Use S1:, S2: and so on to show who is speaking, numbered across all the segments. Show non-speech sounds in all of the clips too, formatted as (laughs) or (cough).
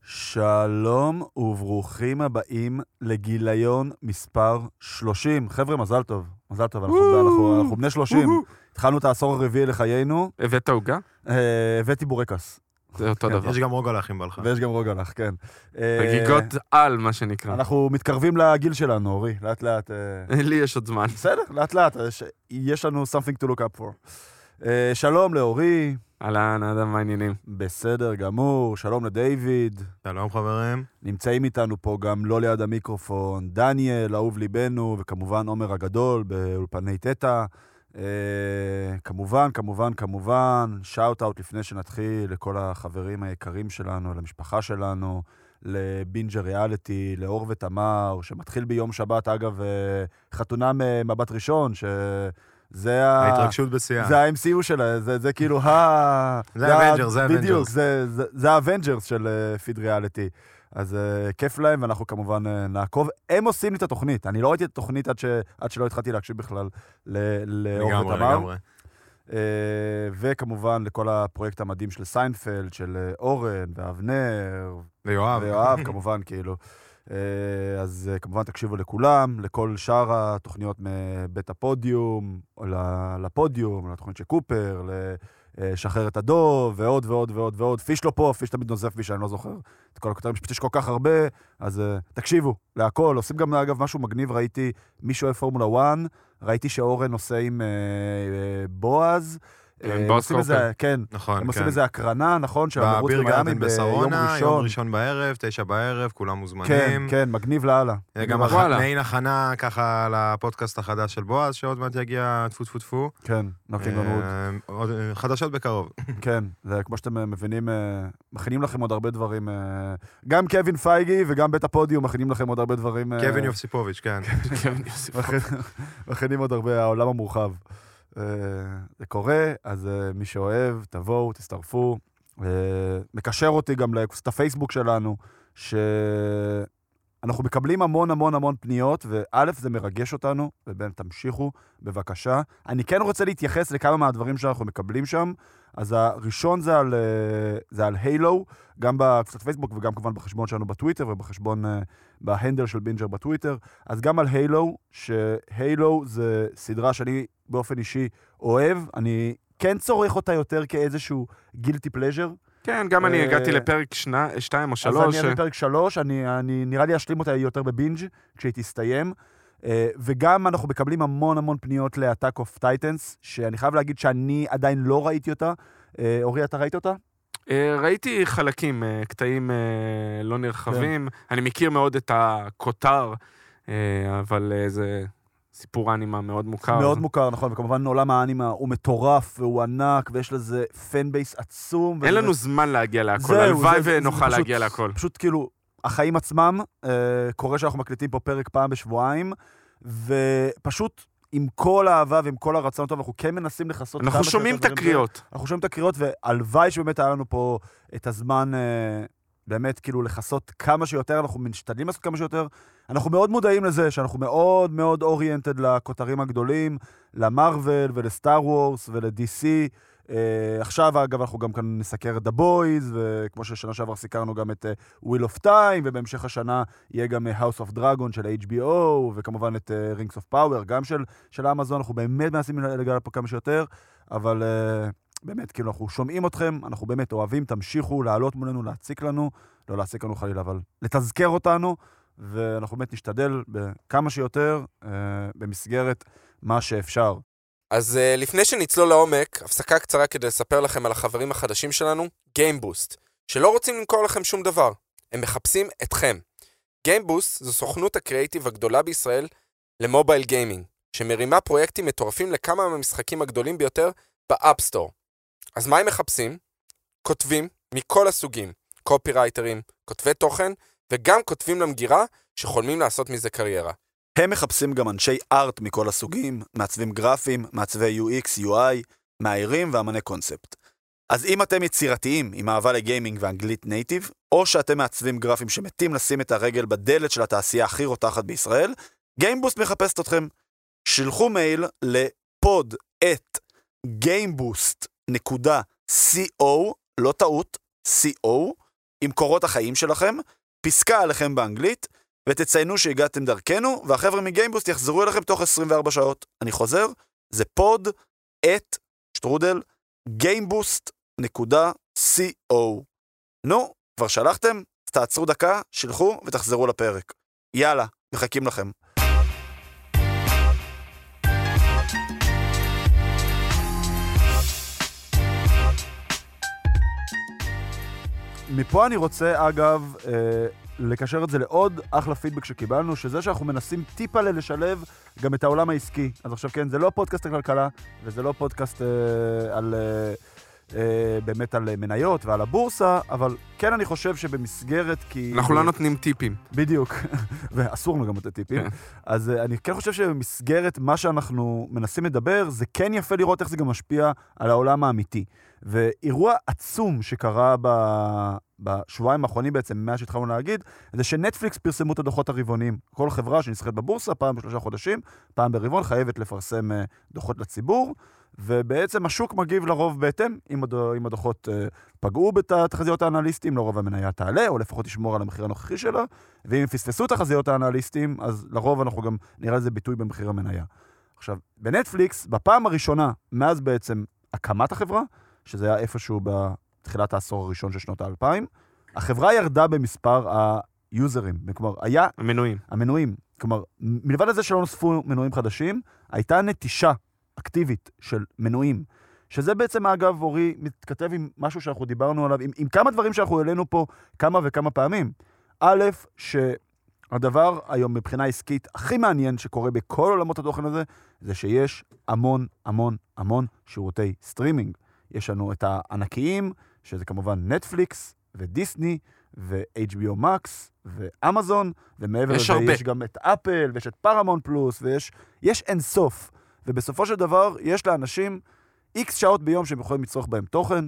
S1: שלום וברוכים הבאים לגיליון מספר 30. חבר'ה, מזל טוב. מזל טוב, אנחנו,
S2: וואו.
S1: אנחנו, אנחנו בני 30.
S2: וואו.
S1: התחלנו את העשור הרביעי לחיינו,
S2: הבאת עוגה?
S1: אה, הבאתי בורקס.
S2: זה אותו
S1: כן,
S2: דבר.
S3: יש גם רוגע לאחים בלך.
S1: ויש גם רוגלח, כן. אה,
S2: חגיגות על, מה שנקרא.
S1: אנחנו מתקרבים לגיל שלנו, אורי, לאט לאט. אה,
S2: (laughs) לי יש עוד זמן.
S1: בסדר, לאט לאט, יש- יש לנו something to look up for. אה, שלום לאורי,
S2: אהלן, אדם,
S1: (laughs)
S2: מה העניינים?
S1: בסדר גמור, שלום לדייוויד,
S3: שלום חברים.
S1: נמצאים איתנו פה גם לא ליד המיקרופון, דניאל, אהוב ליבנו, וכמובן עומר הגדול באולפני תטא. אה, כמובן, כמובן, כמובן, שאוט אאוט לפני שנתחיל לכל החברים היקרים שלנו, למשפחה שלנו, לבינג'ה ריאליטי, לאור ותמר, שמתחיל ביום שבת, אגב, אה, חתונה ממבט ראשון, שזה ה...
S3: ההתרגשות בשיאה.
S1: אה, זה ה-MCU שלה, זה, זה כאילו ה...
S3: כן. זה
S1: ה-
S3: Avengers, זה
S1: בדיוק,
S3: Avengers.
S1: זה- זה- זה האבנג'רס של פיד ריאליטי. אז אה, כיף להם, ואנחנו כמובן אה, נעקוב. הם עושים לי את התוכנית, אני לא ראיתי את התוכנית עד, ש... עד שלא התחלתי להקשיב בכלל ל- לאור
S3: לגמרי,
S1: ותמר.
S3: לגמרי.
S1: אה, וכמובן לכל הפרויקט המדהים של סיינפלד, של אה, אורן ואבנר
S3: ויואב.
S1: ויואב,
S3: (laughs)
S1: כמובן, כאילו. אה, אז אה, כמובן תקשיבו לכולם, לכל שאר התוכניות מבית הפודיום, או ל- לפודיום, לתוכנית של קופר, לשחרר את הדוב, ועוד ועוד ועוד ועוד. פיש לא פה, פיש תמיד נוזף בי שאני לא זוכר את כל הכותרים, פשוט יש כל כך הרבה, אז אה, תקשיבו להכל. עושים גם, אגב, משהו מגניב, ראיתי מי שאוהב פורמולה 1, ראיתי שאורן עושה עם אה, אה, בועז.
S2: עם
S1: אה, הם
S2: בועז
S1: עושים איזה-
S2: קופר.
S1: כן, הם
S3: נכון,
S1: עושים
S3: כן.
S1: איזה הקרנה, נכון, של המרוץ
S3: בביר
S1: במיאמי
S3: גרדן
S1: ביום
S3: בשרונה, יום
S1: ראשון.
S3: ראשון בערב, תשע בערב, כולם
S1: כן,
S3: מוזמנים.
S1: כן, מגניב לאללה.
S3: אה, גם
S2: וואלה.
S3: הכ- מעין הכנה ככה לפודקאסט החדש של בועז, שעוד מעט יגיע טפו טפו טפו.
S1: כן, נותנים לנו עוד.
S3: אה, עוד, אה, חדשות בקרוב.
S1: כן, זה כמו שאתם אה, מבינים, אה, מכינים לכם עוד הרבה דברים. אה, גם קווין פייגי וגם בית הפודיום מכינים לכם עוד הרבה דברים. אה,
S3: קווין יוסיפוביץ', כן.
S1: (laughs) מכין- מכינים עוד הרבה, העולם המורחב. אה, זה קורה, אז אה, מי שאוהב, תבואו, תצטרפו. אה, מקשר אותי גם לקבוצת הפייסבוק שלנו, שאנחנו מקבלים המון המון המון פניות, וא', זה מרגש אותנו, וב', תמשיכו, בבקשה. אני כן רוצה להתייחס לכמה מהדברים שאנחנו מקבלים שם. אז הראשון זה על, אה, זה על הילו, גם בקבוצת פייסבוק וגם כמובן בחשבון שלנו בטוויטר ובחשבון, אה, בהנדל של בינג'ר בטוויטר. אז גם על הילו, שהילו זה סדרה שאני באופן אישי אוהב, אני כן צורך אותה יותר כאיזשהו גילטי פלז'ר.
S2: כן, גם אני
S1: אה,
S2: הגעתי לפרק שני- שתיים או
S1: אז
S2: שלוש. אה.
S1: אני אהיה בפרק שלוש, אני, אני נראה לי אשלים אותה יותר בבינג' כשהיא תסתיים. אה, וגם אנחנו מקבלים המון המון פניות ל-Attack of Titans, שאני חייב להגיד שאני עדיין לא ראיתי אותה. אה, אורי, אתה ראית אותה?
S2: אה, ראיתי חלקים, אה, קטעים אה, לא נרחבים.
S1: כן.
S2: אני מכיר מאוד את הכותר, אה, אבל אה, זה סיפור אנימה מאוד מוכר.
S1: מאוד מוכר, נכון, וכמובן עולם האנימה הוא מטורף והוא ענק, ויש לזה פן בייס עצום.
S2: אין
S1: וזה-
S2: לנו זמן להגיע להכל,
S1: זהו,
S2: הלוואי
S1: זה- זה-
S2: ונוכל
S1: זה פשוט-
S2: להגיע להכל.
S1: פשוט כאילו, החיים עצמם, אה, קורה שאנחנו מקליטים פה פרק פעם בשבועיים, ופשוט עם כל האהבה ועם כל הרצון הטוב, אנחנו כן מנסים לכסות כמה
S2: אנחנו
S1: שיותר
S2: שומעים את
S1: דברים.
S2: הקריאות.
S1: אנחנו שומעים את הקריאות, והלוואי שבאמת היה לנו פה את הזמן אה, באמת כאילו לכסות כמה שיותר, אנחנו משתדלים לעשות כמה שיותר. אנחנו מאוד מודעים לזה שאנחנו מאוד מאוד אוריינטד לכותרים הגדולים, למרוויל ולסטאר וורס ול-DC. אה, עכשיו, אגב, אנחנו גם כאן נסקר את The Boys, וכמו ששנה שעבר סיקרנו גם את אה, Wheel of Time, ובהמשך השנה יהיה גם אה, House of Dragon של HBO, וכמובן את אה, Rings of Power, גם של, של אמזון, אנחנו באמת מנסים לגלל פה כמה שיותר, אבל אה, באמת, כאילו, אנחנו שומעים אתכם, אנחנו באמת אוהבים, תמשיכו לעלות מולנו, להציק לנו, לא להציק לנו חלילה, אבל לתזכר אותנו, ואנחנו באמת נשתדל בכמה שיותר אה, במסגרת מה שאפשר.
S4: אז uh, לפני שנצלול לעומק, הפסקה קצרה כדי לספר לכם על החברים החדשים שלנו, GameBoost, שלא רוצים למכור לכם שום דבר, הם מחפשים אתכם. GameBoost זו סוכנות הקריאיטיב הגדולה בישראל למובייל גיימינג, שמרימה פרויקטים מטורפים לכמה מהמשחקים הגדולים ביותר באפסטור. אז מה הם מחפשים? כותבים מכל הסוגים, קופירייטרים, כותבי תוכן, וגם כותבים למגירה שחולמים לעשות מזה קריירה.
S1: הם מחפשים גם אנשי ארט מכל הסוגים, מעצבים גרפים, מעצבי UX, UI, מאיירים ואמני קונספט. אז אם אתם יצירתיים עם אהבה לגיימינג ואנגלית נייטיב, או שאתם מעצבים גרפים שמתים לשים את הרגל בדלת של התעשייה הכי רותחת בישראל, גיימבוסט מחפשת אתכם. שילחו מייל לפוד את gameboost.co, לא טעות, co, עם קורות החיים שלכם, פסקה עליכם באנגלית, ותציינו שהגעתם דרכנו, והחבר'ה מגיימבוסט יחזרו אליכם תוך 24 שעות. אני חוזר, זה פוד את שטרודל gameboost.co. נו, כבר שלחתם? אז תעצרו דקה, שילחו ותחזרו לפרק. יאללה, מחכים לכם. מפה אני רוצה, אגב, אה, לקשר את זה לעוד אחלה פידבק שקיבלנו, שזה שאנחנו מנסים טיפה לשלב גם את העולם העסקי. אז עכשיו כן, זה לא פודקאסט הכלכלה, וזה לא פודקאסט אה, על... אה, אה, באמת על אה, מניות ועל הבורסה, אבל כן אני חושב שבמסגרת כי... אה,
S2: אנחנו לא נותנים טיפים.
S1: בדיוק, (laughs) ואסור לנו גם לתת טיפים.
S2: כן.
S1: אז אה, אני כן חושב שבמסגרת מה שאנחנו מנסים לדבר, זה כן יפה לראות איך זה גם משפיע על העולם האמיתי. ואירוע עצום שקרה ב... בשבועיים האחרונים בעצם, מאז שהתחלנו להגיד, זה שנטפליקס פרסמו את הדוחות הרבעוניים. כל חברה שנסחרת בבורסה, פעם בשלושה חודשים, פעם ברבעון, חייבת לפרסם אה, דוחות לציבור, ובעצם השוק מגיב לרוב בהתאם, אם, הד... אם הדוחות אה, פגעו בתחזיות האנליסטים, לרוב המניה תעלה, או לפחות תשמור על המחיר הנוכחי שלה, ואם הם פספסו את תחזיות האנליסטים, אז לרוב אנחנו גם נראה לזה ביטוי במחיר המניה. עכשיו, בנטפליקס, בפעם הראשונה, מאז בעצם הקמת החברה, שזה היה איפשהו בתחילת העשור הראשון של שנות האלפיים, החברה ירדה במספר היוזרים. כלומר, היה
S2: המנויים.
S1: המנויים. כלומר, מ- מלבד לזה שלא נוספו מנויים חדשים, הייתה נטישה אקטיבית של מנויים. שזה בעצם, אגב, אורי, מתכתב עם משהו שאנחנו דיברנו עליו, עם, עם כמה דברים שאנחנו העלינו פה כמה וכמה פעמים. א', שהדבר היום מבחינה עסקית הכי מעניין שקורה בכל עולמות התוכן הזה, זה שיש המון, המון, המון שירותי סטרימינג. יש לנו את הענקיים, שזה כמובן נטפליקס ודיסני ו-HBO Max ואמזון, ומעבר
S2: יש
S1: לזה
S2: הרבה.
S1: יש גם את אפל, ויש את פארמון פלוס, ויש יש אינסוף. ובסופו של דבר, יש לאנשים איקס שעות ביום שהם יכולים לצרוך בהם תוכן.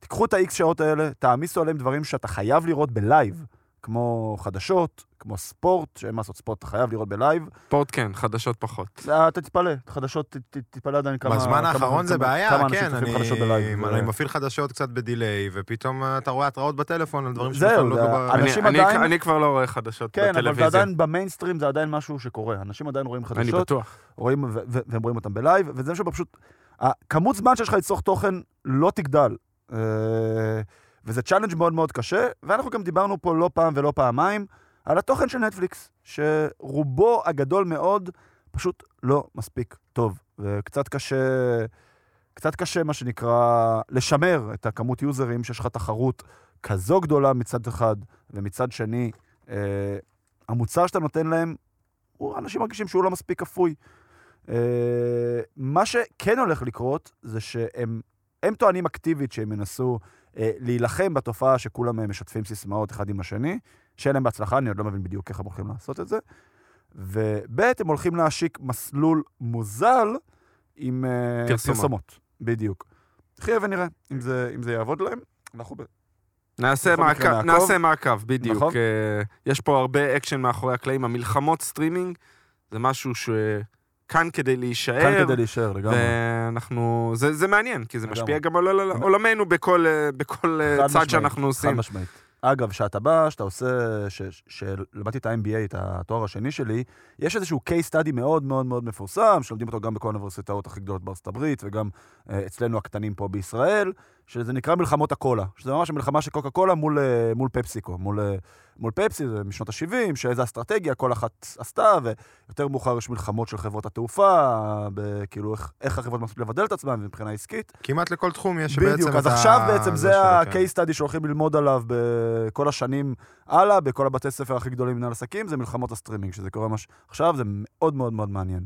S1: תיקחו את האיקס שעות האלה, תעמיסו עליהם דברים שאתה חייב לראות בלייב, כמו חדשות, כמו ספורט, שאין מה לעשות ספורט, אתה חייב לראות בלייב.
S2: ספורט כן, חדשות פחות.
S1: זה- אה, אתה תתפלא, חדשות, ת- ת- תתפלא עדיין כמה...
S3: (laughs) בזמן
S1: כמה-
S3: האחרון זה
S1: כמה-
S3: בעיה,
S1: כמה אנשים
S3: כן,
S1: צופים
S3: אני
S1: חדשות בלייב. אה.
S3: אני מפעיל חדשות קצת בדיליי, ופתאום אה, אתה רואה התראות בטלפון על דברים
S1: זהו,
S3: שבכלל לא
S1: זה-
S3: דובר.
S2: אני-
S1: אנשים
S2: אני-
S1: עדיין-
S2: אני כבר לא רואה חדשות
S1: כן, אבל זה
S2: בטלוויזיה.
S1: עדיין במיינסטרים, זה עדיין משהו שקורה. אנשים עדיין רואים
S2: אני
S1: חדשות,
S2: בטוח.
S1: רואים, ו- ו- והם רואים אותם בלייב, וזה שפשוט... הכמות זמן שיש לך לצרוך תוכן לא תגדל. אה, וזה צ'אלנג' מאוד מאוד קשה, ואנחנו גם דיברנו פה לא פעם ולא פעמיים על התוכן של נטפליקס, שרובו הגדול מאוד פשוט לא מספיק טוב. וקצת קשה, קצת קשה, מה שנקרא, לשמר את הכמות יוזרים שיש לך תחרות כזו גדולה מצד אחד, ומצד שני, אה, המוצר שאתה נותן להם, הוא, אנשים מרגישים שהוא לא מספיק כפוי. אה, מה שכן הולך לקרות זה שהם הם טוענים אקטיבית שהם ינסו אה, להילחם בתופעה שכולם אה, משתפים סיסמאות אחד עם השני, שאין להם בהצלחה, אני עוד לא מבין בדיוק איך הם הולכים לעשות את זה. וב' הם הולכים להשיק מסלול מוזל עם אה,
S2: פרסומות.
S1: פרסומות. בדיוק. נחיה ונראה אם זה, אם זה יעבוד להם. אנחנו ב-
S2: נעשה
S1: בכל מקרה
S2: מעקב,
S1: נעקוב.
S2: נעשה מעקב, בדיוק.
S1: נכון.
S2: אה, יש פה הרבה אקשן מאחורי הקלעים. המלחמות סטרימינג זה משהו שכאן כדי
S1: כאן
S2: להישאר.
S1: כדי להישאר לגמרי.
S2: ואנחנו, זה, זה מעניין, כי זה
S1: לגמרי.
S2: משפיע גם על עול- עולמנו בכל, אה, בכל אה,
S1: חד
S2: צד
S1: משמעית,
S2: שאנחנו
S1: חד
S2: עושים.
S1: משמעית. אגב, שאתה בא, שאתה עושה, ש- ש- שלמדתי את ה-MBA, את התואר השני שלי, יש איזשהו case study מאוד מאוד מאוד מפורסם, שלומדים אותו גם בכל האוניברסיטאות הכי גדולות בארצות הברית, וגם אה, אצלנו הקטנים פה בישראל, שזה נקרא מלחמות הקולה. שזה ממש המלחמה של קוקה קולה מול, אה, מול פפסיקו, מול, אה, מול פפסי, זה משנות ה-70, שאיזה אסטרטגיה כל אחת עשתה, ויותר מאוחר יש מלחמות של חברות התעופה, ב- כאילו איך, איך החברות מנסות לבדל את עצמן מבחינה עסקית.
S3: כמעט לכל תחום יש בעצם את ה...
S1: בדיוק, אז עכשיו בעצם זה
S3: שלו, כן.
S1: ה-case study שהולכים ללמוד עליו בכל השנים הלאה, בכל הבתי ספר הכי גדולים במנהל עסקים, זה מלחמות הסטרימינג, שזה קורה ממש עכשיו, זה מאוד מאוד מאוד מעניין.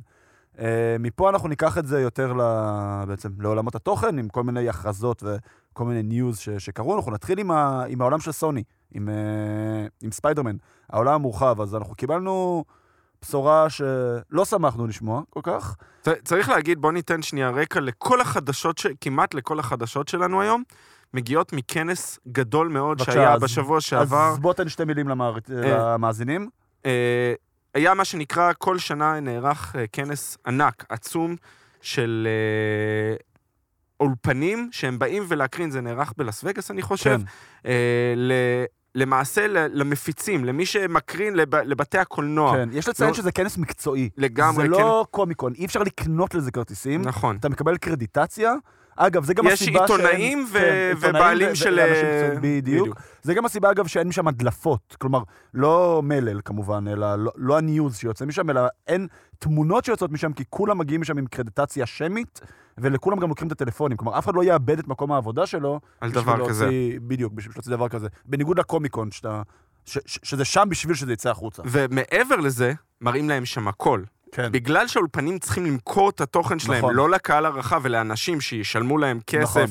S1: Uh, מפה אנחנו ניקח את זה יותר ל... בעצם לעולמות התוכן, עם כל מיני הכרזות וכל מיני ניוז ש... שקרו. אנחנו נתחיל עם, ה... עם אה, העולם של סוני, עם, uh, עם ספיידרמן, העולם המורחב. אז אנחנו קיבלנו בשורה שלא שמחנו לשמוע כל כך.
S2: צ- צריך להגיד, בוא ניתן שנייה רקע לכל החדשות, ש... כמעט לכל החדשות שלנו היום, מגיעות מכנס גדול מאוד
S1: בבקשה,
S2: שהיה
S1: אז-
S2: בשבוע שעבר.
S1: אז בוא תן שתי מילים למער-
S2: אה.
S1: למאזינים.
S2: אה, היה מה שנקרא, כל שנה נערך אה, כנס ענק, עצום, של אה, אולפנים שהם באים ולהקרין, זה נערך בלאס וגאס, אני חושב.
S1: כן.
S2: אה, ל... למעשה, ל- למפיצים, למי שמקרין לב... לבתי הקולנוע.
S1: כן, יש לציין
S2: לא-
S1: שזה כנס מקצועי.
S2: לגמרי,
S1: זה לא קומיקון, אי אפשר לקנות לזה כרטיסים.
S2: כן. נכון.
S1: אתה מקבל קרדיטציה. אגב, זה גם
S2: יש
S1: הסיבה שהם...
S2: עיתונאים ו-
S1: כן, עיתונאים
S2: ובעלים
S1: ו-
S2: של...
S1: ואנשים
S2: אה,
S1: מקצועיים, בדיוק. זה גם הסיבה, אגב, שאין משם הדלפות. כלומר, לא מלל כמובן, אלא לא, לא הניוז שיוצא משם, אלא אין תמונות שיוצאות משם, כי כולם מגיעים משם עם קרדיטציה שמית, ולכולם גם לוקחים את הטלפונים. כלומר, אף אחד לא יאבד את מקום העבודה שלו.
S2: על
S1: בשביל
S2: דבר
S1: להוציא-
S2: כזה.
S1: בדיוק, בשביל להוציא דבר כזה. בניגוד לקומיקון, שאתה... ש, ש, שזה שם בשביל שזה יצא החוצה.
S2: ומעבר לזה, מראים להם שם הכל.
S1: כן.
S2: בגלל שהאולפנים צריכים למכור את התוכן שלהם,
S1: נכון.
S2: לא לקהל הרחב ולאנשים שישלמו להם כסף,
S1: נכון.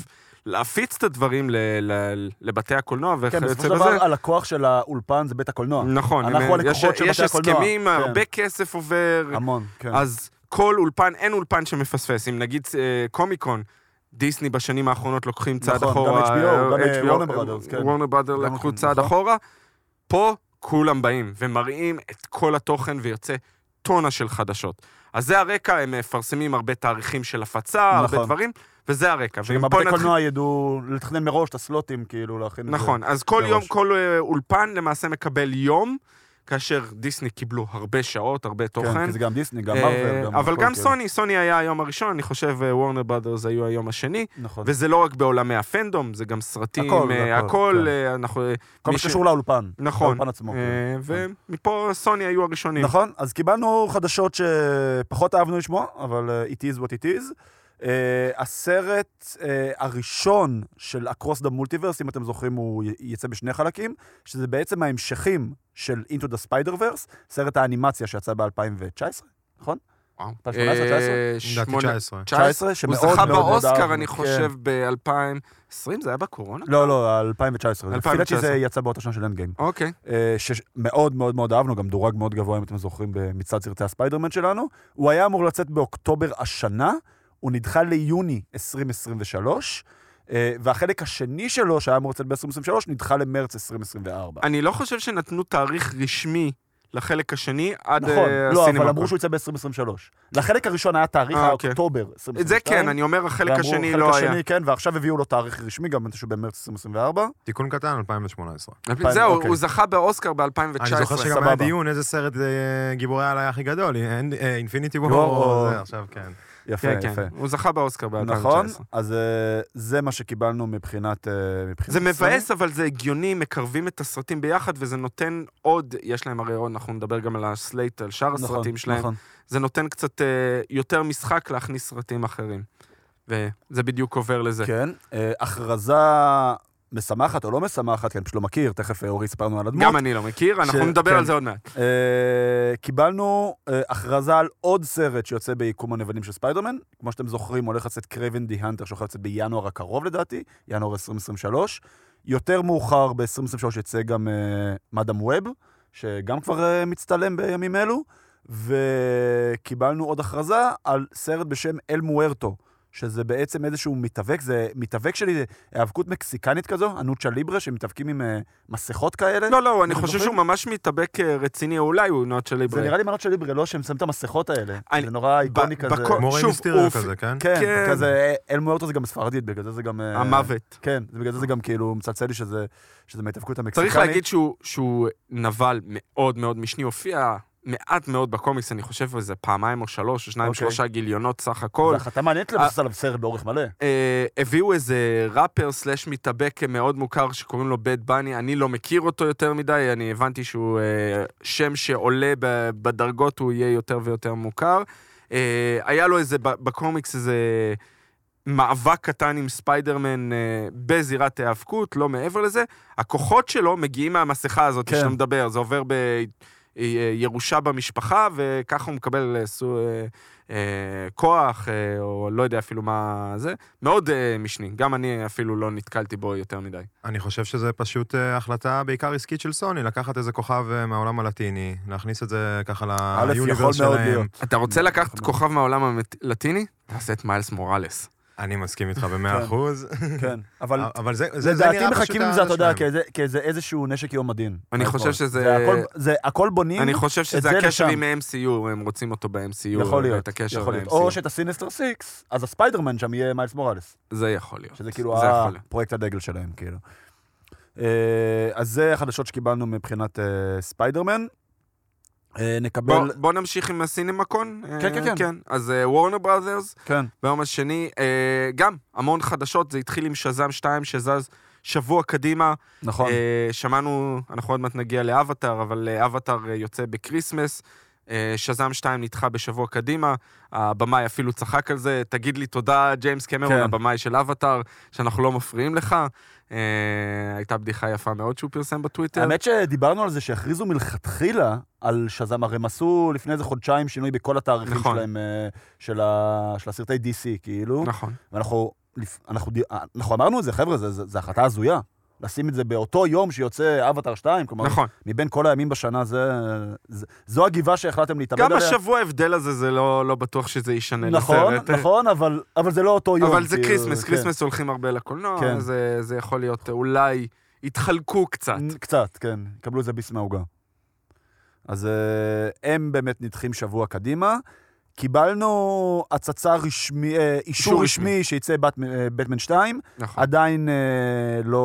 S2: להפיץ את הדברים ל- ל- לבתי הקולנוע
S1: כן,
S2: וכיוצא
S1: בסופו של
S2: בזה.
S1: דבר, הלקוח של האולפן זה בית הקולנוע.
S2: נכון,
S1: אנחנו
S2: הם-
S1: הלקוחות
S2: יש,
S1: של
S2: יש
S1: בתי הקולנוע.
S2: הסכמים, אה,
S1: כן.
S2: הרבה כסף עובר,
S1: המון, כן.
S2: אז כל אולפן, אין אולפן שמפספס. אם נגיד אה, קומיקון, דיסני בשנים האחרונות לוקחים צעד
S1: נכון, גם
S2: אחורה.
S1: HBO, גם, אה, Warner Brothers, כן.
S2: וורנר בראדר
S1: גם
S2: לקחו
S1: לוקחים,
S2: צעד
S1: נכון.
S2: אחורה. פה כולם באים ומראים את כל התוכן ויוצא טונה של חדשות. אז זה הרקע, הם מפרסמים הרבה תאריכים של הפצה, הרבה
S1: נכון.
S2: דברים, וזה הרקע.
S1: שגם
S2: ואם פה
S1: הבתי
S2: נתחיל-
S1: קולנוע ידעו לתכנן מראש את הסלוטים, כאילו, להכין את זה.
S2: נכון, אז כל
S1: מראש.
S2: יום, כל אה, אולפן למעשה מקבל יום, כאשר דיסני קיבלו הרבה שעות,
S1: כן,
S2: הרבה תוכן.
S1: כי זה גם דיסני, גם
S2: אה,
S1: מרוויל.
S2: אבל
S1: הכל,
S2: גם
S1: כן.
S2: סוני, סוני היה היום הראשון, אני חושב וורנר ברודרס היו היום השני,
S1: נכון.
S2: וזה לא רק בעולמי הפנדום, זה גם סרטים,
S1: הכל,
S2: אה,
S1: הכל,
S2: הכל,
S1: כן.
S2: אה, אנחנו... אה,
S1: כל
S2: מי
S1: מה
S2: ש-
S1: שקשור לאולפן.
S2: נכון.
S1: לאולפן עצמו. כן.
S2: אה, ומפה סוני היו הראשונים.
S1: נכון, אז קיבלנו חדשות שפחות אהבנו לשמוע, אבל אה, it is what it is. אה, הסרט אה, הראשון של Across the Multiverse, אם אתם זוכרים, הוא י- יצא בשני חלקים, שזה בעצם ההמשכים של Into the Spider-Verse, סרט האנימציה שיצא ב-2019, נכון?
S2: וואו.
S1: 2018, 19?
S2: אה,
S3: לדעתי
S2: שמונה-
S3: 19.
S1: 19,
S2: הוא
S1: שמאוד מאוד
S2: זכה
S1: מאוד
S2: באוסקר,
S1: אהבנו,
S2: אני
S1: כן.
S2: חושב, ב-2020, זה היה בקורונה?
S1: לא, לא, 2019. לפי דעתי
S2: 2019.
S1: זה יצא באותה שנה של אנד גיים.
S2: אוקיי.
S1: שמאוד אה, מאוד מאוד אהבנו, גם דורג מאוד גבוה, אם אתם זוכרים, במצעד סרטי הספיידרמן שלנו. הוא היה אמור לצאת באוקטובר השנה, הוא נדחה ליוני 2023, אה, והחלק השני שלו, שהיה אמור לצאת ב-2023, נדחה למרץ 2024.
S2: אני לא חושב שנתנו תאריך רשמי לחלק השני עד
S1: נכון,
S2: אה,
S1: לא, אבל
S2: הסינמה.
S1: אמרו שהוא יצא ב-2023. לחלק הראשון היה תאריך
S2: אה, אוקיי.
S1: האוקטובר 2022.
S2: את זה כן, אני אומר, החלק
S1: ואמרו,
S2: השני לא היה.
S1: חלק השני, כן, ועכשיו הביאו לו תאריך רשמי, גם מתישהו במרץ 2024.
S3: תיקון קטן, 2018.
S2: זהו,
S1: אוקיי.
S2: הוא זכה באוסקר ב-2019.
S3: אני זוכר שגם
S1: סבבה.
S3: היה דיון איזה סרט אה, גיבורי העל היה הכי גדול, אה, אינפיניטי וור,
S1: וור,
S3: או
S1: או-
S3: זה עכשיו כן.
S1: יפה,
S2: כן,
S1: יפה.
S2: כן, הוא זכה באוסקר ב-2019.
S1: נכון, אז אה, זה מה שקיבלנו מבחינת... אה, מבחינת
S2: זה
S1: סרט.
S2: מבאס, אבל זה הגיוני, מקרבים את הסרטים ביחד, וזה נותן עוד, יש להם הרי עוד, אנחנו נדבר גם על הסלייט, על שאר
S1: נכון,
S2: הסרטים שלהם,
S1: נכון.
S2: זה נותן קצת אה, יותר משחק להכניס סרטים אחרים. וזה בדיוק עובר לזה.
S1: כן, אה, הכרזה משמחת או לא משמחת, כי אני פשוט לא מכיר, תכף אה, אורי סיפרנו על הדמות.
S2: גם אני לא מכיר,
S1: ש-
S2: אנחנו נדבר
S1: כן.
S2: על זה עוד מעט.
S1: אה, קיבלנו אה, הכרזה על עוד סרט שיוצא ביקום הנבלים של ספיידרמן. כמו שאתם זוכרים, הולך לצאת קרייבן די הנטר, שהולך לצאת בינואר הקרוב לדעתי, ינואר 2023. יותר מאוחר, ב-2023 יצא גם אה, מאדם ווב, שגם כבר אה, מצטלם בימים אלו. וקיבלנו עוד הכרזה על סרט בשם אל מוארטו, שזה בעצם איזשהו מתאבק, זה מתאבק שלי, זה היאבקות מקסיקנית כזו, הנוצ'ה ליברה, שמתאבקים עם אה, מסכות כאלה.
S2: לא, לא, אני
S1: אתם
S2: חושב שהוא
S1: זוכרים?
S2: ממש מתאבק אה, רציני, או אולי הוא נוט שלי.
S1: זה נראה לי מנות של ליברלו, שהם שמים את המסכות האלה.
S2: אני-
S1: זה נורא איקוני
S2: ב-
S1: כזה.
S2: בכל-
S3: מורה
S2: שוב,
S3: מיסטריו
S2: אוף.
S3: כזה, כן?
S1: כן,
S2: כן.
S1: כזה אל מוארטו זה גם ספרדית, בגלל זה זה גם... אה,
S2: המוות.
S1: כן, זה בגלל זה זה גם כאילו מצלצל לי שזה שזה מההתאבקות המקסיקנית.
S2: צריך להגיד שהוא- שהוא נבל מאוד מאוד משני, הופיע מעט מאוד בקומיקס, אני חושב איזה פעמיים או שלוש, או שניים,
S1: אוקיי.
S2: שלושה גיליונות סך
S1: זו
S2: הכל.
S1: החלטה מעניינת לבסס עליו סרט באורך מלא.
S2: אה, הביאו איזה ראפר סלאש מתאבק מאוד מוכר שקוראים לו בד בני, אני לא מכיר אותו יותר מדי, אני הבנתי שהוא אה, שם שעולה ב- בדרגות, הוא יהיה יותר ויותר מוכר. אה, היה לו איזה, ב- בקומיקס איזה מאבק קטן עם ספיידרמן אה, בזירת היאבקות, לא מעבר לזה. הכוחות שלו מגיעים מהמסכה הזאת
S1: כן.
S2: שאתה מדבר, זה עובר ב... אה, ירושה במשפחה, וככה הוא מקבל אה, סו- אה, אה, כוח, אה, או לא יודע אפילו מה זה. מאוד אה, משני, גם אני אפילו לא נתקלתי בו יותר מדי.
S3: אני חושב שזה פשוט אה, החלטה בעיקר עסקית של סוני, לקחת איזה כוכב אה, מהעולם הלטיני, להכניס את זה ככה
S1: א', יכול
S3: ליוניברס
S1: מאוד
S3: שלהם.
S1: להיות.
S2: אתה רוצה לקחת כוכב מהעולם הלטיני? תעשה את מיילס מוראלס.
S3: אני מסכים איתך במאה
S1: כן.
S3: אחוז. אה,
S1: כן, אבל
S2: אה,
S3: אבל זה, זה, זה
S1: לדעתי
S3: נראה פשוט...
S1: מחכים עם זה, אתה יודע,
S3: האנשים.
S1: כאיזה- כאיזה איזשהו נשק יום הדין.
S2: אני חושב
S1: היכולת.
S2: שזה-
S1: זה הכל- זה הכל בונים,
S2: אני חושב
S1: את
S2: שזה
S1: זה
S2: הקשר
S1: לשם.
S2: עם ה-MCU, הם רוצים אותו ב-MCU.
S1: יכול להיות,
S2: אה, את הקשר
S1: יכול להיות.
S2: ל-MCU.
S1: או שאת הסינסטר סיקס, אז הספיידרמן שם יהיה מיילס מוראלס.
S2: זה יכול להיות.
S1: שזה כאילו
S2: זה יכול להיות.
S1: הפרויקט הדגל שלהם, כאילו. אה, אז זה החדשות שקיבלנו מבחינת אה, ספיידרמן. אה, נקבל,
S2: בוא, בוא נמשיך עם הסינמקון.
S1: כן, כן, כן.
S2: כן. אז וורנר בראזרס,
S1: כן,
S2: ביום השני, אה, גם המון חדשות, זה התחיל עם שזאם 2 שזז שבוע קדימה.
S1: נכון.
S2: אה, שמענו, אנחנו עוד מעט נגיע לאבטאר, אבל אה, אבטאר אה, יוצא בקריסמס. אה, שזאם 2 נדחה בשבוע קדימה, הבמאי אפילו צחק על זה, תגיד לי תודה, ג'יימס קמרון,
S1: כן.
S2: הבמאי של אבטאר, שאנחנו לא מפריעים לך. אה, הייתה בדיחה יפה מאוד שהוא פרסם בטוויטר.
S1: האמת שדיברנו על זה שהכריזו מלכתחילה על שזאם, הרי הם עשו לפני איזה חודשיים שינוי בכל התאריכים
S2: נכון.
S1: שלהם, אה, של ה- של הסרטי DC, כאילו.
S2: נכון.
S1: ואנחנו לפ- אנחנו די- אנחנו אמרנו את זה, חבר'ה, זה- זה- זו החלטה הזויה. לשים את זה באותו יום שיוצא אבטאר 2, כלומר,
S2: נכון.
S1: מבין כל הימים בשנה, זה, זה, זו הגבעה שהחלטתם להתאבד
S2: גם
S1: עליה.
S2: השבוע ההבדל הזה, זה לא לא בטוח שזה ישנה
S1: נכון,
S2: לסרט.
S1: נכון, אבל, אבל זה לא אותו יום.
S2: אבל זה
S1: כאילו,
S2: כריסמס,
S1: כן.
S2: כריסמס הולכים הרבה לקולנוע,
S1: כן.
S2: זה- זה יכול להיות, אה, אולי יתחלקו קצת.
S1: קצת, כן. קבלו איזה ביס מהעוגה. אז אה, הם באמת נדחים שבוע קדימה. קיבלנו הצצה רשמי, אה, אישור
S2: אישור
S1: רשמי,
S2: רשמי.
S1: שיצא בת, אה, בטמן 2,
S2: נכון.
S1: עדיין אה, לא...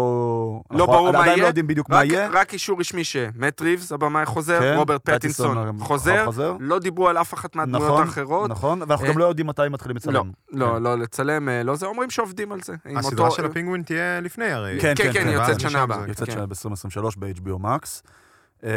S2: לא ברור מה
S1: עדיין
S2: יהיה.
S1: לא יודעים בדיוק מה
S2: רק-
S1: יהיה.
S2: רק אישור רשמי שמט ריבס, הבמאי חוזר,
S1: כן,
S2: רוברט
S1: פטינסון
S2: פטינסון
S1: גם
S2: חוזר,
S1: חוזר.
S2: לא דיברו על אף אחת מהדמויות
S1: נכון,
S2: האחרות.
S1: נכון, ואנחנו גם
S2: אה,
S1: לא יודעים מתי מתחילים לצלם. כן.
S2: לא, לא, לא לצלם, אה, לא זה, אומרים שעובדים על זה. עם
S3: הסדרה
S2: אותו-
S3: של הפינגווין תהיה לפני הרי.
S1: כן,
S2: כן, כן, היא
S3: ואז
S2: יוצאת
S3: משם
S2: שנה הבאה.
S3: זה-
S1: יוצאת
S2: כן.
S1: שנה ב-2023 ב-HBO Max. אה,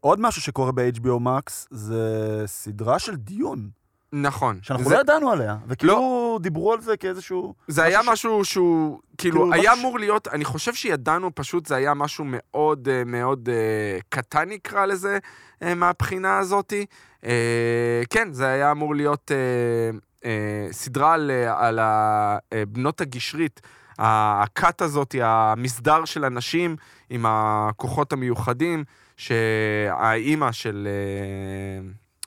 S1: עוד משהו שקורה ב-HBO Max זה סדרה של דיון,
S2: נכון.
S1: שאנחנו
S2: זה-
S1: לא ידענו עליה,
S2: לא.
S1: וכאילו דיברו על זה כאיזשהו...
S2: זה היה משהו שהוא, כאילו,
S1: כאילו,
S2: היה
S1: משהו ש-
S2: אמור להיות, אני חושב שידענו, פשוט זה היה משהו מאוד אה, מאוד אה, קטן, נקרא לזה, אה, מהבחינה הזאתי. אה, כן, זה היה אמור להיות אה, אה, סדרה על, אה, על ה- אה, בנות הגשרית. ה- הכת הזאתי, המסדר של הנשים עם הכוחות המיוחדים, שהאימא של...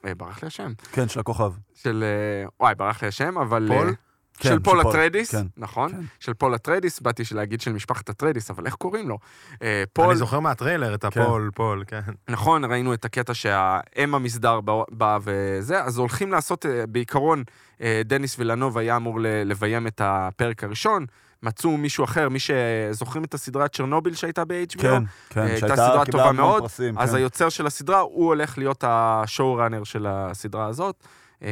S2: אה, אה, ברח לי השם.
S1: כן, של הכוכב.
S2: של... אה, וואי, ברח לי השם, אבל...
S3: פול?
S2: אה,
S1: כן,
S2: של פול אטרדיס,
S1: כן.
S2: נכון?
S1: כן.
S2: של פול אטרדיס, באתי להגיד של משפחת אטרדיס, אבל איך קוראים לו? אה,
S3: אני
S2: פול,
S3: זוכר מהטריילר את
S1: כן.
S3: הפול, פול, כן.
S2: נכון, ראינו את הקטע שהאם המסדר בא- בא וזה, אז הולכים לעשות, אה, בעיקרון, אה, דניס וילנוב היה אמור ל- לביים את הפרק הראשון, מצאו מישהו אחר, מי שזוכרים את הסדרה צ'רנוביל שהייתה ב-HBO?
S1: כן,
S2: אה,
S1: כן,
S2: הייתה
S1: שהייתה,
S2: סדרה
S1: קיבלה
S2: טובה
S1: המון
S2: מאוד,
S1: פרסים,
S2: אז
S1: כן.
S2: היוצר של הסדרה, הוא הולך להיות השואו-ראנר של הסדרה הזאת. אה,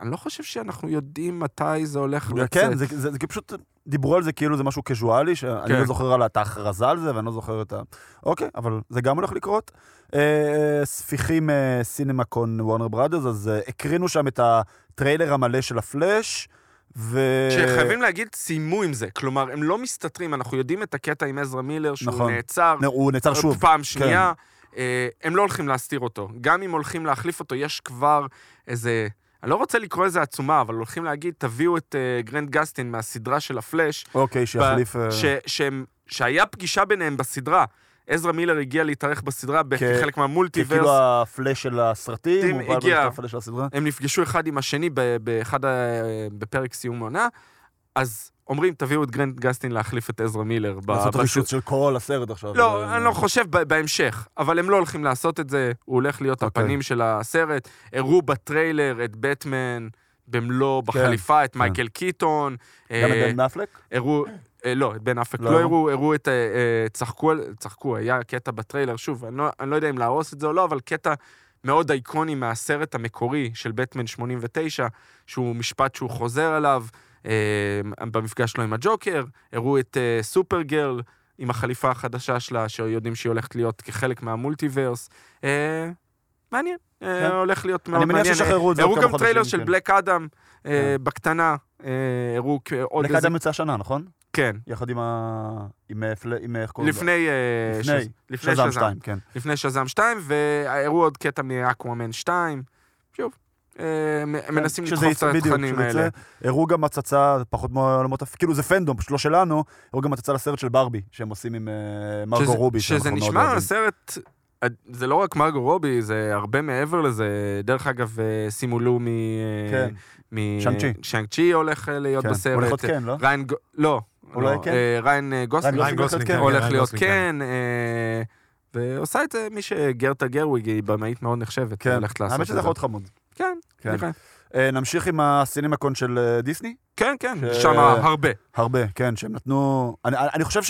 S2: אני לא חושב שאנחנו יודעים מתי זה הולך לצאת.
S1: כן, זה, זה, זה, כי פשוט דיברו על זה כאילו זה משהו קזואלי, שאני
S2: כן.
S1: לא זוכר על- את ההכרזה על זה ואני לא זוכר את ה... אוקיי, אבל זה גם הולך לקרות. אה, ספיחים אה, סינמקון וורנר בראדרס, אז אה, הקרינו שם את הטריילר המלא של הפלאש, ו...
S2: שחייבים להגיד, סיימו עם זה. כלומר, הם לא מסתתרים, אנחנו יודעים את הקטע עם עזרא מילר, שהוא
S1: נכון.
S2: נעצר
S1: נו, הוא
S2: אה,
S1: נעצר שוב. כן.
S2: פעם שנייה. אה, הם לא הולכים להסתיר אותו. גם אם הולכים להחליף אותו, יש כבר איזה... אני לא רוצה לקרוא לזה עצומה, אבל הולכים להגיד, תביאו את אה, גרנד גסטין מהסדרה של הפלאש,
S1: אוקיי, שיחליף... אה,
S2: ש, שהם, שהיה פגישה ביניהם בסדרה. עזרא מילר הגיע להתארח בסדרה כחלק
S1: כן. כי
S2: מהמולטיברס.
S1: כאילו הפלאש של הסרטים,
S2: טים
S1: הוא בא
S2: הגיע.
S1: בלפני הפלאש של הסדרה.
S2: הם נפגשו אחד עם השני ב- באחד ה... בפרק סיום העונה, אז אומרים, תביאו את גרנט גסטין להחליף את עזרא מילר. ב-
S1: לעשות
S2: בש-
S1: רישוץ של כל הסרט עכשיו. אה,
S2: לא, אני לא חושב ב- בהמשך, אבל הם לא הולכים לעשות את זה, הוא הולך להיות
S1: אוקיי.
S2: הפנים של הסרט. הראו בטריילר את בטמן במלוא,
S1: כן,
S2: בחליפה, את מייקל קיטון.
S1: גם את
S2: אה,
S1: בן אפלק?
S2: הראו, אה, לא, את בן אפק
S1: לא.
S2: לא הראו, הראו את, אה, אה, צחקו, על- צחקו, היה קטע בטריילר, שוב, אני לא, אני לא יודע אם להרוס את זה או לא, אבל קטע מאוד אייקוני מהסרט המקורי של בטמן 89, שהוא משפט שהוא חוזר עליו אה, במפגש שלו עם הג'וקר, הראו את אה, סופר גרל עם החליפה החדשה שלה, שיודעים שהיא הולכת להיות כחלק מהמולטיברס. אה, מעניין, אה,
S1: כן.
S2: הולך להיות מאוד
S1: אני
S2: מעניין.
S1: מניח שישחררו את זה עוד
S2: הראו
S1: כמה
S2: גם
S1: חודשים,
S2: טריילר של
S1: כן.
S2: בלק אדם אה,
S1: כן.
S2: בקטנה, אה, הראו כ- עוד
S1: לקדם יוצא השנה, נכון?
S2: כן,
S1: יחד עם ה... עם, אה, פל- עם אה, איך קוראים לו?
S2: לפני... אה,
S1: לפני,
S2: שז- לפני
S1: שזם
S2: שזם.
S1: 2, כן.
S2: לפני שזם 2, והראו עוד קטע מאקוואמן 2. שוב, אה, מ- מנסים
S1: כן, כשזה
S2: לדחוף את
S1: יצא- בדיוק,
S2: התכנים
S1: כשזה
S2: האלה.
S1: יצא, הראו גם הצצה, פחות מעולמות, הפ- כאילו זה פנדום, פשוט לא שלנו, הראו גם הצצה לסרט של ברבי, שהם עושים עם אה, מרגו
S2: שזה-
S1: רובי,
S2: שזה
S1: שאנחנו מאוד
S2: נשמע
S1: אוהבים.
S2: הסרט, זה לא רק מרגו רובי, זה הרבה מעבר לזה. דרך אגב, אה, שימו לו מ... אה,
S1: כן,
S2: מ-
S1: שאנג צ'י.
S2: שאנג צ'י הולך אה, להיות
S1: כן.
S2: בסרט.
S1: הולך להיות כן, לא?
S2: ריין ג... לא.
S1: אולי
S2: לא,
S1: כן?
S2: אה, ריין אה, גוסלינג
S1: גוסלינג. כן,
S2: הולך
S3: ריין
S2: להיות
S3: גוסלינג,
S2: כן. אה, ועושה את זה מי שגרטה גרוויג, היא במאית מאוד נחשבת,
S1: כן,
S2: הולכת לעשות את
S1: האמת
S2: זה.
S1: שזה יכול להיות חמוד.
S2: כן,
S1: כן.
S2: נראה.
S1: אה, נמשיך עם הסינמקון של אה, דיסני?
S2: כן, כן,
S1: ש-
S2: שם הרבה.
S1: הרבה, כן, שהם נתנו... אני, אני חושב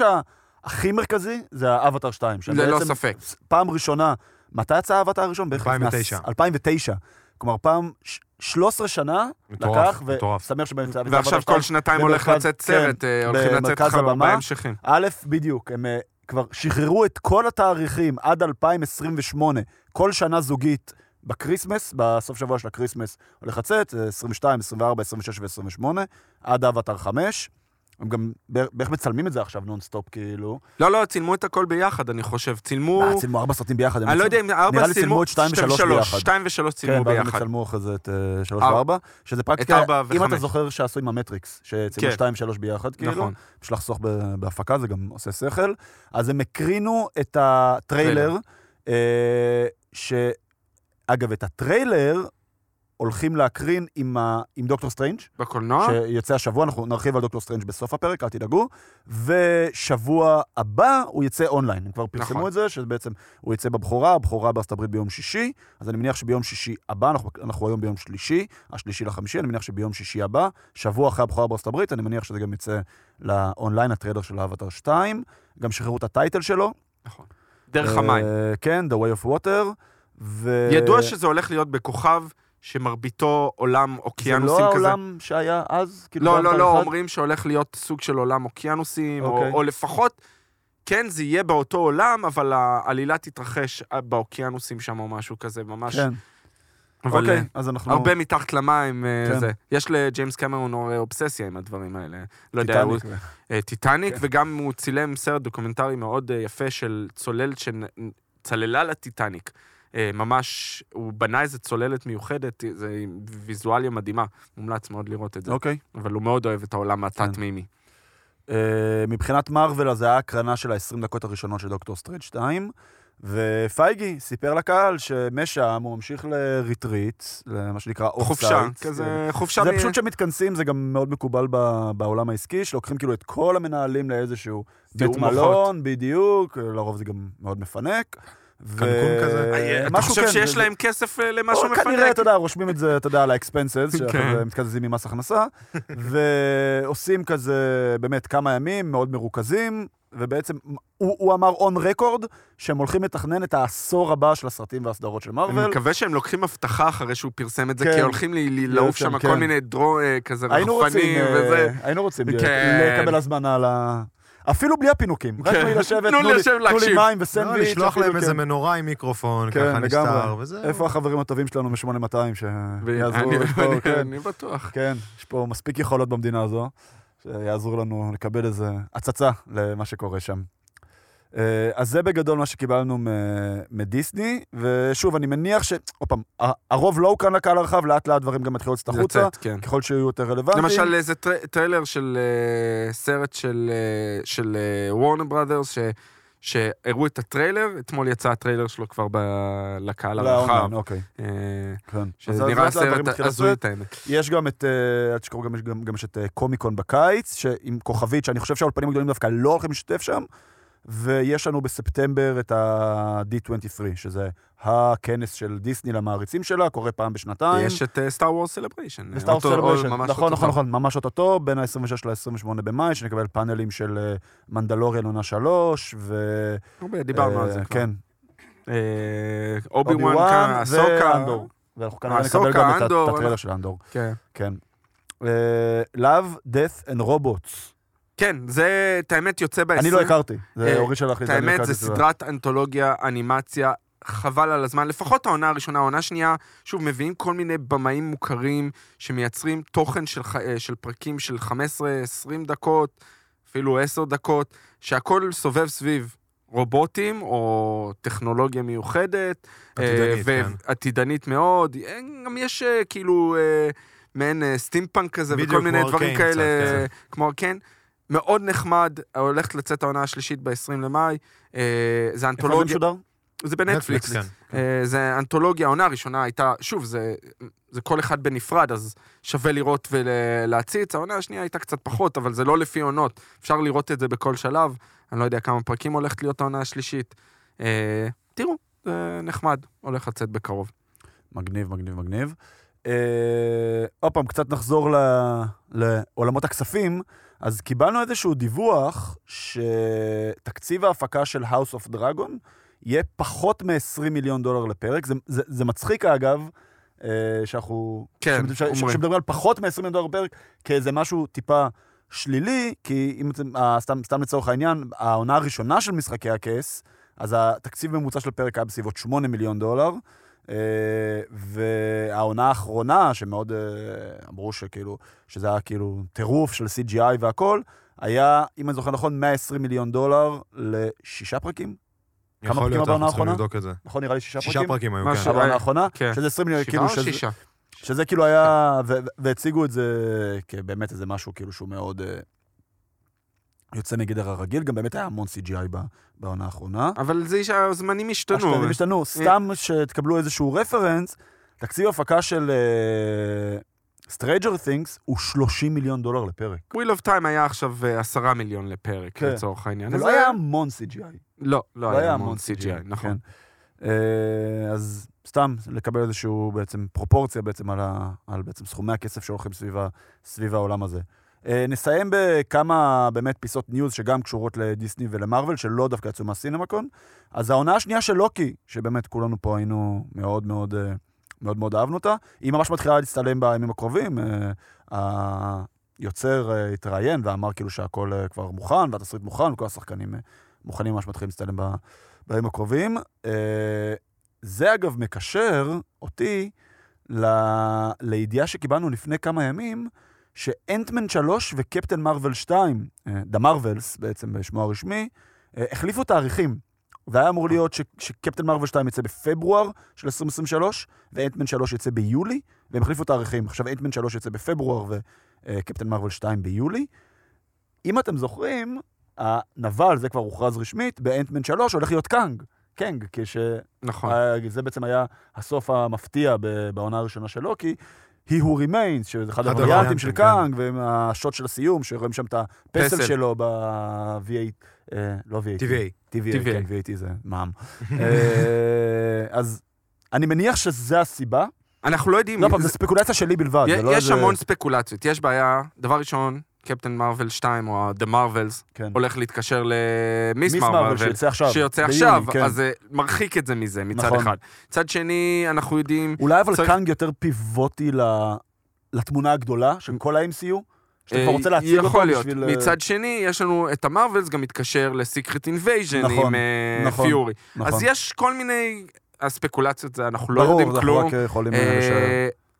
S1: שהכי מרכזי זה האבטר 2. שהם
S2: ללא
S1: בעצם
S2: ספק.
S1: פעם ראשונה, מתי יצא האבטר הראשון? בערך לפני
S3: 2009.
S1: עש- 2009. כלומר, פעם ש- 13 שנה
S3: כן. מטורף,
S1: לקח,
S3: מטורף.
S1: ושמח שבאמצע... יצא
S2: ועכשיו
S1: Avatar
S2: כל
S1: 2.
S2: שנתיים הולך
S1: במרכז-
S2: לצאת
S1: כן,
S2: סרט, אה, הולכים לצאת
S1: במרכז
S2: לך ארבעה
S1: הבמה.
S2: המשכים.
S1: א', בדיוק, הם אה, כבר שחררו את כל התאריכים עד 2028, כל שנה זוגית. בקריסמס, בסוף שבוע של הקריסמס הולך לצאת, אה, 22, 24, 26 ו-28, עד אבטר 5. הם גם בערך בערך מצלמים את זה עכשיו נונסטופ, כאילו.
S2: לא, לא, צילמו את הכל ביחד, אני חושב. צילמו...
S1: אה, צילמו ארבע סרטים ביחד. הם
S2: אני לא
S1: מצלמים.
S2: יודע אם ארבע
S1: נראה לי צילמו את שתיים ושלוש ביחד.
S2: שתיים ושלוש
S1: כן,
S2: צילמו
S1: ואז הם
S2: ביחד.
S1: יצלמו אחרי זה את אה, שלוש
S2: ארבע.
S1: וארבע, שזה פרקטיקה,
S2: ארבע
S1: אם
S2: וחמש.
S1: אתה זוכר שעשו עם המטריקס, שצילמו
S2: כן.
S1: שתיים שלוש ביחד, כאילו,
S2: נכון.
S1: בשביל לחסוך ב- בהפקה, זה גם עושה שכל. אז הם הקרינו את הטריילר,
S2: טריילר.
S1: אה, ש... אגב, את הטריילר הולכים להקרין עם ה- עם דוקטור סטרנג',
S2: בקולנוע?
S1: שיוצא השבוע, אנחנו נרחיב על דוקטור סטרנג' בסוף הפרק, אל תדאגו. ושבוע הבא הוא יצא אונליין. הם כבר פרסמו
S2: נכון.
S1: את זה, שבעצם הוא יצא בבכורה, הבכורה בארצות הברית ביום שישי, אז אני מניח שביום שישי הבא, אנחנו, אנחנו היום ביום שלישי, השלישי לחמישי, אני מניח שביום שישי הבא, שבוע אחרי הבכורה בארצות הברית, אני מניח שזה גם יצא לאונליין, הטריילר של האבטר 2, גם שחררו את הטייטל שלו.
S2: נכון. דרך המים.
S1: אה, כן, The Way of Water. ו...
S2: ידוע שזה הולך להיות בכוכב שמרביתו עולם
S1: זה
S2: אוקיינוסים
S1: לא
S2: כזה.
S1: העולם שהיה אז? כאילו
S2: לא,
S1: באבטר
S2: לא, לא,
S1: אחד?
S2: אומרים שהולך להיות סוג של עולם אוקיינוסים, או-
S1: אוקיי.
S2: או לפחות, כן, זה יהיה באותו עולם, אבל העלילה תתרחש באוקיינוסים שם או משהו כזה, ממש.
S1: כן,
S2: אבל
S1: אוקיי,
S2: אה,
S1: אז אנחנו...
S2: הרבה מתחת למים, אה,
S1: כן.
S2: זה. יש לג'יימס קמרון אה, אובססיה עם הדברים האלה. לא יודע, הוא
S1: טיטניק.
S2: אה, טיטניק,
S1: כן.
S2: וגם הוא צילם סרט דוקומנטרי מאוד אה, יפה של צוללת שצללה לטיטניק. אה, ממש, הוא בנה איזו צוללת מיוחדת, אה, זה עם ויזואליה מדהימה. מומלץ מאוד לראות את זה.
S1: אוקיי.
S2: אבל הוא מאוד אוהב את העולם התת-מימי.
S1: אה, מבחינת מארוול, אז זה היה הקרנה של ה-20 דקות הראשונות של דוקטור סטרנג' 2, ופייגי סיפר לקהל שמשם הוא ממשיך לריטריט, למה שנקרא אוף
S2: חופשה, כזה חופשה...
S1: זה
S2: מ-
S1: פשוט שמתכנסים, זה גם מאוד מקובל ב- בעולם העסקי, שלוקחים כאילו את כל המנהלים לאיזשהו בית
S2: סיעור מוחות.
S1: מלון, בדיוק, לרוב זה גם מאוד מפנק. ו-
S3: קנקון כזה?
S2: אה, אתה
S1: משהו
S2: חושב
S1: כן,
S2: שיש
S1: זה-
S2: להם כסף אה, למשהו
S1: או כנראה,
S2: מפנק?
S1: אתה יודע, רושמים את זה, אתה יודע, על ה-expenses,
S2: כן.
S1: שאנחנו מתקזזים ממס
S2: (laughs)
S1: הכנסה, ועושים כזה באמת כמה ימים מאוד מרוכזים, ובעצם הוא, הוא אמר און רקורד, שהם הולכים לתכנן את העשור הבא של הסרטים והסדרות של
S2: אני
S1: מארוול.
S2: מקווה שהם לוקחים הבטחה אחרי שהוא פרסם את זה,
S1: כן.
S2: כי הולכים לי- לי- לעוף
S1: שם,
S2: שם
S1: כן.
S2: כל מיני דרו אה, כזה
S1: היינו רוצים,
S2: רחפנים
S1: אה,
S2: וזה.
S1: היינו רוצים להיות-
S2: כן.
S1: לקבל הזמנה על ה... אפילו בלי הפינוקים, רק
S2: כן.
S1: בלי לשבת,
S2: תנו
S1: תנו לי-
S2: לשבת
S1: תנו לי
S2: להקשיב.
S1: מים
S3: לא,
S1: וסנדוויץ'.
S3: לשלוח
S1: אפילו,
S3: להם איזה
S1: כן.
S3: מנורה עם מיקרופון,
S1: כן,
S3: ככה נסתר,
S1: לגמרי.
S3: וזה...
S1: איפה החברים הטובים שלנו מ-8200 שיעזרו
S2: אני-
S1: פה,
S2: אני-
S1: כן.
S2: אני בטוח.
S1: כן, יש פה מספיק יכולות במדינה הזו, שיעזרו לנו לקבל איזה הצצה למה שקורה שם. אה, אז זה בגדול מה שקיבלנו מ- מדיסני, ושוב, אני מניח ש... עוד פעם, ה- הרוב לא הוקרן לקהל הרחב, לאט לאט דברים גם יתחילו לצאת החוצה,
S2: לצאת, כן.
S1: ככל שיהיו יותר רלוונטיים.
S2: למשל איזה טר- טריילר של אה, סרט של, אה, של וורנר בראדרס, שהראו את הטריילר, אתמול יצא הטריילר שלו כבר ב- לקהל הרחב.
S1: לאונליין, אוקיי,
S2: אה,
S1: כן. אז-
S2: שזה
S1: אז לאט
S2: נראה
S1: לאט דברים
S2: סרט
S1: מתחילים
S2: הזוי
S1: לצאת.
S2: את האמת.
S1: יש גם את, אה, אל תשכחו, גם, יש- גם, גם יש את אה, קומיקון בקיץ, שעם כוכבית, שאני חושב שהאולפנים הגדולים דווקא לא הולכים להשתתף שם, ויש לנו בספטמבר את ה-D23, שזה הכנס של דיסני למעריצים שלה, קורה פעם בשנתיים.
S2: יש אה, את אה, סטאר וורס סלבריישן.
S1: וסטאר סלבריישן, נכון, נכון, נכון, ממש אוטוטו, בין ה-26 ל-28 במאי, שנקבל פאנלים של אה, מנדלוריאן עונה 3, ו...
S2: דיברנו
S1: אה,
S2: על זה כבר. אה,
S1: כן,
S2: אובי וואן,
S1: אובי-וואן
S2: סוקה.
S1: ואנדור. ואנחנו כנראה נקבל
S2: הסוקה,
S1: גם את ה-
S2: אנדור,
S1: את הטריילר של אנדור.
S2: כן.
S1: כן. אה, Love, Death and Robots.
S2: כן, זה, את האמת, יוצא ב-20.
S1: אני לא הכרתי, זה
S2: אה,
S1: הורי שלח לי
S2: את
S1: את זה. אני לא
S2: האמת,
S1: הכרתי
S2: זה
S1: את
S2: סדרת אנתולוגיה, אנימציה, חבל על הזמן. לפחות העונה הראשונה, העונה השנייה, שוב, מביאים כל מיני במאים מוכרים שמייצרים תוכן של, ח- אה, של פרקים של 15-20 דקות, אפילו עשר דקות, שהכל סובב סביב רובוטים או טכנולוגיה מיוחדת.
S3: עתידנית,
S2: אה,
S3: כן.
S2: ועתידנית מאוד. אה, גם יש אה, כאילו אה, מעין אה, סטימפאנק כזה,
S3: בדיוק,
S2: וכל מיני
S3: כמו
S2: דברים
S3: ארקיין
S2: כאלה,
S3: קצת, כן.
S2: אה, כמו ארקן. מאוד נחמד, הולכת לצאת העונה השלישית ב-20 למאי. אה, זה
S1: איפה זה
S2: אנתולוגיה,
S1: משודר?
S2: זה בנטפליקס.
S3: כן.
S2: אה, זה אנתולוגיה, העונה הראשונה הייתה, שוב, זה, זה כל אחד בנפרד, אז שווה לראות ולהציץ. העונה השנייה הייתה קצת פחות, אבל זה לא לפי עונות. אפשר לראות את זה בכל שלב. אני לא יודע כמה פרקים הולכת להיות העונה השלישית. אה, תראו, זה נחמד, הולך לצאת בקרוב.
S1: מגניב, מגניב, מגניב. אה, עוד פעם, קצת נחזור ל- לעולמות הכספים. אז קיבלנו איזשהו דיווח שתקציב ההפקה של House of Dragon יהיה פחות מ-20 מיליון דולר לפרק. זה, זה, זה מצחיק, אגב, אה, שאנחנו...
S2: כן,
S1: שמדברים- ש-
S2: אומרים.
S1: שמדברים על פחות מ-20 מיליון דולר לפרק, כאיזה משהו טיפה שלילי, כי אם אתם, אה, סתם, סתם לצורך העניין, העונה הראשונה של משחקי הכס, אז התקציב ממוצע של פרק היה בסביבות 8 מיליון דולר, אה, והעונה האחרונה, שמאוד אה, אמרו שכאילו, שזה היה כאילו טירוף של CGI והכל, היה, אם אני זוכר נכון, 120 מיליון דולר לשישה פרקים, כמה
S3: יכול
S1: פרקים
S3: להיות,
S1: בעונה
S3: אנחנו צריכים
S1: האחרונה?
S3: לבדוק את זה.
S1: נכון? נראה לי שישה
S3: שישה
S1: פרקים?
S3: פרקים היו,
S2: משהו.
S3: כן.
S1: העונה
S2: אה,
S1: האחרונה,
S2: כן.
S1: שזה 20 מיליון,
S2: שבעה
S1: כאילו,
S2: או
S1: שזה-
S2: שישה?
S1: שזה כאילו היה, ו- ו- והציגו את זה כבאמת איזה משהו כאילו שהוא מאוד אה, יוצא מגדר הרגיל, גם באמת היה המון CGI ב- בעונה האחרונה.
S2: אבל זה שהזמנים השתנו.
S1: השתנים השתנו, סתם שתקבלו איזשהו רפרנס, תקציב הפקה של אה, Stranger Things הוא 30 מיליון דולר לפרק.
S2: Wheel of Time היה עכשיו אה, עשרה מיליון לפרק,
S1: כן.
S2: לצורך העניין.
S1: זה
S2: אז
S1: לא היה המון CGI.
S2: לא, לא
S1: לא
S2: היה המון CGI, נכון.
S1: כן. אה, אז סתם לקבל איזשהו בעצם פרופורציה בעצם על, ה, על בעצם סכומי הכסף שהולכים סביב, ה- סביב העולם הזה. אה, נסיים בכמה באמת פיסות ניוז שגם קשורות לדיסני ולמרוויל, שלא דווקא יצאו מהסינמקון. אז העונה השנייה של לוקי, שבאמת כולנו פה היינו מאוד מאוד... אה, מאוד מאוד אהבנו אותה. היא ממש מתחילה להצטלם בימים הקרובים. אה, היוצר אה, התראיין ואמר כאילו שהכל אה, כבר מוכן, והתסריט מוכן, וכל השחקנים אה, מוכנים ממש מתחילים להצטלם ב- בימים הקרובים. אה, זה אגב מקשר אותי ל- לידיעה שקיבלנו לפני כמה ימים, שאנטמן 3 וקפטן מרוויל 2, דה מרווילס בעצם בשמו הרשמי, אה, החליפו תאריכים. והיה אמור להיות ש- שקפטן מרוויל 2 יצא בפברואר של 2023, ואנטמן 3 יצא ביולי, והם החליפו תאריכים. עכשיו אנטמן 3 יצא בפברואר וקפטן מרוויל 2 ביולי. אם אתם זוכרים, הנבל, זה כבר הוכרז רשמית, באנטמן 3 הולך להיות קאנג. קאנג, כש...
S2: נכון.
S1: היה- זה בעצם היה הסוף המפתיע ב- בעונה הראשונה של לוקי. He Who Remains, שזה אחד
S3: אחד
S1: הווריאנטים
S3: הווריאנטים,
S1: של
S3: כן.
S1: קאנג, ועם השוט של הסיום, שרואים שם את הפסל
S2: פסל.
S1: שלו ב-V8, אה, לא V8,
S3: טבעי.
S1: TVA,
S2: TVA.
S1: כן, VAT זה מע"מ.
S2: (laughs)
S1: אה, אז אני מניח שזה הסיבה.
S2: אנחנו לא יודעים...
S1: לא, פעם, זו ספקולציה שלי בלבד. זה לא
S2: יש
S1: איזה-
S2: המון ספקולציות. יש בעיה, דבר ראשון, קפטן מרוויל 2, או The Marvels,
S1: כן.
S2: הולך להתקשר למיס
S1: מיס מרוויל
S2: מרוויל.
S1: שיוצא עכשיו.
S2: שיוצא
S1: ביוני,
S2: עכשיו,
S1: כן.
S2: אז זה מרחיק את זה מזה, מצד
S1: נכון.
S2: אחד. מצד שני, אנחנו יודעים...
S1: אולי אבל
S2: צריך-
S1: קאנג יותר פיבוטי ל- לתמונה הגדולה של כל ה-MCU, שאתה כבר רוצה
S2: אה,
S1: להציג אותו
S2: יכול להיות.
S1: בשביל... אה,
S2: מצד שני, יש לנו את המרווילס, גם מתקשר לסיקרט אינבייז'ן
S1: נכון,
S2: עם אה,
S1: נכון,
S2: פיורי.
S1: נכון.
S2: אז יש כל מיני... הספקולציות זה, אנחנו לא
S1: ברור,
S2: יודעים
S1: אנחנו
S2: כלום.
S1: רק יכולים
S2: אה,
S1: אה, לשער.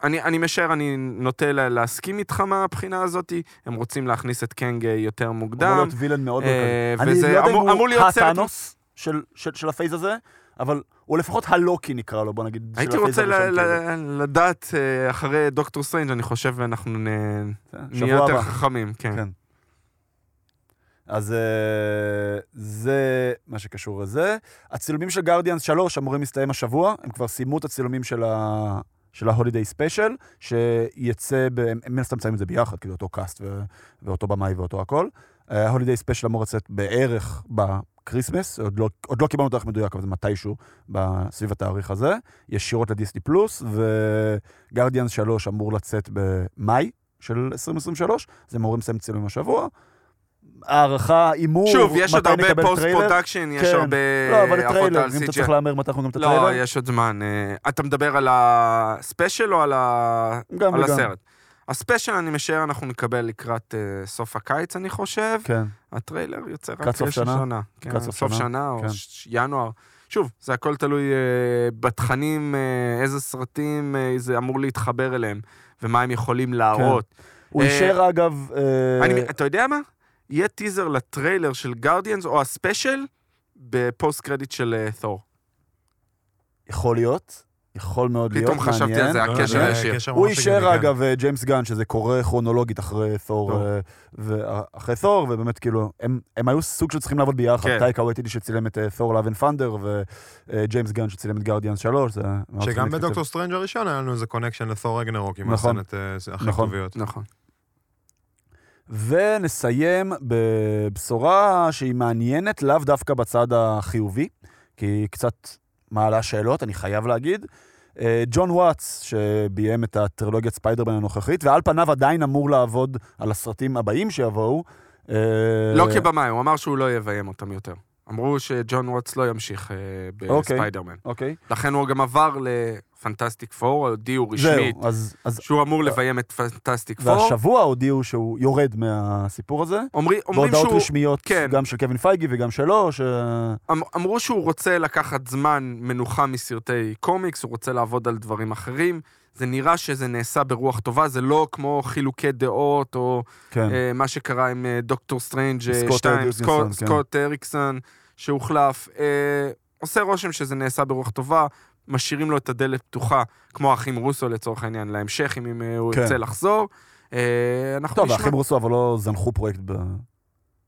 S2: אני, אני משער, אני נוטה לה- להסכים איתך מהבחינה הזאת, הם רוצים להכניס את קנג אה, יותר
S1: אמור
S2: מוקדם.
S1: להיות וילן מאוד
S2: אה,
S1: מרכזי. אני
S2: וזה
S1: לא יודע אם
S2: אמור- אמור
S1: הוא
S2: להיות סרט-
S1: הטאנוס של- של של הפייז הזה, אבל הוא לפחות הלוקי נקרא לו, בוא נגיד. של
S2: הייתי
S1: הפייז כאילו.
S2: רוצה ל-
S1: הראשון כזה.
S2: ל- לדעת אה, אחרי דוקטור סטרנג', אני חושב ואנחנו נ-
S1: כן, שבוע
S2: נהיה יותר
S1: הבא.
S2: חכמים, כן.
S1: כן. אז אה, זה מה שקשור לזה. הצילומים של גרדיאנס 3 אמורים להסתיים השבוע, הם כבר סיימו את הצילומים של ה... של ההולידיי ספיישל, שיצא, ב... הם מן הסתם מציינים את זה ביחד, כאילו אותו קאסט ו... ואותו במאי ואותו הכל. אה, ההולידיי ספיישל אמור לצאת בערך בקריסמס, עוד לא, עוד לא קיבלנו תאריך מדויק, אבל זה מתישהו ב- סביב התאריך הזה. ישירות לדיסני פלוס, וגרדיאנס 3 אמור לצאת במאי של 2023, אז הם אמורים לסיים צילומים השבוע. הערכה, הימור,
S2: שוב, יש עוד
S1: מתי
S2: הרבה
S1: נקבל
S2: פוסט
S1: טריילר.
S2: פרודקשן, יש
S1: כן.
S2: הרבה
S1: לא, אבל
S2: הערכות
S1: הטריילר,
S2: על
S1: אם אתה
S2: CGI.
S1: צריך להמר מתי אנחנו גם את הטריילר.
S2: אה, לא, יש עוד זמן. אה, אתה מדבר על הספיישל או על ה-
S1: גם
S2: על
S1: וגם.
S2: הסרט? הספיישל, אני משער, אנחנו נקבל לקראת אה, סוף הקיץ, אני חושב.
S1: כן.
S2: הטריילר יוצא רק
S1: לקראת סוף
S2: יש
S1: שנה?
S2: שנה. כן,
S1: לקראת סוף
S2: סוף
S1: שנה,
S2: שנה או
S1: כן.
S2: ש- ינואר. שוב, זה הכל תלוי אה, בתכנים, אה, איזה סרטים אה, זה אמור להתחבר אליהם, ומה הם יכולים להראות.
S1: הוא
S2: אה,
S1: אישר, אגב... כן. אה,
S2: אני- אתה יודע מה? יהיה טיזר לטריילר של גרדיאנס או הספיישל בפוסט קרדיט של אה, תור.
S1: יכול להיות, יכול מאוד להיות,
S2: פתאום חשבתי על זה,
S1: מעניין.
S2: הקשר
S1: מעניין.
S3: אה,
S2: הישיר.
S3: קשר
S1: הוא
S3: ממש
S1: אישר
S3: הגיוני, כן.
S1: אגב אה, ג'יימס גן, שזה קורה כרונולוגית אחרי תור,
S2: טוב.
S1: אה, ו- אחרי תור, ובאמת כאילו, הם- הם היו סוג של צריכים לעבוד ביחד,
S2: כן.
S1: טייקה וייטילי שצילם את אה, תור לאבן פנדר, וג'יימס גן אה, שצילם את גרדיאנס 3, זה מאוד צריכים
S3: לא, שגם
S1: להתכתב.
S3: בדוקטור סטרנג' הראשון היה לנו איזה קונקשן לתור רגנרוק עם
S1: אוקיי. נכון.
S3: הסצנת אה, הכי
S1: נכון.
S3: טוביות.
S2: נכון.
S1: ונסיים בבשורה שהיא מעניינת, לאו דווקא בצד החיובי, כי היא קצת מעלה שאלות, אני חייב להגיד. אה, ג'ון וואטס, שביים את הטרילוגיית ספיידרמן הנוכחית, ועל פניו עדיין אמור לעבוד על הסרטים הבאים שיבואו. אה,
S2: לא כבמאי, הוא אמר שהוא לא יביים אותם יותר. אמרו שג'ון ווטס לא ימשיך אה,
S1: אוקיי.
S2: בספיידרמן.
S1: אוקיי.
S2: לכן הוא גם עבר לפנטסטיק פור, הודיעו רשמית,
S1: זהו, אז, אז
S2: שהוא אמור לביים את פנטסטיק פור.
S1: והשבוע הודיעו שהוא יורד מהסיפור הזה.
S2: אומרים אומרים
S1: בהודעות
S2: שהוא...
S1: רשמיות,
S2: כן.
S1: גם של קווין פייגי וגם שלו, ש...
S2: אמ- אמרו שהוא רוצה לקחת זמן מנוחה מסרטי קומיקס, הוא רוצה לעבוד על דברים אחרים. זה נראה שזה נעשה ברוח טובה, זה לא כמו חילוקי דעות, או
S1: כן.
S2: אה, מה שקרה עם אה, דוקטור סטרנג' אה,
S1: סקוט
S2: 2,
S1: אריקסון,
S2: סקוט-
S1: כן.
S2: סקוט אריקסון, שהוחלף. אה, עושה רושם שזה נעשה ברוח טובה, משאירים לו את הדלת פתוחה, כמו האחים רוסו לצורך העניין, להמשך, אם- אם אה, הוא
S1: כן.
S2: ירצה לחזור. אה, אנחנו
S1: טוב,
S2: נשמע.
S1: האחים רוסו אבל לא זנחו פרויקט ב...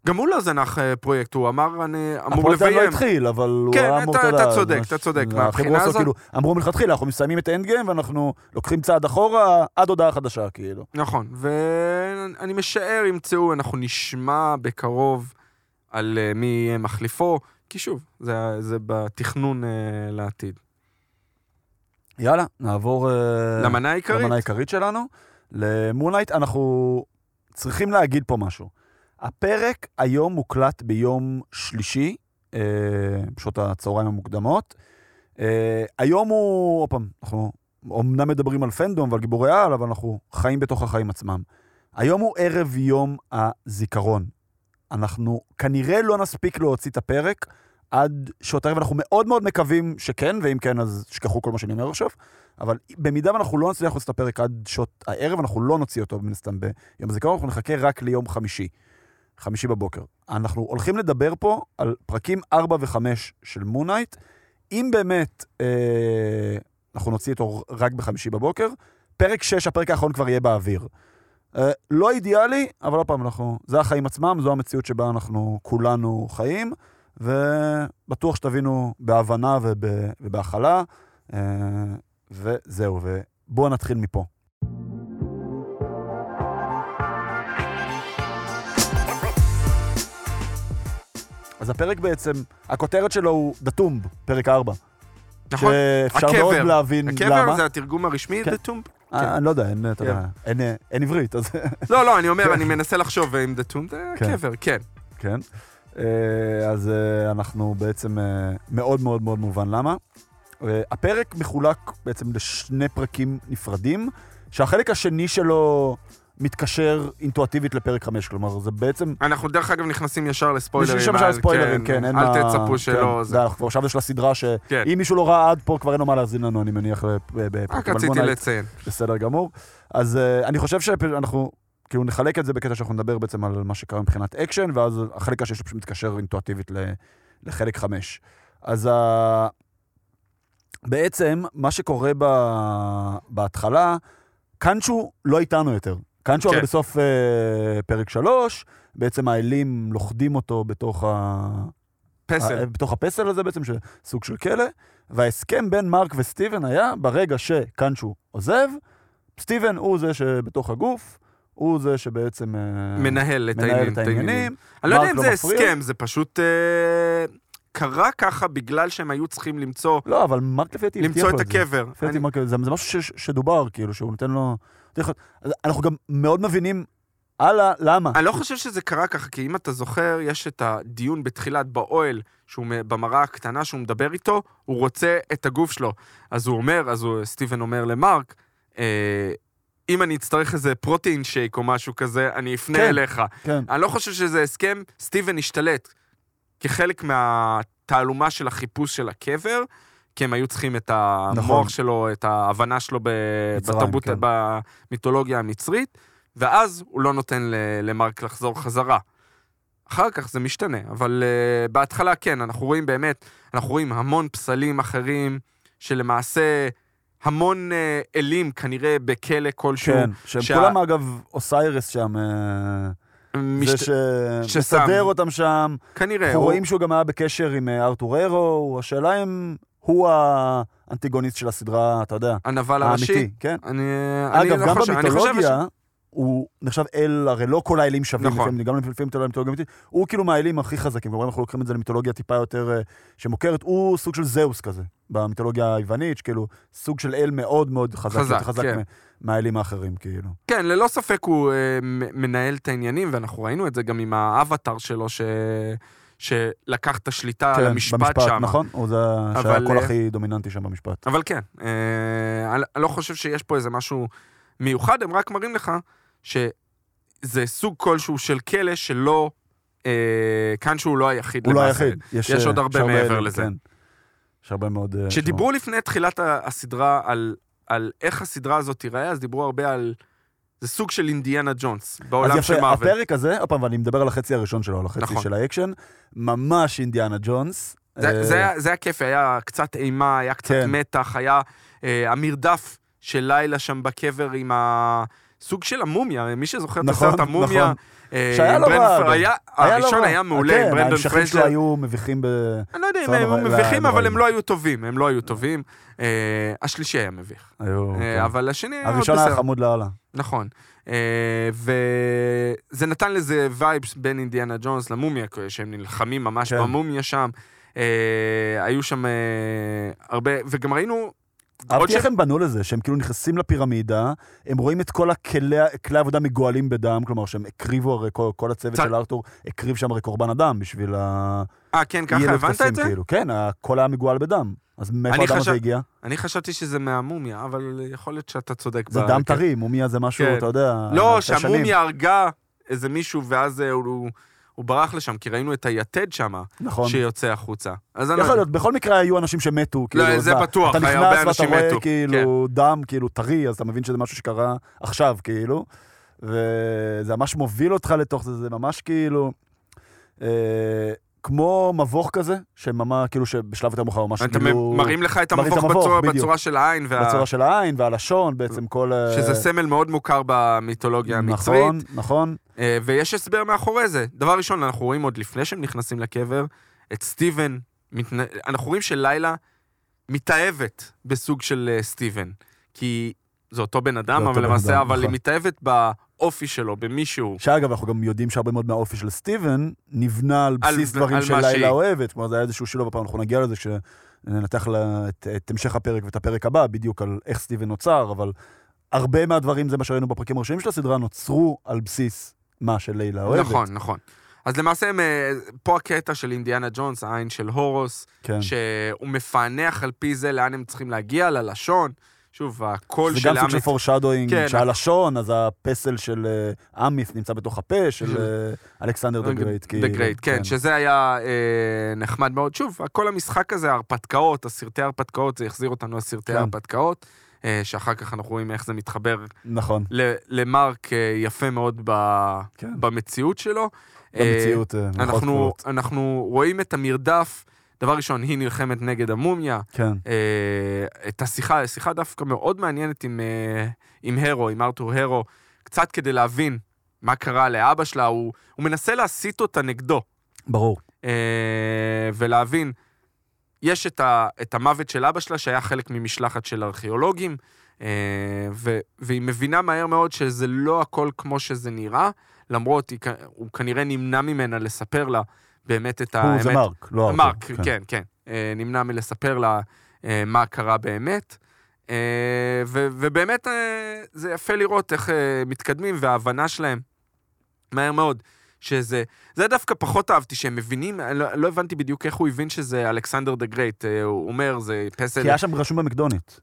S2: גם הוא לא זנח אה, פרויקט, הוא אמר, אני אמור
S1: הפרויקט עדיין לא
S2: לביים.
S1: התחיל, אבל הוא
S2: כן,
S1: היה אמור,
S2: אתה-
S1: יודע,
S2: אתה צודק,
S1: ממש-
S2: אתה צודק,
S1: החבר'ה
S2: מהבחינה
S1: עשו
S2: הזאת-
S1: כאילו, אמרו מלכתחילה, אנחנו מסיימים את האנד גיים ואנחנו לוקחים צעד אחורה עד הודעה חדשה, כאילו.
S2: נכון, ואני משער ימצאו, אנחנו נשמע בקרוב על אה, מי יהיה מחליפו, כי שוב, זה, זה בתכנון אה, לעתיד.
S1: יאללה, נעבור... אה,
S2: למנה העיקרית?
S1: למנה העיקרית שלנו, למונלייט. אנחנו צריכים להגיד פה משהו. הפרק היום מוקלט ביום שלישי, אה, בשעות הצהריים המוקדמות. אה, היום הוא, עוד פעם, אנחנו אומנם מדברים על פנדום ועל גיבורי על, אבל אנחנו חיים בתוך החיים עצמם. היום הוא ערב יום הזיכרון. אנחנו כנראה לא נספיק להוציא את הפרק עד שעות הערב, אנחנו מאוד מאוד מקווים שכן, ואם כן, אז שכחו כל מה שאני אומר עכשיו. אבל במידה ואנחנו לא נצליח לעשות את הפרק עד שעות הערב, אנחנו לא נוציא אותו מן הסתם ביום הזיכרון, אנחנו נחכה רק ליום חמישי, חמישי בבוקר. אנחנו הולכים לדבר פה על פרקים 4 ו-5 של מונייט. אם באמת אה, אנחנו נוציא אותו רק בחמישי בבוקר, פרק 6, הפרק האחרון כבר יהיה באוויר. אה, לא אידיאלי, אבל עוד פעם, אנחנו, זה החיים עצמם, זו המציאות שבה אנחנו כולנו חיים, ובטוח שתבינו בהבנה וב, ובהכלה. אה, וזהו, ובואו נתחיל מפה. אז הפרק בעצם, הכותרת שלו הוא דתומב, פרק 4.
S2: נכון.
S1: שאפשר
S2: הקבר.
S1: מאוד להבין
S2: הקבר
S1: כן, למה.
S2: זה התרגום הרשמי,
S1: כן.
S2: The Tomb? כן.
S1: אה, אני לא יודע, אין, אתה יודע, אין, אה, אין עברית, אז
S2: לא, לא, אני אומר, אני מנסה לחשוב אה, אם The Tomb זה
S1: כן.
S2: הקבר, כן.
S1: כן. אה, אז אה, אנחנו בעצם אה, מאוד מאוד מאוד מובן למה. אה, הפרק מחולק בעצם לשני פרקים נפרדים, שהחלק השני שלו מתקשר אינטואטיבית לפרק 5, כלומר, זה בעצם...
S2: אנחנו דרך אגב נכנסים ישר לספוילרים.
S1: מישהו שם של
S2: אז
S1: ספוילרים, כן, אין
S2: אל
S1: מה...
S2: תצפו
S1: כן,
S2: שלא...
S1: זה,
S2: זה.
S1: אנחנו כבר עכשיו יש לסדרה ש...
S2: כן.
S1: אם מישהו לא ראה עד פה, כבר אין לו מה להאזין לנו, אני מניח, בפ- בפרק.
S2: רק
S1: אבל בוא
S2: רציתי
S1: נ-
S2: לציין.
S1: בסדר גמור. אז uh, אני חושב שאנחנו, כאילו, נחלק את זה בקטע שאנחנו נדבר בעצם על מה שקרה מבחינת אקשן, ואז החלק השני שלו פשוט מתקשר אינטואטיבית ל, לחלק חמש. אז ה... בעצם, מה שקורה ב... בהתחלה, קאנצ'ו לא איתנו יותר. קאנצ'ו
S2: כן.
S1: הרי בסוף uh, פרק שלוש, בעצם האלים לוכדים אותו בתוך ה...
S2: פסל.
S1: בתוך הפסל הזה בעצם, שסוג של כלא, וההסכם בין מרק וסטיבן היה, ברגע שקאנצ'ו עוזב, סטיבן הוא זה שבתוך הגוף, הוא זה שבעצם... אה,
S2: מנהל את
S1: מנהל
S2: העניינים.
S1: את העניינים.
S2: אני לא יודע
S1: מרק
S2: אם
S1: לא
S2: זה
S1: מפריע.
S2: הסכם, זה פשוט אה, קרה ככה בגלל שהם היו צריכים למצוא
S1: לא, אבל מרק לפי דעתי הבטיח
S2: למצוא
S1: לו
S2: את
S1: זה.
S2: הקבר.
S1: לפי דעתי
S2: אני-
S1: מרק- זה זה משהו ש- שדובר, כאילו, שהוא נותן לו... הבטיח לו- אז אנחנו גם מאוד מבינים הלאה, למה.
S2: אני לא חושב שזה קרה ככה, כי אם אתה זוכר, יש את הדיון בתחילת באוהל, שהוא מ- במראה הקטנה שהוא מדבר איתו, הוא רוצה את הגוף שלו. אז הוא אומר, אז הוא, סטיבן אומר למרק, אה, אם אני אצטרך איזה פרוטאין שייק או משהו כזה, אני אפנה
S1: כן.
S2: אליך.
S1: כן,
S2: אני לא חושב שזה הסכם, סטיבן השתלט כחלק מהתעלומה של החיפוש של הקבר, כי הם היו צריכים את המוח
S1: נכון.
S2: שלו, את ההבנה שלו ב...
S1: מצרים,
S2: בתרבות,
S1: כן.
S2: במיתולוגיה המצרית, ואז הוא לא נותן ל- למרק לחזור חזרה. אחר כך זה משתנה, אבל uh, בהתחלה כן, אנחנו רואים באמת, אנחנו רואים המון פסלים אחרים, שלמעשה המון uh, אלים כנראה בכלא כלשהו.
S1: כן, שהם
S2: שה-
S1: כולם אגב אוסיירס שם, אה, זה
S2: משת...
S1: ש-
S2: ששם.
S1: מסדר אותם שם.
S2: כנראה.
S1: אנחנו
S2: הוא-
S1: רואים שהוא גם היה בקשר עם אה, ארתור אירו, השאלה אם הוא האנטיגוניסט של הסדרה, אתה יודע,
S2: הנבל הראשי.
S1: האמיתי, כן?
S2: אני,
S1: אגב,
S2: אני לא
S1: גם
S2: חושב- אני חושב ש-
S1: במיתולוגיה, הוא נחשב אל, הרי לא כל האלים שווים,
S2: נכון.
S1: לפעמים, גם לפעמים אתה לא מיתולוגיה אמיתית, הוא כאילו מהאלים הכי חזקים, כמובן אנחנו לוקחים את זה למיתולוגיה טיפה יותר אה, שמוכרת, הוא סוג של זהוס כזה, במיתולוגיה היוונית, שכאילו, סוג של אל מאוד מאוד חזק,
S2: חזק,
S1: יותר חזק
S2: כן.
S1: מ- מהאלים האחרים, כאילו.
S2: כן, ללא ספק הוא אה, מ- מנהל את העניינים, ואנחנו ראינו את זה גם עם האבטאר שלו, ש... שלקח את השליטה על
S1: כן,
S2: המשפט שם.
S1: נכון? הוא זה שהיה
S2: אבל,
S1: הקול
S2: אה,
S1: הכי דומיננטי שם במשפט.
S2: אבל כן, אה, אני- אני לא חושב שיש פה איזה משהו מיוחד, הם רק מראים לך שזה סוג כלשהו של כלא שלא... אה, כאן שהוא לא היחיד
S1: הוא לא
S2: למעשה.
S1: היחיד.
S2: יש
S1: אה,
S2: עוד הרבה
S1: יש
S2: מעבר
S1: אלים,
S2: לזה.
S1: כן. יש הרבה מאוד... אה,
S2: כשדיברו לפני תחילת ה- הסדרה על, על איך הסדרה הזאת תיראה, אז דיברו הרבה על... זה סוג של אינדיאנה ג'ונס
S1: אז
S2: בעולם
S1: יפה,
S2: של מארוול.
S1: הפרק הזה, עוד פעם, ואני מדבר על החצי הראשון שלו, על החצי
S2: נכון.
S1: של האקשן, ממש אינדיאנה ג'ונס.
S2: זה,
S1: אה,
S2: זה, היה, זה היה כיף, היה קצת אימה, היה קצת
S1: כן.
S2: מתח, היה אה, המרדף של לילה שם בקבר עם ה... סוג של המומיה, מי שזוכר
S1: נכון,
S2: את הסרט המומיה.
S1: נכון.
S2: אה,
S1: שהיה
S2: עם
S1: לא רע,
S2: ברנד פר-
S1: אגב.
S2: היה,
S1: היה לא
S2: הראשון
S1: רע.
S2: היה מעולה,
S1: כן,
S2: עם ברנדון
S1: ההמשכים שלו
S2: פרייזר.
S1: היו מביכים ב...
S2: אני לא יודע אם
S1: לא
S2: הם
S1: נורא- לא
S2: מביכים,
S1: היה
S2: אבל
S1: נוראים.
S2: הם לא היו טובים, הם לא היו טובים. אה, השלישי היה מביך.
S1: היו...
S2: אה,
S1: כן.
S2: אבל השני היה עוד
S1: הראשון היה
S2: בסדר.
S1: חמוד לאללה.
S2: נכון. אה, וזה נתן לזה וייבס בין אינדיאנה ג'ונס למומיה, כ- שהם נלחמים ממש
S1: כן.
S2: כן. במומיה שם. אה, היו שם אה, הרבה, וגם ראינו... עוד
S1: אהבתי
S2: ש-
S1: איך הם בנו לזה, שהם כאילו נכנסים לפירמידה, הם רואים את כל הכלי כלי העבודה מגואלים בדם, כלומר שהם הקריבו הרי, כל, כל הצוות
S2: צר-
S1: של ארתור הקריב שם הרי קורבן אדם בשביל ה...
S2: אה, כן, ככה
S1: אי-אלו
S2: הבנת
S1: טקסים,
S2: את זה?
S1: כאילו. כן, הכל היה מגואל בדם. אז מאיפה
S2: אני
S1: הדם הזה
S2: חשב-
S1: הגיע?
S2: אני חשבתי שזה מהמומיה, אבל יכול להיות שאתה צודק.
S1: זה
S2: ב-
S1: דם
S2: כן.
S1: טרי, אה, מומיה זה משהו,
S2: כן.
S1: אתה יודע,
S2: לא,
S1: אלפי שנים.
S2: שהמומיה הרגה איזה מישהו, ואז אה, הוא... הוא ברח לשם, כי ראינו את היתד שם,
S1: נכון.
S2: שיוצא החוצה. אז אני...
S1: יכול להיות, בכל מקרה היו אנשים שמתו, כאילו,
S2: לא, זה
S1: אז מה,
S2: בטוח,
S1: אתה
S2: היה
S1: נכנס
S2: הרבה
S1: ואתה
S2: אנשים
S1: רואה
S2: מתו, כן.
S1: כאילו דם, כאילו טרי, אז אתה מבין שזה משהו שקרה עכשיו, כאילו, וזה ממש מוביל אותך לתוך זה, זה ממש כאילו, אה, כמו מבוך כזה, שממש, כאילו, שבשלב יותר מאוחר ממש
S2: אתם
S1: כאילו,
S2: מראים לך את
S1: מראים את
S2: המבוך
S1: המבוך,
S2: בצורה,
S1: בדיוק.
S2: בצורה של העין, וה...
S1: בצורה של העין והלשון, בעצם כל... אה,
S2: שזה סמל מאוד מוכר במיתולוגיה המצרית.
S1: נכון, נכון,
S2: אה, ויש הסבר מאחורי זה. דבר ראשון, אנחנו רואים עוד לפני שהם נכנסים לקבר, את סטיבן, מתנ- אנחנו רואים שלילה מתאהבת בסוג של אה, סטיבן. כי זה אותו בן אדם,
S1: אותו
S2: אבל
S1: בן
S2: למעשה,
S1: אדם,
S2: אבל היא
S1: נכון.
S2: מתאהבת באופי שלו, במישהו.
S1: שאגב, אנחנו גם יודעים שהרבה מאוד מהאופי של סטיבן נבנה על
S2: על-
S1: בסיס
S2: על
S1: דברים של
S2: מה שהיא.
S1: לילה אוהבת. כלומר, זה היה איזשהו שילוב, הפעם אנחנו נגיע לזה כשננתח לה- את, את המשך הפרק ואת הפרק הבא, בדיוק על איך סטיבן נוצר, אבל הרבה מהדברים, זה מה שראינו בפרקים הראשונים של הסדרה, נוצרו על בסיס מה שלילה אוהבת.
S2: נכון, נכון. אז למעשה, הם, אה, פה הקטע של אינדיאנה ג'ונס, העין של הורוס,
S1: כן.
S2: שהוא מפענח על פי זה לאן הם צריכים להגיע, ללשון. שוב, הקול
S1: זה
S2: של
S1: גם סוג של
S2: עמית
S1: פורשדוינג,
S2: כן.
S1: שהלשון, אז הפסל של אה, אמיס נמצא בתוך הפה
S2: (laughs)
S1: של אה, אלכסנדר דה גרייט.
S2: דה גרייט, כן, שזה היה אה, נחמד מאוד. שוב, כל המשחק הזה, ההרפתקאות, הסרטי ההרפתקאות, זה החזיר אותנו לסרטי
S1: כן.
S2: ההרפתקאות, אה, שאחר כך אנחנו רואים איך זה מתחבר
S1: נכון,
S2: ל- למרק אה, יפה מאוד ב-
S1: כן.
S2: במציאות שלו. אה,
S1: במציאות. אה, במירכאות
S2: אנחנו-
S1: כפולות.
S2: אנחנו רואים את המרדף. דבר ראשון, היא נלחמת נגד המומיה.
S1: כן.
S2: אה, את השיחה, שיחה דווקא מאוד מעניינת עם, אה, עם הרו, עם ארתור הרו, קצת כדי להבין מה קרה לאבא שלה, הוא, הוא מנסה להסיט אותה נגדו,
S1: ברור.
S2: אה, ולהבין, יש את, ה, את המוות של אבא שלה, שהיה חלק ממשלחת של ארכיאולוגים, אה, ו, והיא מבינה מהר מאוד שזה לא הכל כמו שזה נראה, למרות, היא, כ- הוא כנראה נמנע ממנה לספר לה באמת את האמת.
S1: הוא זה מרק, לא ארתור.
S2: מרק, כן, כן. אה, נמנע מלספר לה אה, מה קרה באמת. אה, ו- ובאמת אה, זה יפה לראות איך אה, מתקדמים וההבנה שלהם מהר מאוד. שזה, זה דווקא פחות אהבתי, שהם מבינים, אני לא, לא הבנתי בדיוק איך הוא הבין שזה אלכסנדר דה גרייט, אה, הוא אומר, זה פסל...
S1: כי היה שם רשום במקדונית.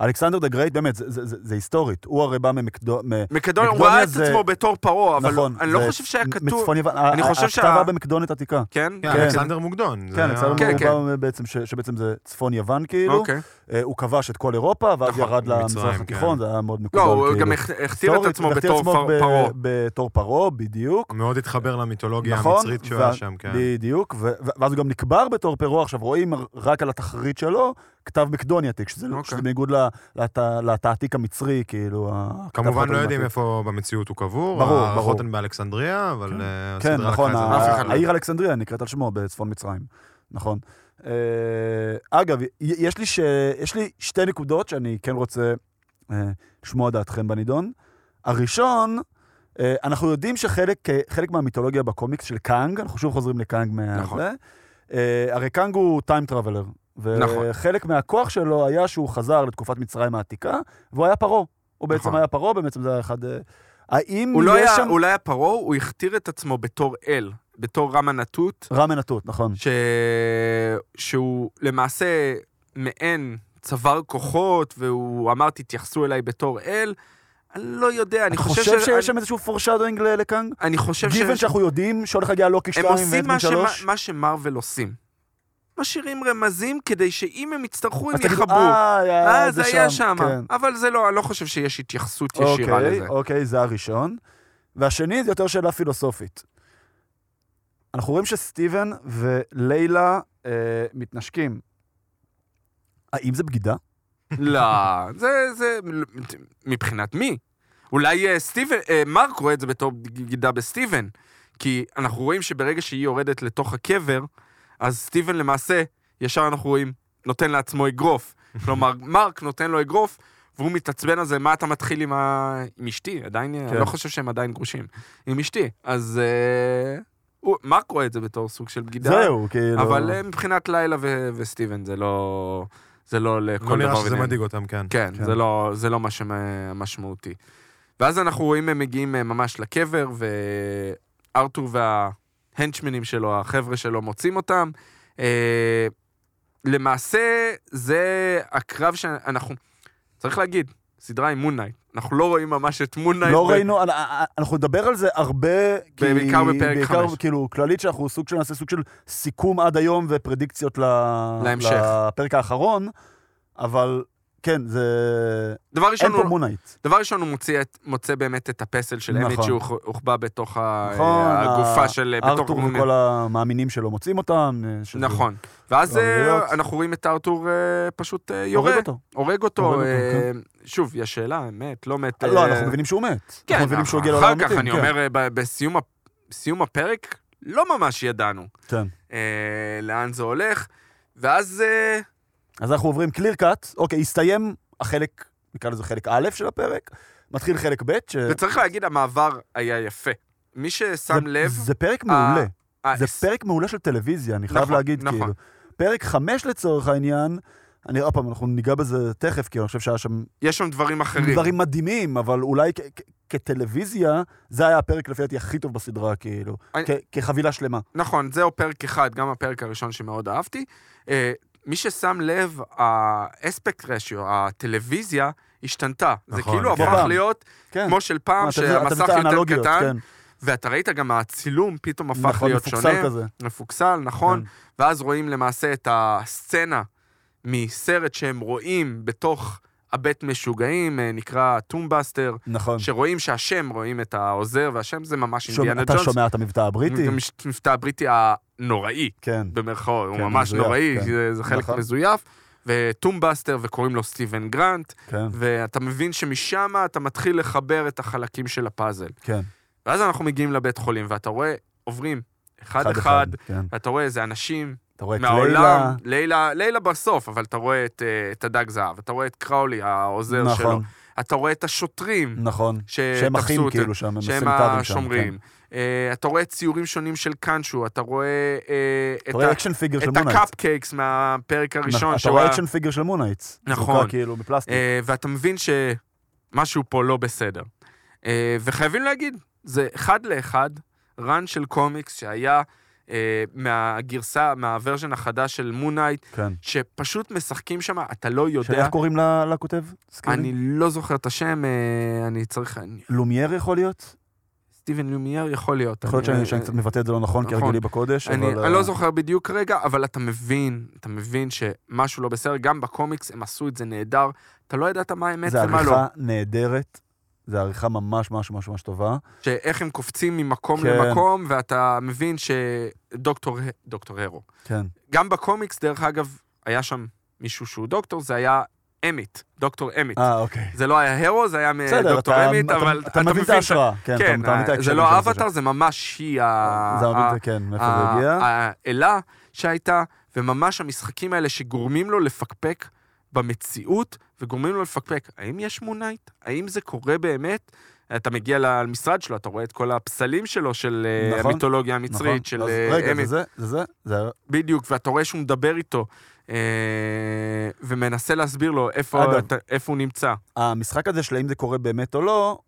S1: אלכסנדר דה גרייט, באמת, זה- זה זה- זה היסטורית. הוא הרי בא ממקדו- מ-
S2: מקדוניה, הוא
S1: מקדוניה
S2: ראה את
S1: זה-
S2: עצמו בתור פרעה, לא, אבל
S1: נכון,
S2: אני לא
S1: זה
S2: חושב שהיה כתוב...
S1: מצפון יוון.
S2: אני חושב
S1: הכתב
S2: שה-
S1: היה במקדונית עתיקה.
S2: כן?
S3: כן,
S1: כן.
S3: אלכסנדר מוקדון. זה
S1: כן,
S3: היה-
S1: אצלנו
S2: כן,
S1: הוא בא בעצם, ש- שבעצם זה צפון יוון כאילו.
S2: אוקיי.
S1: אה, הוא כבש את כל אירופה, ואז
S2: נכון,
S1: ירד למזרח
S3: מצרים,
S1: התיכון, זה היה מאוד
S2: לא,
S1: מקודל.
S2: הוא גם
S1: כאילו.
S2: הכ- הכתיר את
S1: היסטורית,
S2: עצמו
S1: והכתיר
S2: בתור
S1: עצמו
S2: פר-
S1: ב-
S2: פרעה.
S1: בתור פרעה, בדיוק.
S3: הוא מאוד התחבר למיתולוגיה
S1: נכון,
S3: המצרית שהוא היה
S1: וה-
S3: שם, כן.
S1: בדיוק, ו- ו- ואז הוא גם נקבר בתור פרעה, עכשיו רואים רק על התחרית שלו, כתב מקדוני עתיק, שזה
S2: אוקיי.
S1: לא- שזה בניגוד ל- לת- לתעתיק המצרי, כאילו, הכתב
S3: כמובן לא
S1: חתום
S3: יודעים
S1: בעתיק.
S3: איפה במציאות הוא קבור.
S1: ברור, ברור.
S3: הערכות הן באלכסנדריה, אבל אה,
S1: כן,
S3: הסדרה לקחה
S1: נכון,
S3: את זה.
S1: ה-
S2: אף אחד לא
S1: העיר אלכסנדריה נקראת על שמו בצפון מצרים, נכון. אה, אגב, י- יש לי, ש... יש לי שתי נקודות שאני כן רוצה אה, לשמוע דעתכם בנידון. הראשון, אה, אנחנו יודעים שחלק אה, חלק מהמיתולוגיה בקומיקס של קאנג, אנחנו שוב חוזרים לקאנג מה...
S2: נכון.
S1: זה, אה, הרי קאנג הוא טיים טראבלר.
S2: נכון.
S1: וחלק מהכוח שלו היה שהוא חזר לתקופת מצרים העתיקה, והוא היה פרעה. הוא בעצם
S2: נכון.
S1: היה פרעה, בעצם זה היה אחד... אה, האם
S2: הוא
S1: יש
S2: לא היה,
S1: שם...
S2: הוא לא היה פרעה, הוא הכתיר את עצמו בתור אל, בתור רם הנתות,
S1: רמן התות, נכון.
S2: ש... שהוא למעשה מעין צבר כוחות, והוא אמר, תתייחסו אליי בתור אל. אני לא יודע, אני
S1: אתה
S2: חושב,
S1: חושב שיש
S2: אני,
S1: שם איזשהו פורשדוינג לקאנג?
S2: אני חושב
S1: גיוון שאנחנו יודעים שהולך להגיע לוקי
S2: הם
S1: 2
S2: עושים
S1: ואדמין
S2: מה, שמה,
S1: 3?
S2: מה שמרוול עושים. משאירים רמזים כדי שאם הם יצטרכו, הם
S1: אז תגידו,
S2: יחברו.
S1: אה, היה-
S2: אה, זה היה שם.
S1: כן.
S2: אבל זה לא, אני לא חושב שיש התייחסות ישירה לזה.
S1: אוקיי, אוקיי, זה הראשון. והשני זה יותר שאלה פילוסופית. אנחנו רואים שסטיבן ולילה אה, מתנשקים. האם זה בגידה?
S2: לא, זה, זה, מבחינת מי? אולי אה, סטיבן, אה, מרק רואה את זה בתור בגידה בסטיבן, כי אנחנו רואים שברגע שהיא יורדת לתוך הקבר, אז סטיבן למעשה, ישר אנחנו רואים, נותן לעצמו אגרוף.
S1: (laughs)
S2: כלומר, מרק נותן לו אגרוף, והוא מתעצבן על זה, מה אתה מתחיל עם, ה... עם אשתי? עדיין,
S1: כן.
S2: אני לא חושב שהם עדיין גרושים. עם אשתי. אז אה, הוא, מרק רואה את זה בתור סוג של בגידה.
S1: זהו, כאילו.
S2: אבל אה, מבחינת לילה ו- וסטיבן זה לא... זה לא לכל דבר
S3: לא נראה שזה
S2: ביניהם.
S3: מדאיג אותם, כן.
S2: כן,
S1: כן.
S2: זה לא, זה לא מה שמשמעותי. ואז אנחנו רואים הם מגיעים אה, ממש לקבר, וארתור וההנצ'מנים שלו, החבר'ה שלו, מוצאים אותם. אה, למעשה, זה הקרב שאנחנו... צריך להגיד, סדרה עם מון נייט. אנחנו לא רואים ממש את מון נייט.
S1: לא ראינו, אנ- אנ- אנחנו נדבר על זה הרבה, כי-
S2: בעיקר בפרק
S1: בעיקר,
S2: חמש.
S1: כאילו, כללית שאנחנו סוג של, נעשה סוג של סיכום עד היום ופרדיקציות ל...
S2: להמשך.
S1: לפרק האחרון, אבל כן, זה...
S2: דבר
S1: אין
S2: ראשון,
S1: פה
S2: הוא-
S1: מונייט.
S2: דבר ראשון, הוא מוציא את, מוצא באמת את הפסל של
S1: נכון.
S2: אמית שהוחבא בתוך ה-
S1: נכון,
S2: אה, הגופה
S1: ה-
S2: של... אה, בתוך
S1: ארתור
S2: מון נייט.
S1: וכל המאמינים שלו מוצאים אותם. אה, שזה-
S2: נכון. ואז אה,
S1: ערביות.
S2: אנחנו רואים את ארתור אה, פשוט אה, יורה,
S1: הורג אותו.
S2: הורג אותו.
S1: הורג אותו, כן.
S2: אה, שוב, יש שאלה, מת, לא מת.
S1: לא,
S2: אה,
S1: אנחנו מבינים שהוא מת.
S2: כן,
S1: אנחנו מבינים שהוא הגיע
S2: אחר
S1: לעולם
S2: כך,
S1: המתים,
S2: אני
S1: כן.
S2: אומר, אה, ב- בסיום ה- בסיום הפרק, לא ממש ידענו
S1: כן.
S2: אה, לאן זה הולך, ואז אה,
S1: אז אנחנו עוברים קליר קאט, אוקיי, הסתיים החלק, נקרא לזה חלק א' של הפרק, מתחיל חלק ב', ש...
S2: וצריך להגיד, המעבר היה יפה. מי ששם
S1: אה, זה-
S2: לב...
S1: זה פרק
S2: ה-
S1: מעולה.
S2: אה,
S1: זה
S2: אה,
S1: פרק מעולה של טלוויזיה, אני חייב
S2: נכון,
S1: להגיד,
S2: נכון.
S1: כאילו. פרק חמש לצורך העניין, אני עוד פעם, אנחנו ניגע בזה תכף, כי אני חושב שהיה שם
S2: יש שם דברים אחרים.
S1: דברים מדהימים, אבל אולי כ- כ- כטלוויזיה, זה היה הפרק לפי דעתי הכי טוב בסדרה, כאילו.
S2: אני-
S1: כ- כחבילה שלמה.
S2: נכון, זהו פרק אחד, גם הפרק הראשון שמאוד אהבתי. אה, מי ששם לב, האספקט רשיו, הטלוויזיה, השתנתה. זה
S3: נכון,
S2: כאילו
S1: כן.
S2: הפך
S1: פעם.
S2: להיות
S1: כן.
S2: כמו של פעם,
S1: אתה מבין- אתה מבין את
S2: שהמסך יותר
S1: האנלוגיות,
S2: קטן,
S1: כן.
S2: ואתה ראית גם הצילום פתאום הפך
S1: נכון,
S2: להיות
S1: מפוקסל
S2: שונה.
S1: כזה. כן.
S2: מפוקסל, נכון. ואז רואים למעשה את הסצנה מסרט שהם רואים בתוך הבית משוגעים, אה, נקרא טומבאסטר,
S1: נכון.
S2: שרואים שהשם, רואים את העוזר והשם, זה ממש
S1: שומע-
S2: אינדיאנה
S1: אתה
S2: ג'ונס.
S1: שומע את המבטא הבריטי?
S2: גם יש- המבטא הבריטי הנוראי.
S1: כן.
S2: במרכאות, הוא
S1: כן,
S2: ממש
S1: מזויף,
S2: נוראי,
S1: כן.
S2: זה- זה חלק
S1: נכון.
S2: מזויף. וטומבאסטר, וקוראים לו סטיבן גרנט,
S1: כן,
S2: ואתה מבין שמשם אתה מתחיל לחבר את החלקים של הפאזל.
S1: כן.
S2: ואז אנחנו מגיעים לבית חולים, ואתה רואה, עוברים אחד-אחד,
S1: אחד-אחד, כן.
S2: ואתה רואה איזה אנשים
S1: אתה רואה את לילה.
S2: מהעולם, לילה, לילה בסוף, אבל אתה רואה את, אה, את הדג זהב, אתה רואה את קראולי, העוזר שלו,
S1: נכון,
S2: אתה רואה את השוטרים
S1: נכון.
S2: שתפסו
S1: שהם אחים
S2: אותו.
S1: כאילו שם, הם
S2: שהם
S1: הסניטרים שם. כן.
S2: השומרים. אה, אתה רואה ציורים שונים של קאנשו, אתה רואה אה, את
S1: אתה רואה
S2: ה-
S1: אקשן פיגר של
S2: את
S1: מונייט.
S2: הקאפקייקס מהפרק הראשון.
S1: אתה
S2: שהוא
S1: רואה
S2: היה-
S1: אקשן פיגר של מונייט.
S2: נכון.
S1: זרוקה כאילו בפלסטיק.
S2: אה, ואתה מבין שמשהו פה לא בסדר. אה, וחייבים להגיד, זה אחד לאחד רן של קומיקס שהיה אה, מהגרסה, מהוורז'ן החדש של מונייט,
S1: כן.
S2: שפשוט משחקים שם, אתה לא
S1: שאלה
S2: יודע.
S1: איך קוראים ל- לכותב? סקריני?
S2: אני לא זוכר את השם, אה, אני צריך... אני-
S1: לומייר יכול להיות?
S2: סטיבן לומיאר יכול להיות.
S1: יכול להיות
S2: אני-
S1: שאני- שאני קצת מבטא את זה לא נכון, כי
S2: נכון.
S1: הרגלי בקודש,
S2: אני,
S1: אבל...
S2: אני
S1: אה,
S2: לא זוכר בדיוק כרגע, אבל אתה מבין, אתה מבין שמשהו לא בסדר. גם בקומיקס הם עשו את זה נהדר. אתה לא ידעת מה האמת
S1: זה
S2: ומה לא.
S1: עריכה נהדרת, זה עריכה ממש ממש ממש ממש טובה.
S2: שאיך הם קופצים ממקום
S1: כן.
S2: למקום, ואתה מבין שדוקטור דוקטור הרו.
S1: כן.
S2: גם בקומיקס, דרך אגב, היה שם מישהו שהוא דוקטור, זה היה אמית, דוקטור אמית.
S1: אה, אוקיי.
S2: זה לא היה הרו, זה היה
S1: בסדר,
S2: דוקטור
S1: אתה-
S2: אמית,
S1: אתה-
S2: אבל
S1: אתה מבין את ההשראה. כן, אתה-
S2: כן,
S1: אתה מבין את
S2: זה
S1: ההקשר
S2: לא
S1: של
S2: אבטאר, זה ממש היא ה...
S1: זה
S2: ה-
S1: מבין, את- כן, מאיפה זה
S2: ה-
S1: הגיע.
S2: האלה שהייתה, וממש המשחקים האלה שגורמים לו לפקפק במציאות, וגורמים לו לפקפק, האם יש מונייט? האם זה קורה באמת? אתה מגיע ל- למשרד שלו, אתה רואה את כל הפסלים שלו של אה,
S1: נכון,
S2: המיתולוגיה המצרית,
S1: נכון.
S2: של
S1: אז
S2: אה,
S1: רגע,
S2: אמית.
S1: זה זה? זה זה? זה...
S2: בדיוק, ואתה רואה שהוא מדבר איתו, אה, ומנסה להסביר לו
S1: אגב.
S2: איפה אתה- איפה הוא נמצא.
S1: המשחק הזה של האם זה קורה באמת או לא,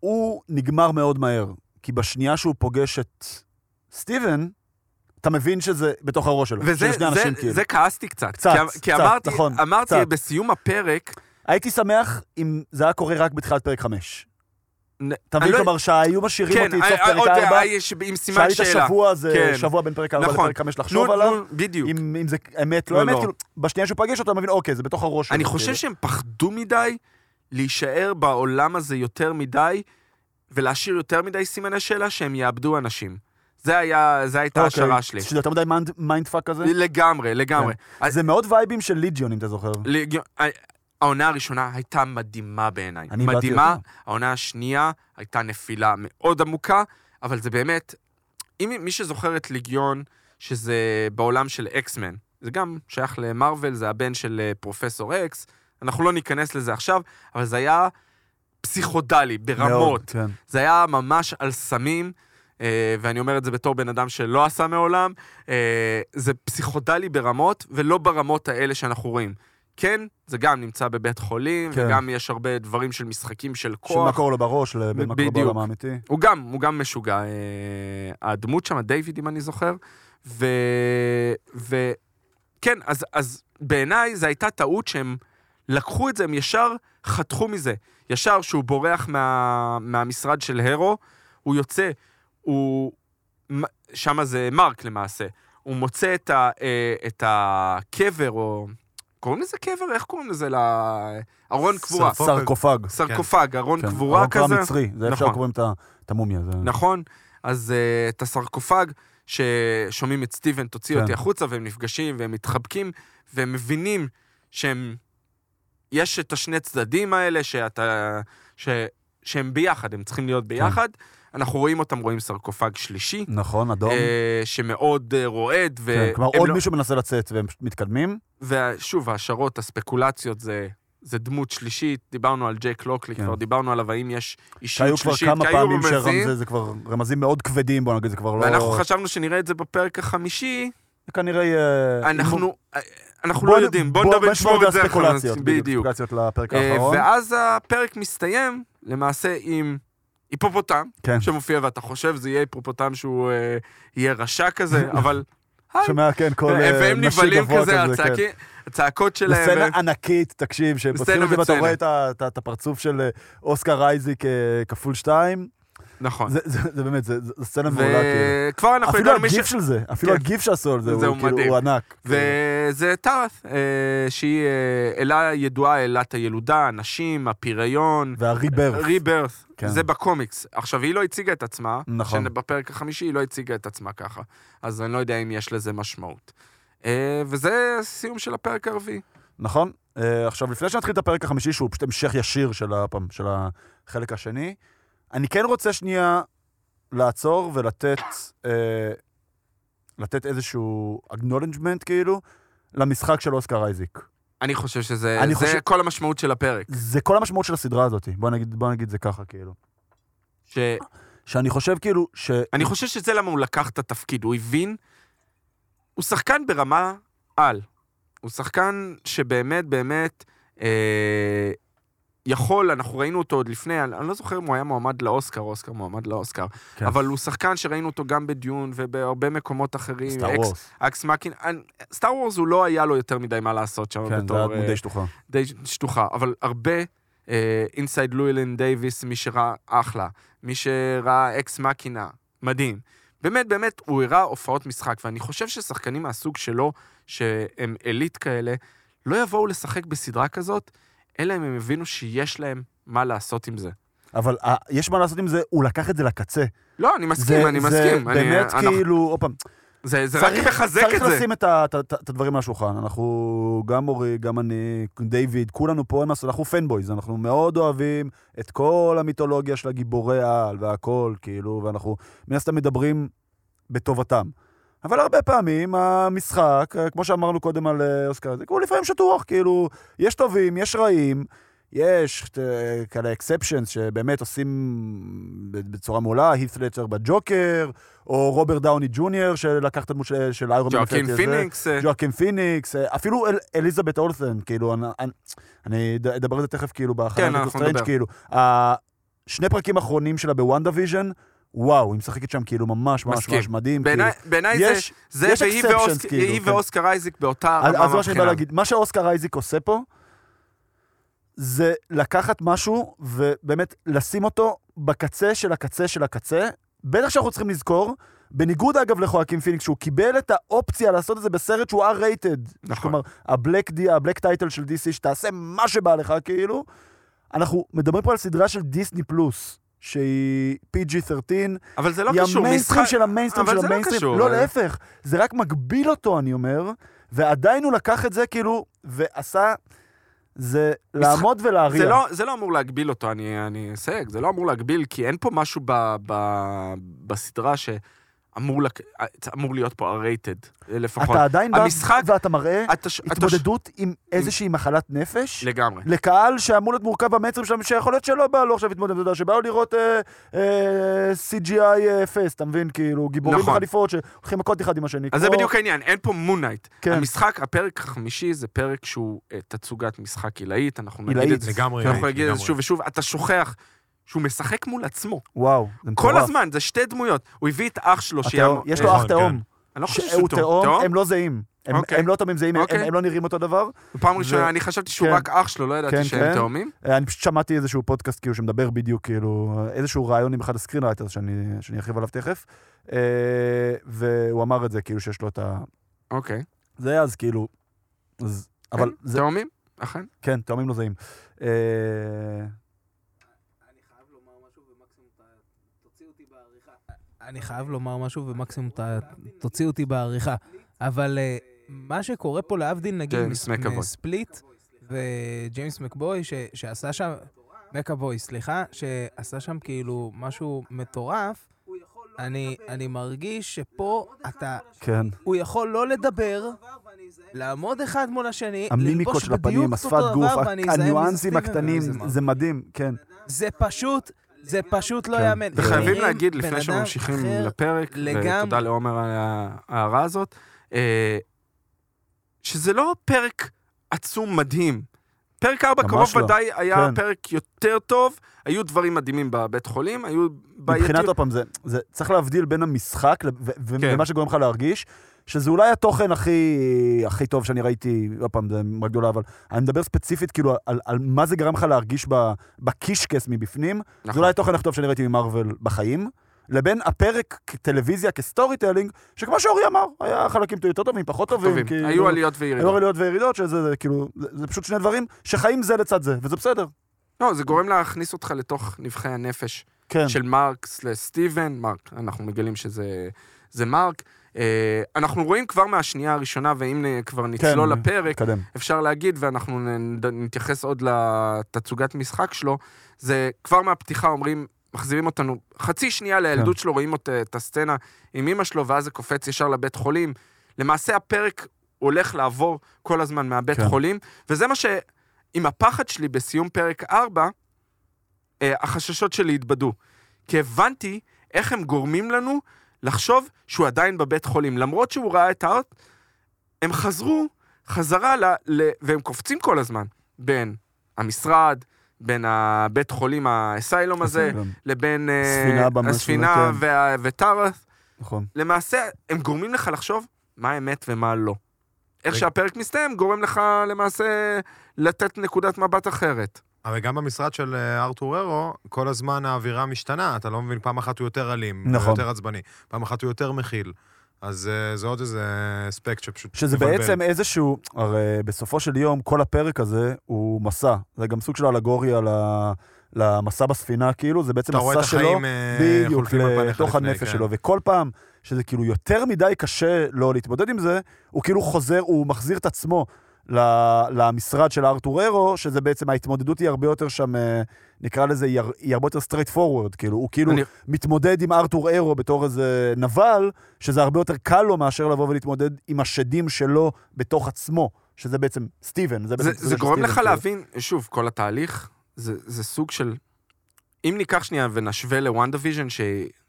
S1: הוא נגמר מאוד מהר. כי בשנייה שהוא פוגש את סטיבן, אתה מבין שזה בתוך הראש שלו.
S2: וזה
S1: שזה שני
S2: זה,
S1: אנשים כאילו.
S2: זה כעסתי קצת.
S1: קצת,
S2: כי, אמ- כי
S1: קצת,
S2: אמרתי,
S1: נכון,
S2: אמרתי
S1: קצת.
S2: בסיום הפרק,
S1: הייתי שמח אם זה היה קורה רק בתחילת פרק 5.
S2: נ-
S1: אתה מבין?
S2: אני לא-
S1: כלומר, שהיו משאירים
S2: כן,
S1: אותי את סוף
S2: אה,
S1: פרק
S2: עוד,
S1: 4,
S2: אה, יש- עם סימן
S1: שהיה לי את
S2: שאלה.
S1: השבוע הזה,
S2: כן.
S1: שבוע בין פרק 4
S2: נכון.
S1: לפרק 5
S2: נו,
S1: לחשוב
S2: נו,
S1: עליו,
S2: בדיוק.
S1: אם אם זה אמת,
S2: לא,
S1: לא אמת,
S2: לא.
S1: כאילו, בשנייה שהוא פגש אותו, אתה מבין, אוקיי, זה בתוך הראש שלו.
S2: אני
S1: כאילו.
S2: חושב שהם פחדו מדי להישאר בעולם הזה יותר מדי, ולהשאיר יותר מדי סימני שאלה שהם יאבדו אנשים. זה היה, זה הייתה
S1: אוקיי. כן.
S2: ההשערה שלי.
S1: שזה יותר מדי מיינד- מיינד פאק כזה.
S2: לגמרי, לגמרי. אז-
S1: זה מאוד וייבים של ליג'יון, אם אתה זוכר.
S2: לג- אה, העונה הראשונה הייתה מדהימה בעיניי.
S1: אני איבדתי
S2: מדהימה,
S1: אותה.
S2: העונה השנייה הייתה נפילה מאוד עמוקה, אבל זה באמת, אם מי שזוכר את ליגיון, שזה בעולם של אקסמן, זה גם שייך למרוויל, זה הבן של אה, פרופסור אקס, אנחנו לא ניכנס לזה עכשיו, אבל זה היה פסיכודלי, ברמות.
S1: מאוד, כן.
S2: זה היה ממש על סמים, אה, ואני אומר את זה בתור בן אדם שלא עשה מעולם, אה, זה פסיכודלי ברמות, ולא ברמות האלה שאנחנו רואים. כן, זה גם נמצא בבית חולים,
S1: כן.
S2: כן. וגם יש הרבה דברים של משחקים של
S1: של מה
S2: כוח.
S1: קורה לו בראש, לבין מה קורה
S2: בדיוק.
S1: בעולם האמיתי.
S2: הוא גם, הוא גם משוגע. אה, הדמות שם, דיוויד, אם אני זוכר. ו... ו... כן, אז, אז בעיניי זו הייתה טעות שהם לקחו את זה, הם ישר חתכו מזה. ישר שהוא בורח מה... מהמשרד של הרו, הוא יוצא, הוא... שם זה מרק למעשה. הוא מוצא את, ה... אה, את הקבר, או... קוראים לזה קבר? איך קוראים לזה? ל- ארון קבורה.
S3: סרפו-
S1: סרקופג.
S2: סרקופג, ארון
S1: כן,
S2: קבורה
S1: הרב
S2: כזה.
S1: המצרי, זה אפשר
S2: נכון.
S1: קוראים את ה- את המומיה. זה-
S2: נכון? אז uh, את הסרקופג, ששומעים את סטיבן, תוציא
S1: כן.
S2: כן. אותי החוצה, והם נפגשים, והם מתחבקים, והם מבינים שהם... יש את השני צדדים האלה, שאתה... ש... שהם ביחד, הם צריכים
S1: כן.
S2: להיות ביחד. אנחנו רואים אותם, רואים סרקופג שלישי,
S1: נכון, אדום.
S2: אה, שמאוד אה, רועד, ו...
S1: כן, כלומר,
S2: הם
S1: עוד
S2: לא-
S1: מישהו מנסה לצאת והם פשוט מתקדמים.
S2: ושוב, ההשערות, הספקולציות, זה, זה דמות שלישית. דיברנו על ג'ק לוקלי,
S1: כן.
S2: כן. כבר דיברנו עליו, האם יש
S1: שהיו
S2: אישיות
S1: כבר
S2: שלישית.
S1: כמה
S2: כי היו
S1: פעמים
S2: רמזים,
S1: שרמזים, זה כבר רמזים מאוד כבדים, בוא נגיד, זה כבר לא...
S2: ואנחנו חשבנו שנראה את זה בפרק החמישי,
S1: כנראה... אה, אם-
S2: אנחנו, אנחנו
S1: בוא-
S2: לא יודעים, בוא נדבר
S1: נשמור
S2: נשמור את זה אחר כך,
S1: הספקולציות,
S2: בדיוק.
S1: ספקולציות לפרק
S2: אה,
S1: האחרון.
S2: ואז הפרק מסתיים למעשה עם היפופוטם,
S1: כן,
S2: שמופיע ואתה חושב זה יהיה היפופוטם שהוא אה, יהיה רשע
S1: (laughs)
S2: כזה, אבל... היי.
S1: שומע, כן, כל אה,
S2: והם
S1: נשי
S2: נבהלים
S1: גבוה
S2: כזה,
S1: כזה, כן.
S2: הצעקי- הצעקות
S1: זו
S2: שלהם. אה,
S1: סצנה
S2: ו-
S1: ענקית, תקשיב, שפותחים
S2: סצנה
S1: את זה ואתה
S2: מצוינת.
S1: רואה את ה- את ה- את הפרצוף של אה, אוסקר אייזיק אה, כפול שתיים.
S2: נכון.
S1: זה- זה זה באמת, זה- זה סצנה מעולה, כאילו.
S2: וכבר אנחנו
S1: אפילו
S2: הגענו מי ש...
S1: הגיף של זה, אפילו
S2: כן.
S1: הגיף שעשו על זה, הוא
S2: זה הוא
S1: כאילו,
S2: מדהים.
S1: הוא ענק.
S2: וזה טרף, אה, שהיא אה, אלה ידועה, אלת הילודה, הנשים, הפריון,
S1: והריבר.
S2: ריברס,
S1: כן.
S2: זה בקומיקס. עכשיו, היא לא הציגה את עצמה,
S1: נכון.
S2: שבפרק החמישי היא לא הציגה את עצמה ככה, אז אני לא יודע אם יש לזה משמעות. אה, וזה סיום של הפרק הרביעי.
S1: נכון? אה, עכשיו, לפני שנתחיל את הפרק החמישי, שהוא פשוט המשך ישיר של הפעם, של החלק השני, אני כן רוצה שנייה לעצור ולתת אה, לתת איזשהו acknowledgement, כאילו, למשחק של אוסקר אייזיק.
S2: אני חושב שזה
S1: אני
S2: זה
S1: חושב-
S2: כל המשמעות של הפרק.
S1: זה כל המשמעות של הסדרה הזאת, בוא נגיד, בוא נגיד זה ככה, כאילו.
S2: ש...
S1: שאני חושב, כאילו, ש...
S2: אני חושב שזה למה הוא לקח את התפקיד, הוא הבין, הוא שחקן ברמה על. הוא שחקן שבאמת באמת אה, יכול, אנחנו ראינו אותו עוד לפני, אני אני לא זוכר אם הוא היה מועמד לאוסקר, אוסקר מועמד לאוסקר,
S1: כן.
S2: אבל הוא שחקן שראינו אותו גם בדיון ובהרבה מקומות אחרים.
S1: סטאר
S2: אקס-
S1: וורס.
S2: אקס מקין, אני- סטאר וורס הוא לא היה לו יותר מדי מה לעשות שם
S1: כן, זה
S2: בתור
S1: היה
S2: אה,
S1: דמודי שטוחה.
S2: די שטוחה, אבל הרבה, אה, אינסייד לואילן דייוויס, מי שראה אחלה, מי שראה אקס מקינה, מדהים. באמת, באמת, הוא הראה הופעות משחק, ואני חושב ששחקנים מהסוג שלו, שהם עילית כאלה, לא יבואו לשחק בסדרה כזאת, אלא אם הם הבינו שיש להם מה לעשות עם זה.
S1: אבל אה, יש מה לעשות עם זה, הוא לקח את זה לקצה.
S2: לא, אני מסכים,
S1: זה-
S2: אני
S1: זה
S2: מסכים. אני- אה,
S1: באמת
S2: אנחנו-
S1: כאילו, עוד פעם,
S2: זה זה רק מחזק את
S1: צריך
S2: זה.
S1: לשים את, ה, את, ה- את הדברים על השולחן. אנחנו, גם אורי, גם אני, דיוויד, כולנו פה, אין מה לעשות, אנחנו פנבויז, אנחנו מאוד אוהבים את כל המיתולוגיה של הגיבורי העל והכל, כאילו, ואנחנו מן הסתם מדברים בטובתם. אבל הרבה פעמים המשחק, אה, כמו שאמרנו קודם על אה, אוסקר, זה כאילו לפעמים שטוח, כאילו, יש טובים, יש רעים, יש אה, כאלה אקספשנס שבאמת עושים בצורה מעולה, הית לצ'ר בג'וקר, או רוברט דאוני ג'וניור, שלקח את הדמות של, של איירון מן
S2: ג'ואקין
S1: הפנטזי הזה.
S2: פיניקס, אה,
S1: ג'ואקין פיניקס, אה, אפילו אל, אליזבת אולסן, כאילו, אני, אני, אני אד- אדבר על זה תכף, כאילו, בהכנה
S2: כן,
S1: לדוקטור
S2: אנחנו
S1: סטרנג',
S2: נדבר.
S1: כאילו. השני פרקים האחרונים שלה בוונדה ויז'ן, וואו, היא משחקת שם כאילו ממש ממש
S2: מסכים.
S1: ממש מדהים.
S2: בעיני-
S1: כאילו.
S2: בעיניי זה-
S1: יש-
S2: זה
S1: יש
S2: והיא
S1: exceptions,
S2: ואוסק-
S1: כאילו,
S2: היא
S1: כן.
S2: ואוסקר אייזיק באותה רמה
S1: אז,
S2: מבחינה.
S1: אז מה שאני בא להגיד, מה שאוסקר אייזיק עושה פה, זה לקחת משהו ובאמת לשים אותו בקצה של הקצה של הקצה. בטח שאנחנו צריכים לזכור, בניגוד אגב לחואקים פיניקס, שהוא קיבל את האופציה לעשות את זה בסרט שהוא R-rated.
S2: נכון.
S1: כלומר, הבלק, די, הבלק טייטל של DC, שתעשה מה שבא לך, כאילו. אנחנו מדברים פה על סדרה של דיסני פלוס, שהיא PG-13,
S2: אבל זה לא
S1: היא
S2: קשור,
S1: המיינסטרים
S2: משחק...
S1: של המיינסטרים
S2: אבל
S1: של
S2: זה לא
S1: המיינסטרים.
S2: קשור,
S1: לא,
S2: אה.
S1: להפך, זה רק מגביל אותו, אני אומר, ועדיין הוא לקח את זה, כאילו, ועשה... זה לעמוד ולהריע.
S2: זה לא, זה לא אמור להגביל אותו, אני אני אסייג, זה לא אמור להגביל, כי אין פה משהו ב, ב, בסדרה שאמור לק... אמור להיות פה הרייטד, לפחות.
S1: אתה עדיין בא
S2: נכון. המשחק-
S1: ואתה מראה
S2: אתה, ש- אתה ש-
S1: התמודדות לא. עם איזושהי מחלת נפש.
S2: לגמרי.
S1: לקהל שאמור להיות מורכב במיינסטרים שלהם, שיכול להיות שלא בא לו עכשיו להתמודד, אתה יודע, שבאו לראות אה, אה, CGI אה, פס, אתה מבין? כאילו, גיבורים
S2: נכון.
S1: בחליפות שהולכים מכות אחד עם השני.
S2: אז זה
S1: כמו-
S2: בדיוק העניין, אין פה מונייט.
S1: כן.
S2: המשחק, הפרק החמישי זה פרק שהוא אה, תצוגת משחק עילאית, אנחנו נגיד
S1: עילאית,
S2: את זה,
S3: לגמרי,
S2: אנחנו
S3: לגמרי.
S2: נגיד את זה כן, שוב ושוב, אתה שוכח שהוא משחק מול עצמו.
S1: וואו, זה מטורף.
S2: כל הזמן, זה שתי דמויות. הוא הביא את אח שלו, שהיה-
S1: התאום- יש לו
S3: נכון,
S1: אח תאום.
S2: אני לא חושב
S1: שהוא
S2: שהוא
S1: תאום, הם לא זהים. הם-
S2: אוקיי.
S1: הם לא תאומים זהים, הם-
S2: אוקיי.
S1: הם לא נראים אותו דבר.
S2: פעם
S1: זה-
S2: ראשונה, אני חשבתי שהוא
S1: כן.
S2: רק אח שלו, לא
S1: כן,
S2: ידעתי
S1: כן.
S2: שהם תאומים.
S1: אה, אני פשוט שמעתי איזשהו פודקאסט כאילו שמדבר בדיוק, כאילו, איזשהו רעיון עם אחד הסקרינרייטר שאני שאני ארחיב עליו תכף. אה, והוא אמר את זה, כאילו שיש לו את ה...
S2: אוקיי.
S1: זה אז כאילו... אז- אבל
S2: כן,
S1: זה...
S2: תאומים? אכן.
S1: כן, תאומים לא זהים. אה,
S5: אני חייב לומר משהו, ומקסימום ת- תוציא אותי בעריכה. אבל אה, מה שקורה פה, להבדיל נגיד
S2: ג'יימס
S5: מס-
S2: מקאבוי.
S5: מספליט וג'יימס מקבוי, ש- שעשה שם, מקאבוי, סליחה, שעשה שם כאילו משהו מטורף, אני אני מרגיש שפה אתה,
S1: כן.
S5: הוא יכול לא לדבר, לעמוד אחד מול השני,
S1: המימיקות
S5: ללבוש
S1: של הפנים,
S5: בדיוק
S1: השפת
S5: אותו
S1: גוף,
S5: דבר, ואני אזהה מי
S1: הניואנסים
S5: זה סטיבן
S1: הקטנים,
S5: ומי זה מרק.
S1: זה מדהים, כן.
S5: זה פשוט, זה פשוט לא
S1: כן.
S5: יאמן.
S2: וחייבים
S5: חברים,
S2: להגיד,
S5: בן
S2: לפני
S5: אדם
S2: שממשיכים
S5: אחר
S2: לפרק,
S5: לגמרי.
S2: ותודה לעומר על ההערה הזאת, אה, שזה לא פרק עצום מדהים. פרק 4
S1: ממש
S2: קרוב
S1: לא.
S2: ודאי היה
S1: כן.
S2: פרק יותר טוב, היו דברים מדהימים בבית חולים, היו
S1: מבחינת,
S2: בעייתיות.
S1: עוד פעם, זה- זה- צריך להבדיל בין המשחק לב- ו- ו-
S2: כן.
S1: ומה שגורם לך להרגיש, שזה אולי התוכן הכי הכי טוב שאני ראיתי, עוד פעם, זה מאוד גדולה, אבל אני מדבר ספציפית, כאילו, על- על מה זה גרם לך להרגיש ב- בקישקס מבפנים, זה
S2: נכון.
S1: אולי התוכן הכי טוב שאני ראיתי ממרוויל בחיים. לבין הפרק כטלוויזיה, כסטורי טלינג, שכמו שאורי אמר, היה חלקים יותר טובים, פחות טובים.
S2: טובים.
S1: כאילו-
S2: היו עליות
S1: היו
S2: וירידות.
S1: עליות וירידות, שזה זה, כאילו, זה, זה פשוט שני דברים שחיים זה לצד זה, וזה בסדר.
S2: לא, זה גורם להכניס אותך לתוך נבחי הנפש.
S1: כן.
S2: של מרקס לסטיבן, מרק, אנחנו מגלים שזה זה מרק. אה, אנחנו רואים כבר מהשנייה הראשונה, ואם אה, כבר נצלול
S1: כן.
S2: לפרק,
S1: קדם.
S2: אפשר להגיד, ואנחנו נ- נתייחס עוד לתצוגת משחק שלו, זה כבר מהפתיחה אומרים, מחזירים אותנו חצי שנייה לילדות שלו, רואים אות- את הסצנה עם אמא שלו, ואז זה קופץ ישר לבית חולים. למעשה הפרק הולך לעבור כל הזמן מהבית
S1: כן.
S2: חולים, וזה מה ש... עם הפחד שלי בסיום פרק 4, אה, החששות שלי התבדו. כי הבנתי איך הם גורמים לנו לחשוב שהוא עדיין בבית חולים. למרות שהוא ראה את הארט, הם חזרו חזרה ל... ל... והם קופצים כל הזמן בין המשרד, בין הבית חולים, האסיילום הזה,
S1: כן,
S2: לבין אה,
S1: ספינה במשהו,
S2: הספינה
S1: כן.
S2: וה- וטארת.
S1: נכון.
S2: למעשה, הם גורמים לך לחשוב מה אמת ומה לא. איך
S3: רגע.
S2: שהפרק מסתיים, גורם לך למעשה לתת נקודת מבט אחרת.
S3: אבל גם במשרד של אה, ארתור ארו, כל הזמן האווירה משתנה, אתה לא מבין, פעם אחת הוא יותר אלים,
S1: נכון.
S3: נכון. יותר עצבני, פעם אחת הוא יותר מכיל. אז אה, זה עוד איזה אספקט שפשוט...
S1: שזה
S3: מבלבל.
S1: בעצם איזשהו, הרי בסופו של יום כל הפרק הזה הוא מסע. זה גם סוג של אלגוריה ל- למסע בספינה, כאילו, זה בעצם
S3: אתה רואה את
S1: מסע שלו,
S3: החיים אה,
S1: בדיוק,
S3: חולפים על פניך
S1: לתוך
S3: לפני,
S1: הנפש
S3: כן.
S1: שלו. וכל פעם שזה כאילו יותר מדי קשה לו להתמודד עם זה, הוא כאילו חוזר, הוא מחזיר את עצמו ל- למשרד של ארתור ארו, שזה בעצם, ההתמודדות היא הרבה יותר שם, אה, נקרא לזה, היא הר- היא הרבה יותר straight forward, כאילו, הוא כאילו
S2: אני-
S1: מתמודד עם ארתור אירו בתור איזה נבל, שזה הרבה יותר קל לו מאשר לבוא ולהתמודד עם השדים שלו בתוך עצמו, שזה בעצם סטיבן. זה, בעצם
S2: זה,
S1: סטיבן
S2: זה
S1: של
S2: גורם
S1: סטיבן,
S2: לך
S1: כאילו.
S2: להבין, שוב, כל התהליך, זה, זה סוג של... אם ניקח שנייה ונשווה לוואנדה ויז'ן, ש-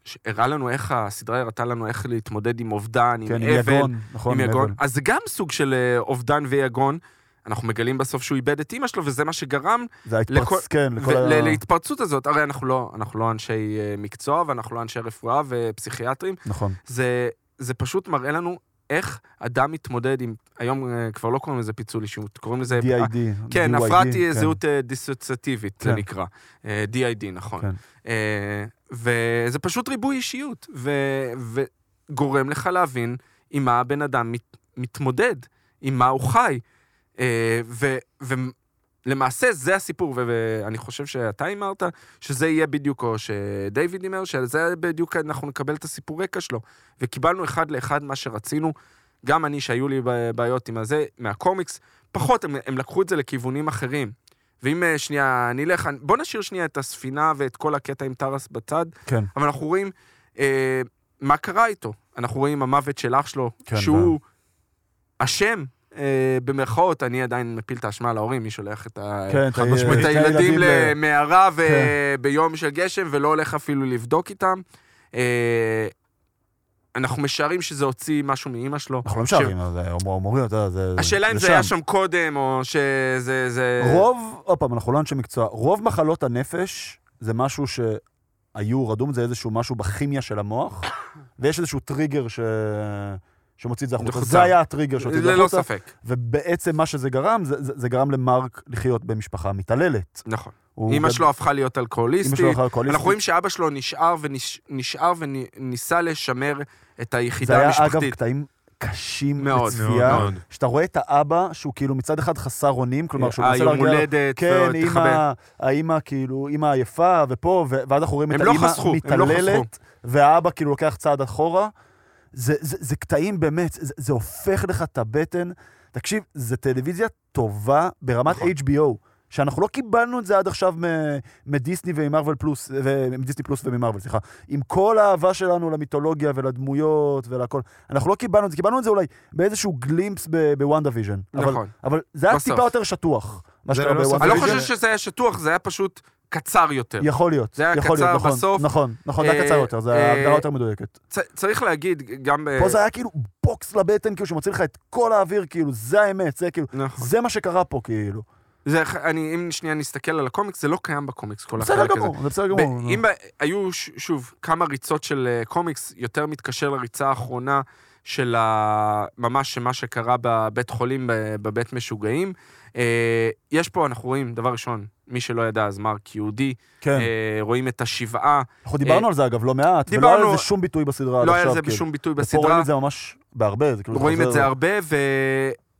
S2: שהראה לנו איך, הסדרה הראתה לנו איך להתמודד עם אובדן,
S1: כן,
S2: עם
S1: עם
S2: אבל,
S1: יגון, נכון,
S2: עם יגון. אז זה גם סוג של אה, אובדן ויגון. אנחנו מגלים בסוף שהוא איבד את אימא שלו, וזה מה שגרם
S1: זה ההתפרץ, כן, לכל
S2: ו-
S1: ה...
S2: ל- להתפרצות הזאת. הרי אנחנו לא, אנחנו לא אנשי אה, מקצוע, ואנחנו לא אנשי רפואה ופסיכיאטרים.
S1: נכון.
S2: זה, זה פשוט מראה לנו איך אדם מתמודד עם... היום אה, כבר לא קוראים לזה פיצול אישיות, קוראים לזה...
S1: DID.
S2: כן,
S1: DYD,
S2: הפרעת
S1: כן.
S2: זהות אה, דיסוציאטיבית, זה
S1: כן.
S2: נקרא. אה, DID, נכון.
S1: כן.
S2: אה, וזה פשוט ריבוי אישיות, ו- וגורם לך להבין עם מה הבן אדם מת- מתמודד, עם מה הוא חי. אה, ו- ולמעשה זה הסיפור, ו- ואני חושב שאתה הימרת, שזה יהיה בדיוק, או שדייוויד הימר, שזה בדיוק אנחנו נקבל את הסיפור רקע שלו. וקיבלנו אחד לאחד מה שרצינו. גם אני, שהיו לי ב- בעיות עם הזה, מהקומיקס, פחות, הם, הם לקחו את זה לכיוונים אחרים. ואם אה, שנייה נלך, אני- בוא נשאיר שנייה את הספינה ואת כל הקטע עם טרס בצד,
S1: כן.
S2: אבל אנחנו רואים אה, מה קרה איתו. אנחנו רואים המוות של אח שלו,
S1: כן,
S2: שהוא אשם, אה, במרכאות, אני עדיין מפיל את האשמה על ההורים, מי שולח את, ה...
S1: כן,
S3: חד משמעית.
S2: את
S1: שני
S2: הילדים
S1: ילדים ל-
S2: למערה ו...
S1: כן.
S2: ביום של גשם ולא הולך אפילו לבדוק איתם. אה, אנחנו משערים שזה הוציא משהו מאימא שלו.
S1: אנחנו לא
S2: ש-
S1: משערים, אז זה הומור- הומורים, אתה יודע, זה...
S2: השאלה אם זה
S1: שם.
S2: היה שם קודם, או שזה... זה...
S1: רוב, עוד פעם, אנחנו לא אנשי מקצוע, רוב מחלות הנפש זה משהו שהיו, רדום זה איזשהו משהו בכימיה של המוח, ויש איזשהו טריגר ש... שמוציא את זה החוצה.
S2: החוצה.
S1: זה היה הטריגר שהוציא את זה
S2: ללא
S1: החוצה,
S2: לא ספק.
S1: ובעצם מה שזה גרם, זה, זה, זה גרם למרק לחיות במשפחה מתעללת.
S2: נכון.
S1: הוא
S2: אימא
S1: גד-
S2: שלו הפכה להיות
S1: אמא שלו
S2: אלכוהוליסטית.
S1: אחר הקואליסטית.
S2: אנחנו רואים שאבא שלו נשאר ונש- נשאר וניסה לשמר את
S1: זה
S2: היחידה
S1: היה, אגב,
S2: המשפחתית.
S1: קטעים קשים
S2: מאוד,
S1: לצפייה,
S3: מאוד, מאוד.
S1: שאתה רואה את האבא, שהוא כאילו מצד אחד חסר אונים, כלומר, שהוא מנסה
S2: היום
S1: להרגיע...
S2: אה, הולדת,
S1: כן,
S2: ועוד תכבד.
S1: אימא, האימא כאילו, אימא עייפה, ופה, ו- ואז אנחנו רואים את
S2: הם לא
S1: האימא
S2: חסכו, הם לא חסכו.
S1: מתעללת, והאבא כאילו לוקח צעד אחורה. זה, זה, זה קטעים באמת, זה, זה הופך לך את הבטן. תקשיב, זו טלוויזיה טובה ברמת
S2: נכון.
S1: HBO, שאנחנו לא קיבלנו את זה עד עכשיו מ- מדיסני וממרוויל פלוס, ו- מדיסני פלוס וממרוויל, סליחה. עם כל האהבה שלנו למיתולוגיה ולדמויות ולכל, אנחנו לא קיבלנו את זה, קיבלנו את זה אולי באיזשהו גלימפס ב- בוונדה ויז'ן. אבל-
S2: נכון.
S1: אבל זה היה
S2: בסוף.
S1: טיפה יותר שטוח, מה
S3: זה
S1: שקרה
S3: ללא
S1: בוונדה
S3: ספק.
S2: אני לא
S1: ויז'ן.
S2: חושב שזה היה שטוח, זה היה פשוט קצר יותר.
S1: יכול להיות.
S2: זה היה
S1: יכול
S2: קצר
S1: נכון,
S2: בסוף.
S1: נכון, נכון, זה היה
S2: אה,
S1: קצר יותר, זו
S2: אה,
S1: הגדרה יותר מדויקת.
S2: צ- צריך להגיד, גם... אה, ב-
S1: פה זה היה כאילו בוקס לבטן, כאילו שמוציא לך את כל האוויר, כאילו, זה האמת, זה כאילו,
S2: נכון.
S1: זה מה שקרה פה, כאילו.
S2: זה, אני, אם שנייה נסתכל על הקומיקס, זה לא קיים בקומיקס, כל
S1: בסדר
S2: החלק הזה.
S1: גמור, זה בסדר
S2: ב-
S1: גמור.
S2: אם ב- היו, ש- שוב, כמה ריצות של אה, קומיקס, יותר מתקשר לריצה האחרונה של ה... ממש מה שקרה בבית חולים, ב- בבית משוגעים. אה, יש פה, אנחנו רואים, דבר ראשון, מי שלא ידע, אז מרק יהודי,
S1: כן,
S2: אה, רואים את השבעה,
S1: אנחנו דיברנו על זה אגב לא מעט, ולא היה
S2: דיברנו-
S1: לזה שום ביטוי בסדרה עד
S2: לא היה
S1: עכשיו,
S2: לזה
S1: כאילו.
S2: בשום ביטוי
S1: ופה רואים
S2: בסדרה,
S1: את זה ממש בהרבה, זה כאילו...
S2: רואים את
S1: חוזר-
S2: זה הרבה,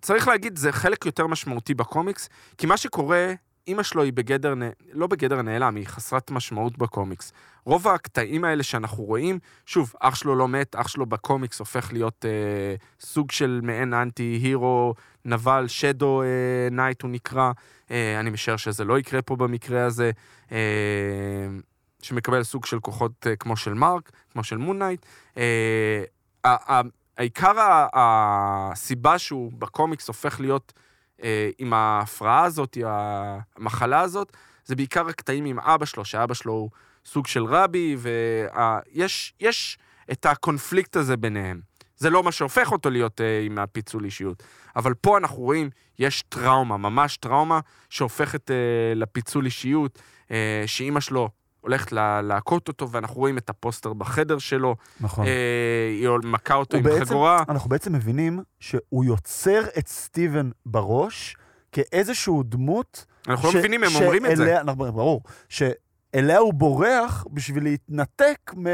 S2: וצריך להגיד, זה חלק יותר משמעותי בקומיקס, כי מה שקורה, אימא שלו היא בגדר, נ- לא בגדר נעלם, היא חסרת משמעות בקומיקס. רוב הקטעים האלה שאנחנו רואים, שוב, אח שלו לא מת, אח שלו בקומיקס הופך להיות אה, סוג של מעין אנטי-הירו, נבל, שדו אה, נייט הוא נקרא. אה, אני משער שזה לא יקרה פה במקרה הזה, אה, שמקבל סוג של כוחות אה, כמו של מרק, כמו של מון נייט. אה, ה- ה- העיקר ה- הסיבה שהוא בקומיקס הופך להיות אה, עם ההפרעה הזאת, המחלה הזאת, זה בעיקר הקטעים עם אבא שלו, שאבא שלו הוא סוג של רבי, ויש יש את הקונפליקט הזה ביניהם. זה לא מה שהופך אותו להיות אה, עם הפיצול אישיות. אבל פה אנחנו רואים, יש טראומה, ממש טראומה, שהופכת אה, לפיצול אישיות, אה, שאימא שלו הולכת ל- להכות אותו, ואנחנו רואים את הפוסטר בחדר שלו,
S1: נכון.
S2: אה, היא מכה אותו
S1: הוא
S2: עם
S1: בעצם-
S2: חגורה.
S1: אנחנו בעצם מבינים שהוא יוצר את סטיבן בראש כאיזשהו דמות
S2: אנחנו לא
S1: ש-
S2: מבינים, הם אומרים את זה.
S1: שאליה- אנחנו- ברור. שאליה הוא בורח בשביל להתנתק מ...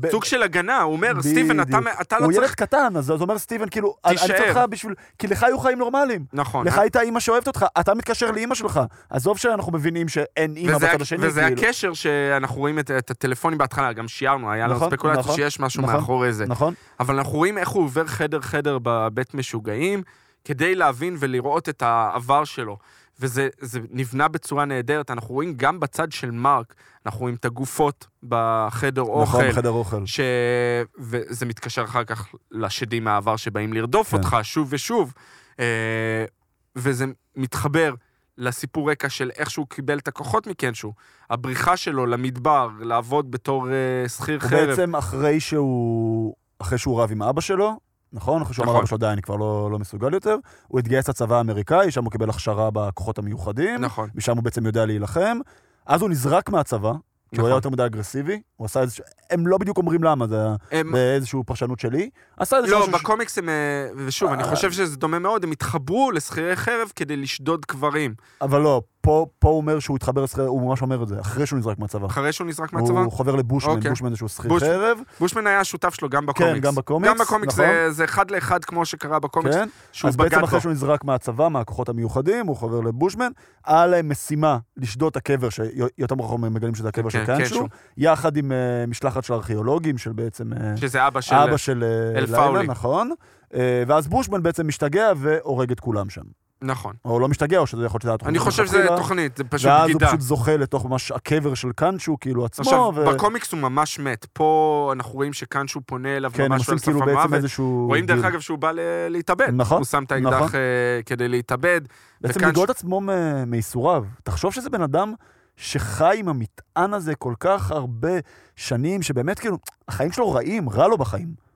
S1: ב-
S2: סוג של הגנה, הוא אומר,
S1: בדיוק.
S2: סטיבן, אתה, אתה לא
S1: הוא ילד
S2: צריך...
S1: קטן, אז זה אומר סטיבן, כאילו, אני אני צריך
S2: תישאר.
S1: אותך בשביל... כי לך היו חיים נורמליים.
S2: נכון.
S1: לך הייתה אימא שאוהבת אותך, אתה מתקשר לאימא שלך. עזוב שאנחנו מבינים שאין אימא
S2: וזה,
S1: בצד
S2: ה-
S1: השני,
S2: וזה
S1: כאילו.
S2: הקשר שאנחנו רואים את, את הטלפונים בהתחלה, גם שיערנו, היה
S1: נכון,
S2: לנו ספקולציה
S1: נכון,
S2: שיש משהו
S1: נכון,
S2: מאחורי זה.
S1: נכון?
S2: אבל אנחנו רואים איך הוא עובר חדר-חדר בבית משוגעים, כדי להבין ולראות את העבר שלו. וזה זה נבנה בצורה נהדרת, אנחנו רואים גם בצד של מרק, אנחנו רואים את הגופות בחדר
S1: נכון,
S2: אוכל.
S1: בחדר אוכל.
S2: ש... וזה מתקשר אחר כך לשדים מהעבר שבאים לרדוף
S1: כן.
S2: כן. אותך שוב ושוב. אה, וזה מתחבר לסיפור רקע של איך שהוא קיבל את הכוחות מקנשו. הבריחה שלו למדבר, לעבוד בתור אה, שכיר
S1: הוא
S2: חרב.
S1: בעצם אחרי שהוא... אחרי שהוא רב עם אבא שלו, נכון? אחרי שהוא אמר
S2: נכון.
S1: לאבא שלו, די, אני כבר לא לא מסוגל יותר. הוא התגייס לצבא האמריקאי, שם הוא קיבל הכשרה בכוחות המיוחדים.
S2: נכון,
S1: משם הוא בעצם יודע להילחם. אז הוא נזרק מהצבא, כי הוא היה
S2: נכון.
S1: יותר מדי אגרסיבי. הוא עשה איזשהו... הם לא בדיוק אומרים למה, זה היה
S2: הם...
S1: באיזושהי פרשנות שלי. עשה איזשהו...
S2: לא,
S1: משהו ש-
S2: בקומיקס הם... אה, ושוב, אני
S1: אה.
S2: חושב שזה דומה מאוד, הם התחברו לשכירי חרב כדי לשדוד קברים.
S1: אבל לא, פה פה הוא אומר שהוא התחבר לשכיר... הוא ממש אומר את זה, אחרי שהוא נזרק מהצבא.
S2: אחרי שהוא נזרק מהצבא.
S1: הוא חובר לבושמן,
S2: אוקיי.
S1: בושמן זה שהוא שכיר
S2: בוש-
S1: חרב.
S2: בושמן היה השותף שלו גם בקומיקס.
S1: כן, גם בקומיקס.
S2: גם בקומיקס,
S1: נכון.
S2: זה- זה אחד לאחד כמו שקרה בקומיקס,
S1: כן.
S2: שהוא
S1: אז
S2: בגד
S1: בעצם
S2: בו.
S1: אחרי שהוא נזרק מהצבא, מהכוחות המיוחדים, הוא חובר לבושמן, היה להם משימה לשדוד את הקבר, שיותר מאוחר הם מגלים שזה הקבר של
S2: כן, כן,
S1: קנשו,
S2: שהוא.
S1: יחד עם אה, משלחת של ארכיאולוגים, של בעצם... אה,
S2: שזה אבא של...
S1: אבא של אה, לילה,
S2: אלפאולי.
S1: נכון. אה, ואז בושמן בעצם משתגע והורג את כולם שם.
S2: נכון.
S1: או לא משתגע, או שזה יכול להיות שזה היה תוכנית.
S2: אני חושב שזה
S1: מלכתחילה,
S2: תוכנית, זה פשוט
S1: ואז הוא
S2: בגידה.
S1: פשוט זוכה לתוך ממש הקבר של קאנצ'ו, כאילו עצמו,
S2: עכשיו,
S1: ו-
S2: בקומיקס הוא ממש מת. פה אנחנו רואים שקאנצ'ו פונה אליו
S1: כן, הם
S2: ממש
S1: עושים
S2: על סף
S1: כאילו בעצם
S2: המוות.
S1: איזשהו...
S2: רואים דרך
S1: דיל.
S2: אגב שהוא בא ל- להתאבד.
S1: נכון,
S2: הוא שם את
S1: נכון.
S2: האקדח אה, כדי להתאבד.
S1: בעצם
S2: וקאנצ'ו-
S1: לגאול את עצמו מ- מייסוריו. תחשוב שזה בן אדם שחי עם המטען הזה כל כך הרבה שנים, שבאמת כאילו, החיים שלו רעים, רע לו בחיים.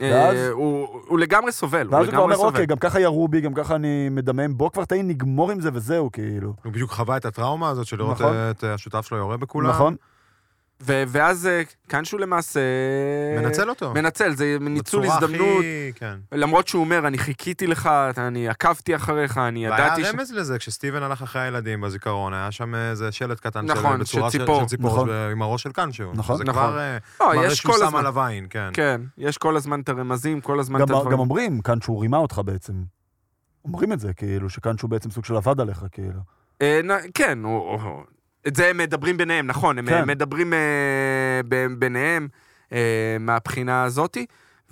S2: אה,
S1: ואז-
S2: הוא הוא לגמרי סובל, הוא
S1: ואז הוא כבר
S2: לגמרי
S1: אומר,
S2: סובל.
S1: אוקיי, גם ככה ירו בי, גם ככה אני מדמם, בוא כבר תהי, נגמור עם זה וזהו, כאילו.
S3: הוא בדיוק חווה את הטראומה הזאת של לראות
S1: נכון.
S3: את אה, השותף שלו יורה בכולם.
S1: נכון?
S2: ו- ואז אה, קאנצ'ו למעשה...
S3: מנצל אותו.
S2: מנצל, זה ניצול
S3: בצורה
S2: הזדמנות.
S3: הכי- כן.
S2: למרות שהוא אומר, אני חיכיתי לך, אני עקבתי אחריך, אני
S3: והיה
S2: ידעתי ש...
S3: רמז לזה, כשסטיבן הלך אחרי הילדים בזיכרון, היה שם איזה שלט קטן
S2: נכון,
S3: של, בצורה
S2: של ציפור.
S3: של ציפור
S1: נכון.
S3: ב- עם הראש של קנצ'ו.
S1: נכון.
S3: זה
S2: נכון.
S3: כבר אה,
S2: לא,
S3: מראה
S2: יש
S3: שהוא
S2: כל
S3: שם
S2: הזמן.
S3: עליו עין, כן.
S2: כן, יש כל הזמן את הרמזים, כל הזמן את
S1: גם,
S2: הדברים.
S1: גם אומרים, קאנצ'ו רימה אותך בעצם. אומרים את זה, כאילו, שקאנצ'ו בעצם סוג של עבד עליך, כאילו.
S2: אה, נ- כן, הוא- הוא- הוא- את זה הם מדברים ביניהם, נכון, הם
S1: כן.
S2: אה, מדברים אה, ב- ביניהם אה, מהבחינה הזאתי.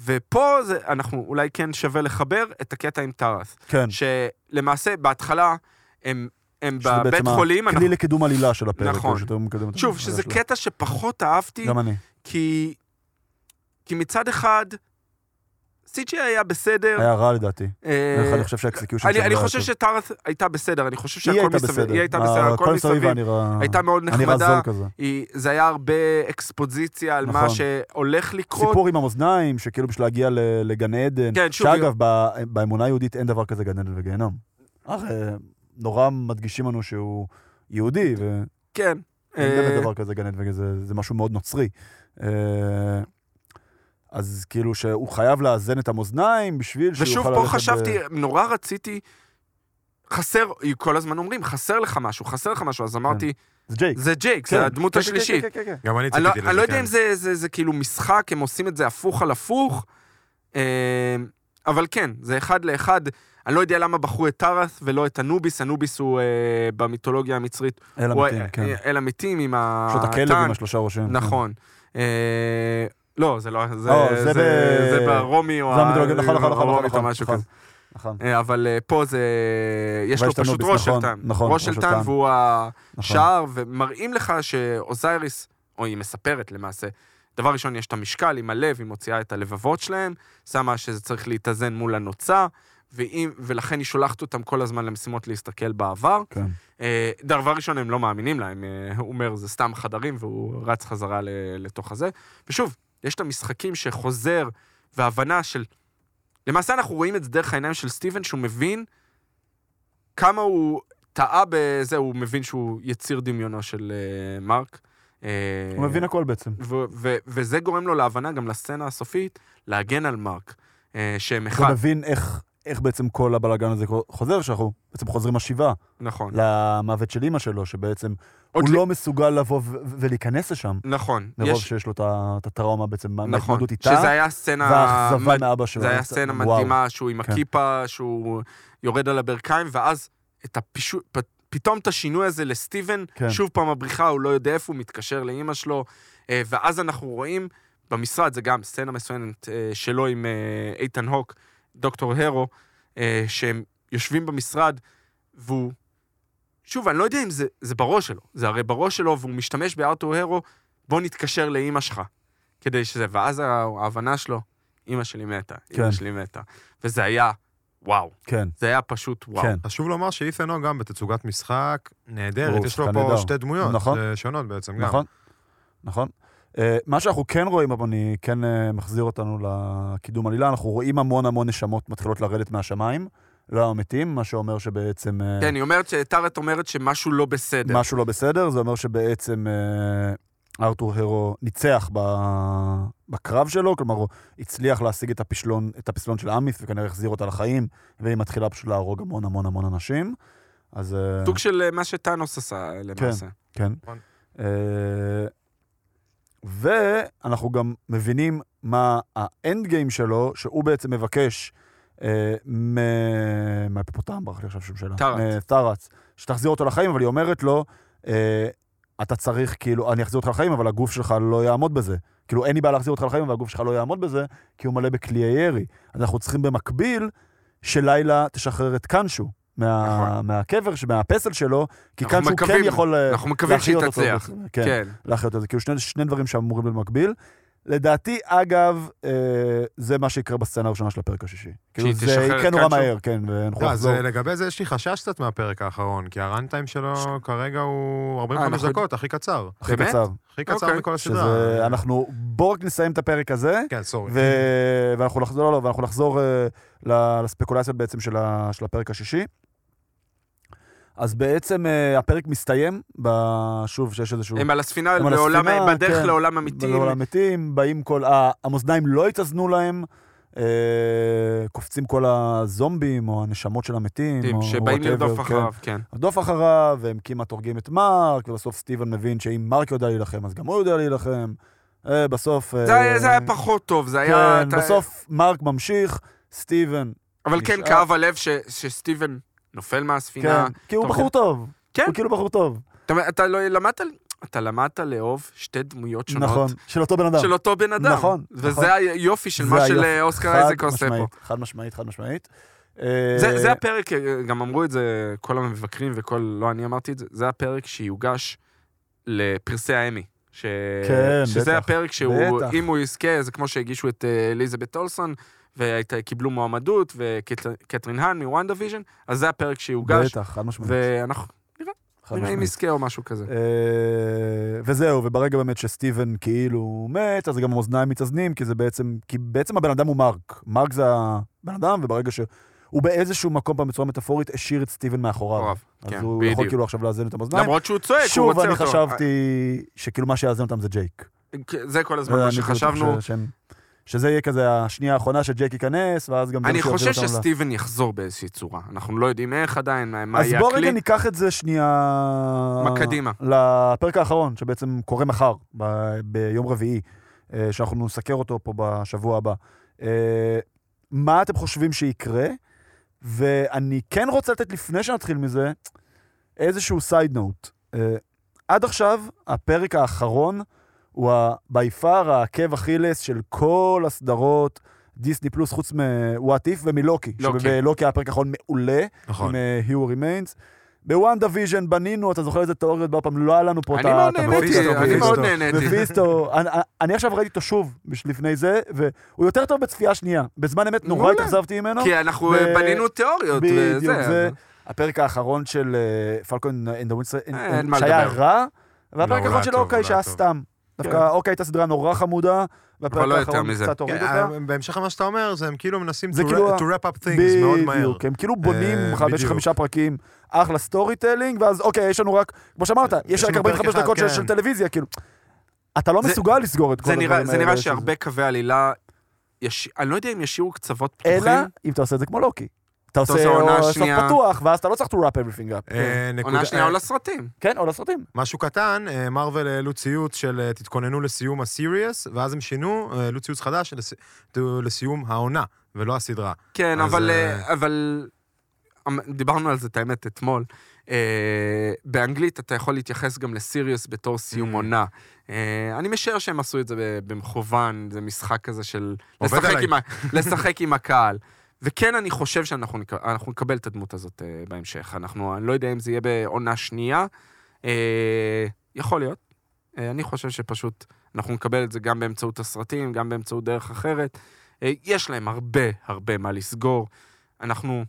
S2: ופה זה, אנחנו אולי כן שווה לחבר את הקטע עם טרס,
S1: כן.
S2: שלמעשה בהתחלה הם, הם
S1: שזה
S2: בבית
S1: בעצם
S2: חולים,
S1: הכלי
S2: אנחנו,
S1: לקידום עלילה של הפרק.
S2: נכון.
S1: כאילו, שאתה מקדם את
S2: שוב,
S1: העלילה
S2: שזה
S1: שלו.
S2: קטע שפחות אהבתי,
S1: גם אני.
S2: כי, כי מצד אחד, CGI היה בסדר.
S1: היה רע לדעתי.
S2: אה,
S1: דרך אגב, אני חושב שהאקסקיושן
S2: אני,
S1: שלו
S2: אני
S1: היה
S2: חושב
S1: טוב.
S2: שטארת הייתה בסדר, אני חושב
S1: לא היא
S2: שהכל
S1: הייתה
S2: מסביב,
S1: בסדר.
S2: היא הייתה בסדר, הכל מסביב,
S1: היה נראה...
S2: הייתה מאוד
S1: היה נראה
S2: נחמדה,
S1: זול כזה.
S2: היא, זה היה הרבה אקספוזיציה על מה
S1: נכון.
S2: שהולך לקרות.
S1: סיפור עם המאזניים, שכאילו בשביל להגיע ל- לגן עדן.
S2: כן, שוב,
S1: שאגב, ב- באמונה היהודית אין דבר כזה גן עדן וגיהנום. הרי נורא מדגישים לנו שהוא יהודי, ו...
S2: כן.
S1: אין
S2: אה,
S1: באמת לא דבר כזה גן עדן וזה זה משהו מאוד נוצרי. אה, אז כאילו שהוא חייב לאזן את המאזניים בשביל שהוא
S2: ושוב,
S1: יוכל
S2: פה
S1: ללכת... ב-
S2: חשבתי, נורא רציתי, חסר, כל הזמן אומרים, חסר לך משהו, חסר לך משהו, אז אמרתי,
S1: זה ג'ייק.
S2: זה ג'ייק,
S1: כן,
S2: זה הדמות
S1: כן, כן,
S2: השלישית.
S1: כן, כן, כן, כן.
S3: גם אני
S2: אני לא-
S3: ציפיתי לזה,
S2: אני לא יודע
S3: כן.
S2: אם זה- זה זה כאילו משחק, הם עושים את זה הפוך על הפוך, אה, אבל כן, זה אחד לאחד. אני לא יודע למה בחרו את טרס ולא את הנוביס, הנוביס הוא אה, במיתולוגיה המצרית.
S1: אלה
S2: הוא
S1: מתים,
S2: ה-
S1: כן.
S2: אל המתים עם ה...
S1: יש לו את הכלב עם
S2: טנק.
S1: השלושה ראשים. כן.
S2: אה, נכון. אה, לא, זה לא...
S1: אה,
S2: זה
S1: זה
S2: זה-
S1: ב-
S2: זה ברומי או...
S1: זה
S2: ה-
S1: המיתולוגיה, נכון, נכון, נכון,
S2: הרומית או
S1: נכון,
S2: לא משהו
S1: נכון.
S2: כזה.
S1: נכון.
S2: אה, אבל אה, פה זה... אה, יש
S1: אבל
S2: לו
S1: יש את
S2: פשוט
S1: הנוביס, נכון,
S2: רושלטן.
S1: נכון,
S2: רושלטן
S1: רושלטן.
S2: והוא
S1: נכון.
S2: השער, ומראים לך שאוזייריס, או היא מספרת למעשה, דבר ראשון, יש את המשקל עם הלב, היא מוציאה את הלבבות שלהם, שמה שזה צריך להתאזן מול הנוצה, ואם- ולכן היא שולחת אותם כל הזמן למשימות להסתכל בעבר.
S1: כן.
S2: אה, דבר ראשון, הם לא מאמינים להם, אה, הוא אומר, זה סתם חדרים, והוא רץ חזרה ל- לתוך הזה. ושוב, יש את המשחקים שחוזר והבנה של... למעשה אנחנו רואים את זה דרך העיניים של סטיבן, שהוא מבין כמה הוא טעה בזה, הוא מבין שהוא יציר דמיונו של אה, מרק. אה,
S1: הוא מבין הכל בעצם.
S2: ו- ו- וזה גורם לו להבנה גם לסצנה הסופית, להגן על מרק. אה, שהם
S1: הוא
S2: אחד,
S1: מבין איך... איך בעצם כל הבלאגן הזה חוזר, שאנחנו בעצם חוזרים לשבעה,
S2: נכון.
S1: למוות של אימא שלו, שבעצם
S2: עוד
S1: הוא
S2: לי-
S1: לא מסוגל לבוא ו- ולהיכנס לשם,
S2: נכון.
S1: מרוב
S2: יש-
S1: שיש לו את ה- את הטראומה בעצם,
S2: נכון,
S1: מההתמודדות איתה,
S2: שזה היה סצנה,
S1: והאכזבה מאבא שלו.
S2: זה היה סצנה מדהימה, שהוא עם
S1: כן.
S2: הכיפה, שהוא יורד על הברכיים, ואז את הפישו... פ... פתאום את השינוי הזה לסטיבן,
S1: כן.
S2: שוב פעם הבריחה, הוא לא יודע איפה, הוא מתקשר לאימא שלו, אה, ואז אנחנו רואים במשרד, זה גם סצנה מסוימת אה, שלו עם אה, איתן הוק, דוקטור הרו, אה, שהם יושבים במשרד, והוא... שוב, אני לא יודע אם זה, זה בראש שלו, זה הרי בראש שלו, והוא משתמש בארתור הרו, בוא נתקשר לאימא שלך, כדי שזה... ואז ההבנה שלו, אימא שלי מתה, אימא
S1: כן.
S2: שלי מתה. וזה היה, וואו,
S1: כן,
S2: זה היה פפשוט וואו.
S1: כן.
S3: חשוב לומר שאיתן הוג גם בתצוגת משחק נהדרת,
S1: ברור,
S3: יש לו
S1: שחקן
S3: פה
S1: נהדר.
S3: שתי דמויות
S1: נכון.
S3: אה, שונות בעצם גם.
S1: נכון, נכון. אה, מה שאנחנו כן רואים, אבל אני כן אה, מחזיר אותנו לקידום עלילה, אנחנו רואים המון המון נשמות מתחילות לרדת מהשמיים, לא המתים, מה שאומר שבעצם... אה,
S2: כן, היא אומרת, שטארט אומרת שמשהו לא בסדר.
S1: משהו לא בסדר, זה אומר שבעצם אה, ארתור הרו ניצח ב... בקרב שלו, כלומר, הוא הצליח להשיג את הפסלון, את הפסלון של אמיס, וכנראה החזיר אותה לחיים, והיא מתחילה פשוט להרוג המון המון המון אנשים. אז... אה,
S2: סוג של אה, מה שטאנוס עשה אה, למעשה.
S1: כן.
S3: נכון.
S1: אה, ואנחנו גם מבינים מה האנד גיים שלו, שהוא בעצם מבקש אה, מ- מהפפוטם, ברח לי עכשיו שם שלה.
S2: טראץ.
S1: אה, טראץ. שתחזיר אותו לחיים, אבל היא אומרת לו, אה, אתה צריך, כאילו, אני אחזיר אותך לחיים, אבל הגוף שלך לא יעמוד בזה. כאילו, אין לי בעיה להחזיר אותך לחיים, אבל הגוף שלך לא יעמוד בזה, כי הוא מלא בכלי הירי. אז אנחנו צריכים במקביל שלילה תשחרר את קנשו. מה,
S2: נכון.
S1: מהקבר, ש- מהפסל שלו, כי
S2: אנחנו
S1: קנשו כן
S2: מקווים- נכון.
S1: יכול אה,
S2: אנחנו מקווים שהיא
S1: להחיות אותו.
S2: תצליח.
S1: בעצם. כן,
S2: כן.
S1: להחיות אותו. זה כאילו שני- שני דברים שאמורים במקביל. לדעתי, אגב, אה, זה מה שיקרה בסצנה הראשונה של הפרק השישי. כאילו, זה
S2: תשחרר את
S1: יקרה נורא
S2: קנשו?
S1: מהר, כן, ואנחנו
S3: לא, אז
S1: נחזור.
S3: אה, לגבי זה יש לי חשש קצת מהפרק האחרון, כי הראנטיים שלו כרגע הוא 45
S2: אנחנו-
S3: דקות, הכי קצר.
S1: הכי
S2: באמת?
S1: קצר.
S3: הכי קצר
S2: אוקיי.
S3: מכל הסדרה.
S1: שזה, אנחנו, בואו רק נסיים את הפרק הזה,
S3: כן, סורי.
S1: ו- ואנחנו נחזור, לא, לא, ואנחנו נחזור אה, ל- לספקולציות בעצם של ה- של הפרק השישי. אז בעצם אה, הפרק מסתיים, ב- שוב, שיש איזשהו...
S2: הם על הספינה,
S1: הם על
S2: לעולם-
S1: הספינה,
S2: בדרך
S1: כן.
S2: לעולם אמיתי.
S1: לעולם מתים, באים כל... ה- המאזניים לא התאזנו להם, אה, קופצים כל הזומבים או הנשמות של המתים. או
S2: שבאים
S1: whatever,
S2: לרדוף
S1: כן.
S2: אחריו, כן.
S1: לרדוף אחריו, והם כמעט הורגים את מרק, ובסוף סטיבן מבין שאם מרק יודע להילחם, אז גם הוא יודע להילחם. אה, בסוף...
S2: זה
S1: אה,
S2: היה- זה היה פחות טוב, זה היה...
S1: כן,
S2: אתה-
S1: בסוף מרק ממשיך, סטיבן,
S2: אבל כן,
S1: נשאר.
S2: כאב הלב ש- שסטיבן נופל
S1: כן,
S2: מהספינה.
S1: כי הוא
S2: טוב,
S1: בחור טוב.
S2: כן.
S1: הוא כאילו בחור טוב.
S2: אתה- אתה לא למדת... אתה למדת לאהוב שתי דמויות שונות.
S1: נכון, של אותו בן אדם.
S2: של אותו בן אדם.
S1: נכון, נכון.
S2: וזה היופי של
S1: זה
S2: מה של
S1: היופי.
S2: אה, אוסקר
S1: חד
S2: אייזק עושה פה.
S1: משמעית, חד משמעית, חד משמעית.
S2: זה,
S1: אה,
S2: זה הפרק, אה, גם אמרו את זה כל המבקרים וכל, לא אני אמרתי את זה, זה הפרק שיוגש לפרסי האמי. ש...
S1: כן,
S2: שזה
S1: בטח,
S2: הפרק שהוא,
S1: בטח.
S2: אם הוא יזכה, זה כמו שהגישו את אה, אליזבת אולסון, וקיבלו מועמדות, וקטרין האן מוואן דיוויז'ן, אז זה הפרק שיוגש,
S1: בטח, חד משמעית.
S2: ואנחנו
S1: חד
S2: נראה אם
S1: משמעית.
S2: יזכה או משהו כזה.
S1: אה, וזהו, וברגע באמת שסטיבן כאילו מת, אז גם המאזניים מתאזנים, כי זה בעצם, כי בעצם הבן אדם הוא מרק. מרק זה הבן אדם, וברגע ש... הוא באיזשהו מקום פעם בצורה מטאפורית השאיר את סטיבן מאחוריו.
S2: אוהב,
S1: אז
S2: כן,
S1: הוא יכול
S2: בדיוק.
S1: כאילו עכשיו לאזן את המאזניים.
S2: למרות שהוא צועק, הוא
S1: שוב,
S2: רוצה
S1: אני
S2: אותו.
S1: חשבתי שכאילו מה שיאזן אותם זה ג'ייק.
S2: אה, זה כל הזמן מה
S1: אני כאילו
S2: שחשבנו.
S1: חושב שהם- שזה יהיה כזה השנייה האחרונה שג'ייק ייכנס, ואז גם... זה
S2: אני
S1: מה שיוביל
S2: חושב
S1: אותם ל-
S2: שסטיבן יחזור באיזושהי צורה. אנחנו לא יודעים איך עדיין, מה- מה
S1: אז
S2: יהיה
S1: בוא רגע
S2: הכלי.
S1: ניקח את זה שנייה...
S2: מה קדימה?
S1: לפרק האחרון, שבעצם קורה מחר, ב- ביום רביעי, אה, שאנחנו נסקר אותו פה בשבוע הבא. אה, מה אתם חושבים שיקרה? ואני כן רוצה לתת, לפני שנתחיל מזה, איזשהו סייד נוט. עד עכשיו, הפרק האחרון הוא ה- by far העקב אכילס של כל הסדרות דיסני פלוס, חוץ מוואט איף ומלוקי.
S2: לוקי.
S1: שבלוקי היה הפרק האחרון מעולה.
S3: נכון.
S1: עם אה, היו רימיינס. בוואן דיוויז'ן בנינו, אתה זוכר איזה תיאוריות בה פעם, לא היה לנו פה את
S2: אני מאוד
S1: הפיסטו,
S2: נהניתי, אני
S3: הפיסטו.
S2: מאוד נהניתי.
S1: ופיסטו, אני- אני עכשיו ראיתי אותו שוב בש- לפני זה, והוא יותר טוב בצפייה שנייה. בזמן אמת נורא
S2: מעולה.
S1: התאכזבתי ממנו.
S2: כי אה, אנחנו אה,
S1: ו-
S2: בנינו תיאוריות, וזה.
S1: בדיוק זה. הפרק האחרון של אה, פלקון אנד
S2: אין מה
S1: שהיה
S2: לדבר.
S1: אה, רע, והפרק
S3: לא, הוא
S1: האחרון
S3: היה
S1: של
S3: טוב,
S1: אוקיי
S3: הוא
S1: שהיה
S3: היה טוב.
S1: סתם. דווקא אוקיי הייתה סדרה נורא חמודה, והפרק
S2: כן. לא יותר
S1: האחרון
S2: מזה.
S1: קצת הוריד אותה.
S3: כן, בהמשך למה שאתה אומר, זה הם כאילו מנסים to
S1: זה כאילו
S3: wrap-
S1: ה-
S3: to wrap up things מאוד מהר.
S1: בדיוק, הם כאילו בונים,
S3: אה,
S1: חמש- יש
S3: בדיוק.
S1: חמישה פרקים, אחלה סטורי טלינג, ואז אוקיי, יש לנו רק, כמו שאמרת, יש
S3: יש
S1: רק
S3: לנו פרק
S1: 45
S3: אחד,
S1: דקות של-
S3: כן.
S1: של טלוויזיה, כאילו. אתה לא
S2: זה-
S1: מסוגל לסגור את כל
S2: זה
S1: הדברים
S2: נראה,
S1: האלה.
S2: זה נראה
S1: שזה-
S2: שהרבה קווי עלילה, יש... אני לא יודע אם ישאירו קצוות פתוחים.
S1: אלא אם אתה עושה את זה כמו לוקי. אתה עושה
S2: עושה עונה
S1: או- סוף
S2: שנייה.
S1: פתוח, ואז אתה לא צריך to wrap everything up.
S3: אה,
S2: עונה
S3: נקודה-
S2: שנייה
S3: אה,
S2: עולה סרטים.
S1: כן, או לסרטים.
S3: משהו קטן, אה, מארוול העלו ציוץ של אה, תתכוננו לסיום הסיריוס, ואז הם שינו, אה, העלו ציוץ חדש לס- תו- לסיום העונה, ולא הסדרה.
S2: כן,
S3: אז,
S2: אבל,
S3: אה,
S2: אה, אבל אמ- דיברנו על זה, את האמת, אתמול. אה, באנגלית אתה יכול להתייחס גם לסיריוס בתור סיום
S3: Mm.
S2: עונה. אה, אני משער שהם עשו את זה ב- במכוון, זה משחק כזה של...
S3: עובד
S2: לשחק
S3: עליי.
S2: עם, ה-
S3: (laughs)
S2: לשחק עם הקהל. וכן, אני חושב שאנחנו נק... אנחנו נקבל את הדמות הזאת אה, בהמשך. אנחנו, אני לא יודע אם זה יהיה בעונה שנייה. אה, יכול להיות. אה, אני חושב שפשוט אנחנו נקבל את זה גם באמצעות הסרטים, גם באמצעות דרך אחרת. אה, יש להם הרבה הרבה מה לסגור. אנחנו,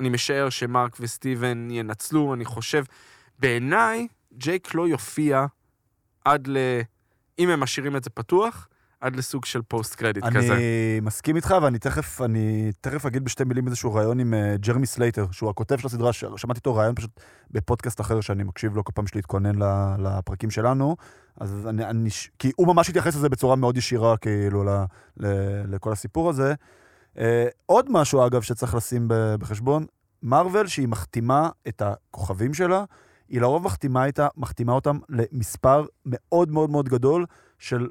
S2: אני משער שמרק וסטיבן ינצלו, אני חושב. בעיניי, ג'ייק לא יופיע עד ל... אם הם משאירים את זה פתוח, עד לסוג של פוסט קרדיט כזה.
S1: אני מסכים איתך, ואני תכף, אני תכף אגיד בשתי מילים איזשהו ראיון עם אה, ג'רמי סלייטר, שהוא הכותב של הסדרה, ש- שמעתי אותו ראיון פשוט בפודקאסט אחר שאני מקשיב לו כל פעם להתכונן לפרקים שלנו, אז אני, אני, ש- כי הוא ממש התייחס לזה בצורה מאוד ישירה, כאילו, ל, ל, לכל הסיפור הזה. אה, עוד משהו, אגב, שצריך לשים ב- בחשבון, מארוול, שהיא מחתימה את הכוכבים שלה, היא לרוב מחתימה, איתה, מחתימה אותם למספר מאוד מאוד מאוד גדול של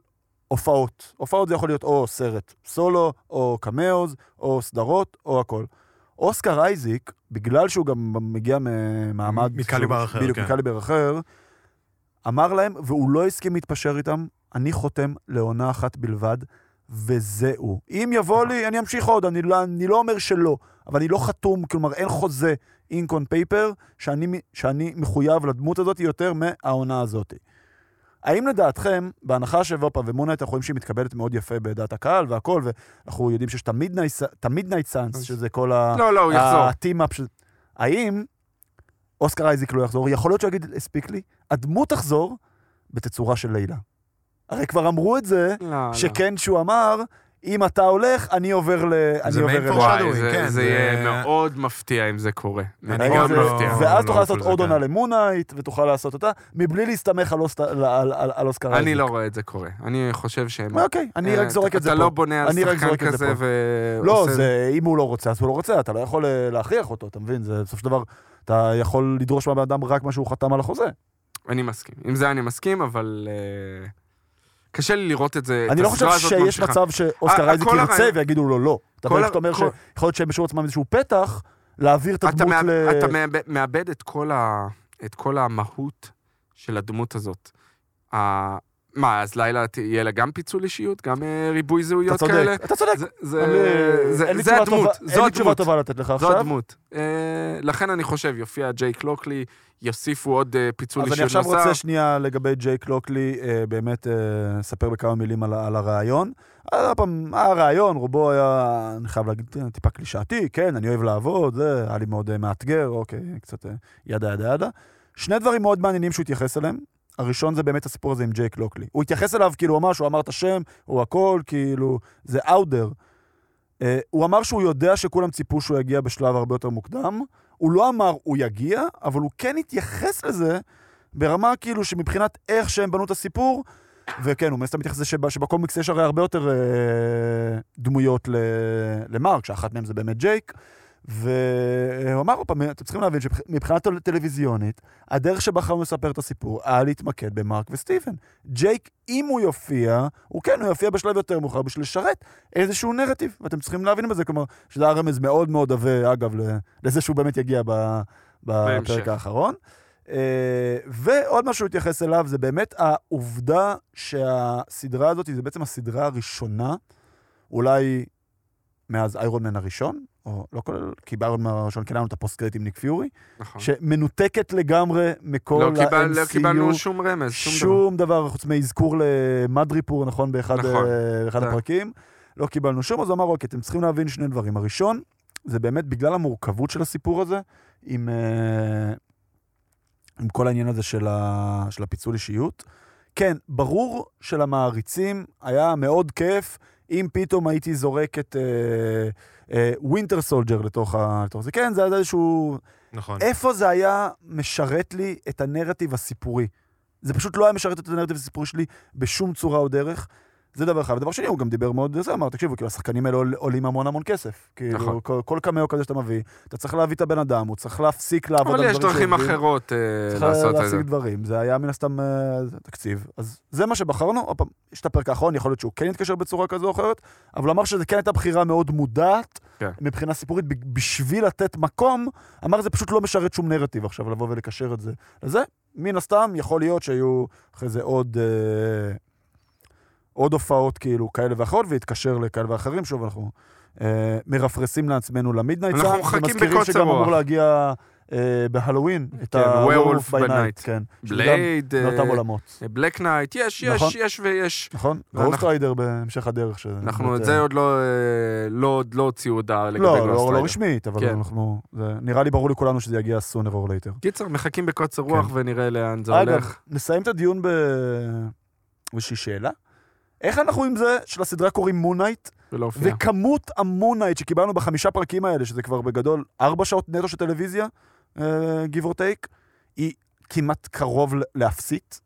S1: הופעות. הופעות זה יכול להיות או סרט סולו, או קמאוז, או סדרות, או הכל. אוסקר אייזיק, בגלל שהוא גם מגיע ממעמד...
S3: מקליבר
S1: שהוא-
S3: אחר,
S1: בדיוק,
S3: כן.
S1: מקליבר אחר, אמר להם, והוא לא הסכים להתפשר איתם, אני חותם לעונה אחת בלבד, וזהו. אם יבוא
S3: אוקיי.
S1: לי, אני אמשיך עוד, אני לא, אני לא אומר שלא, אבל אני לא חתום, כלומר אין חוזה ink on paper שאני, מ- שאני מחויב לדמות הזאת יותר מהעונה הזאת. האם לדעתכם, בהנחה שוופא ומונייט, אנחנו רואים שהיא מתקבלת מאוד יפה בדעת הקהל והכל, ואנחנו יודעים שיש את המידנייט סאנס,
S2: אז-
S1: שזה כל ה...
S2: לא, לא, הוא יחזור.
S1: הטים-אפ של... האם אוסקר אייזיק לא יחזור? יכול להיות שהוא יגיד, הספיק לי, הדמות תחזור בתצורה של לילה. הרי כבר אמרו את זה,
S2: לא, לא.
S1: שכן שהוא אמר, אם אתה הולך, אני עובר ל... אני
S3: זה
S1: עובר
S3: main
S1: אליו."
S3: foreshadowing,
S2: וואי, זה-
S3: כן,
S2: זה
S3: זה-
S2: יהיה מאוד מפתיע אם זה קורה. זה
S3: אני
S1: רגע,
S2: מאוד
S3: גם
S1: זה-
S3: לא-
S2: מפתיע.
S3: לא
S1: ואז
S3: הולך
S1: תוכל לעשות
S3: לזה,
S1: עוד
S3: כן.
S1: עונה למונייט, ותוכל לעשות אותה, מבלי להסתמך על אוסט- על- על- על- על אוסקר אייזיק.
S2: אני לא רואה את זה קורה. אני חושב שהם...
S1: אוקיי, אני רק
S2: אה,
S1: זורק את זה פה.
S2: אתה לא בונה על
S1: אני רק
S2: שחקן
S1: זורק את זה
S2: כזה
S1: פה.
S2: ועושה...
S1: לא, זה, אם הוא לא רוצה, אז הוא לא רוצה, אתה לא יכול אה, להכריח אותו, אתה מבין? זה בסופו של דבר, אתה יכול לדרוש מהבן אדם רק מה שהוא חתם על החוזה.
S2: אה, אני מסכים. עם זה אני מסכים, אבל... אה, קשה לי לראות את זה, את
S1: אני לא חושב
S2: הסדרה הזאת
S1: שיש
S2: ממשיכה.
S1: מצב שאוסקר
S2: ה-
S1: אייזק
S2: הכל
S1: ירצה
S2: הרעיון-
S1: ויגידו לו לא. אתה
S2: כל
S1: בערך
S2: ה-
S1: אתה אומר
S2: כל-
S1: שיכול להיות שהם משאירו לעצמם איזשהו פתח להעביר את
S2: אתה
S1: הדמות
S2: מאב-
S1: ל...
S2: אתה מאבד- מאבד את כל ה- את כל המהות של הדמות הזאת. ה- מה, אז לילה ת- יהיה לה גם פיצול אישיות? גם אה, ריבוי
S1: אתה
S2: זהויות כאלה?
S1: צודק, אתה צודק.
S2: זה-
S1: אני-
S2: זה- זה-
S1: אין לי
S2: זה
S1: תשובה
S2: הדמות,
S1: טובה-
S2: זו
S1: אין לי תשובה
S2: הדמות.
S1: טובה לתת לך
S2: זו
S1: עכשיו.
S2: הדמות. אה, לכן אני חושב, יופיע ג'ייק לוקלי, יוסיפו עוד אה, פיצול
S1: אז אני
S2: אישיות
S1: עכשיו
S2: נוסף.
S1: רוצה שנייה לגבי ג'ייק לוקלי, אה, באמת אה, ספר בכמה מילים על ה- על הרעיון. אז עוד פעם, הרעיון, רובו היה, אני חייב להגיד, אה, טיפה קלישאתי, כן, אני אוהב לעבוד, זה היה לי מאוד אה, מאתגר, אוקיי, קצת אה, ידה ידה ידה. שני דברים מאוד מעניינים שהוא התייחס אליהם. הראשון זה באמת הסיפור הזה עם ג'ייק לוקלי. הוא התייחס אליו כאילו הוא אמר שהוא אמר את השם, הוא הכל, כאילו, זה אאודר. אה, הוא אמר שהוא יודע שכולם ציפו שהוא יגיע בשלב הרבה יותר מוקדם. הוא לא אמר הוא יגיע, אבל הוא כן התייחס לזה ברמה כאילו שמבחינת איך שהם בנו את הסיפור, וכן, הוא מסתם מתייחס לזה שב- שבקומיקס יש הרי הרבה יותר אה, דמויות ל- למרק, שאחת מהן זה באמת ג'ייק. והוא אמר עוד פעם, אתם צריכים להבין שמבחינה טל- טלוויזיונית, הדרך שבחרנו לספר את הסיפור היה להתמקד במרק וסטיבן. ג'ייק, אם הוא יופיע, הוא כן, הוא יופיע בשלב יותר מאוחר בשביל לשרת איזשהו נרטיב, ואתם צריכים להבין בזה, כלומר, שזה היה רמז מאוד מאוד עבה, אגב, ל- לזה שהוא באמת יגיע ב- בפרק
S2: בהמשך.
S1: האחרון. אה, ועוד משהו להתייחס אליו, זה באמת העובדה שהסדרה הזאת, זה בעצם הסדרה הראשונה, אולי מאז איירון מן הראשון, או לא כולל, כי באיירון מן הראשון כן היה לנו את הפוסט קרדיט עם ניק פיורי,
S2: נכון.
S1: שמנותקת לגמרי מכל
S2: לא קיבל-
S1: ה-MCU.
S2: לא קיבלנו שום רמז, שום דבר.
S1: שום דבר חוץ מאזכור למדריפור, נכון, באחד,
S2: נכון.
S1: אה, באחד
S2: כן.
S1: הפרקים. לא קיבלנו שום, אז הוא אמר, אוקיי, אתם צריכים להבין שני דברים. הראשון, זה באמת בגלל המורכבות של הסיפור הזה, עם, אה, עם כל העניין הזה של, ה, של הפיצול אישיות. כן, ברור שלמעריצים היה מאוד כיף אם פתאום הייתי זורק את אה, ווינטר סולג'ר לתוך ה- לתוך זה. כן, זה היה איזשהו...
S3: נכון.
S1: איפה זה היה משרת לי את הנרטיב הסיפורי? זה פשוט לא היה משרת את הנרטיב הסיפורי שלי בשום צורה או דרך. זה דבר אחד. ודבר שני, הוא גם דיבר מאוד, זה אמר, תקשיבו, כאילו, השחקנים האלה עול- עולים המון המון כסף. כאילו,
S2: נכון.
S1: כל, כל קמאו כזה שאתה מביא, אתה צריך להביא את הבן אדם, הוא צריך להפסיק לעבוד על
S2: אבל
S1: דברים
S2: יש דרכים
S1: שעובדים.
S2: אחרות אה,
S1: צריך
S2: לעשות את זה.
S1: להשיג דברים, זה היה מן הסתם אה, זה תקציב. אז זה מה שבחרנו, עוד פעם, יש את הפרק האחרון, יכול להיות שהוא כן התקשר בצורה כזו או אחרת, אבל הוא אמר שזה כן הייתה בחירה מאוד מודעת,
S2: כן.
S1: מבחינה סיפורית, ב- בשביל לתת מקום, אמר זה פשוט לא משרת שום נרטיב עכשיו, לבוא ולקשר את זה לזה. מן הסתם, יכול להיות שהיו אחרי זה עוד... אה, עוד הופעות כאילו כאלה ואחרות, והתקשר לכאלה ואחרים, שוב, אנחנו אה, מרפרסים לעצמנו למידנייט
S2: אנחנו מחכים
S1: ומזכירים
S2: בקוצר
S1: שגם
S2: רוח.
S1: אמור להגיע אה, בהלווין,
S2: כן,
S1: את ה-Werewolf by Night, כן.
S2: בלייד,
S1: שזה גם מאותם עולמות,
S2: בלק נייט, אה, יש, יש,
S1: נכון.
S2: יש ויש.
S1: נכון?
S2: ואנחנו-
S1: גרוסט ריידר בהמשך הדרך. שזה
S2: אנחנו
S1: באמת,
S2: את
S1: אה,
S2: זה עוד לא, אה, לא עוד לא הוציאו הודעה לגבי
S1: לא,
S2: גוסט
S1: לא, לא
S2: ריידר.
S1: רשמית, אבל
S2: כן.
S1: אנחנו... זה- נראה לי ברור לכולנו שזה יגיע sooner or later.
S2: קיצר, מחכים בקוצר רוח ונראה לאן זה
S1: כן. אגב,
S2: הולך.
S1: נסיים את הדיון באיזושהי שאלה. איך אנחנו עם זה שלסדרה קוראים מונייט,
S2: ולא הופיע.
S1: וכמות המונייט שקיבלנו בחמישה פרקים האלה, שזה כבר בגדול ארבע שעות נטו של טלוויזיה, אה, give or take, היא כמעט קרוב ל- לאפסית.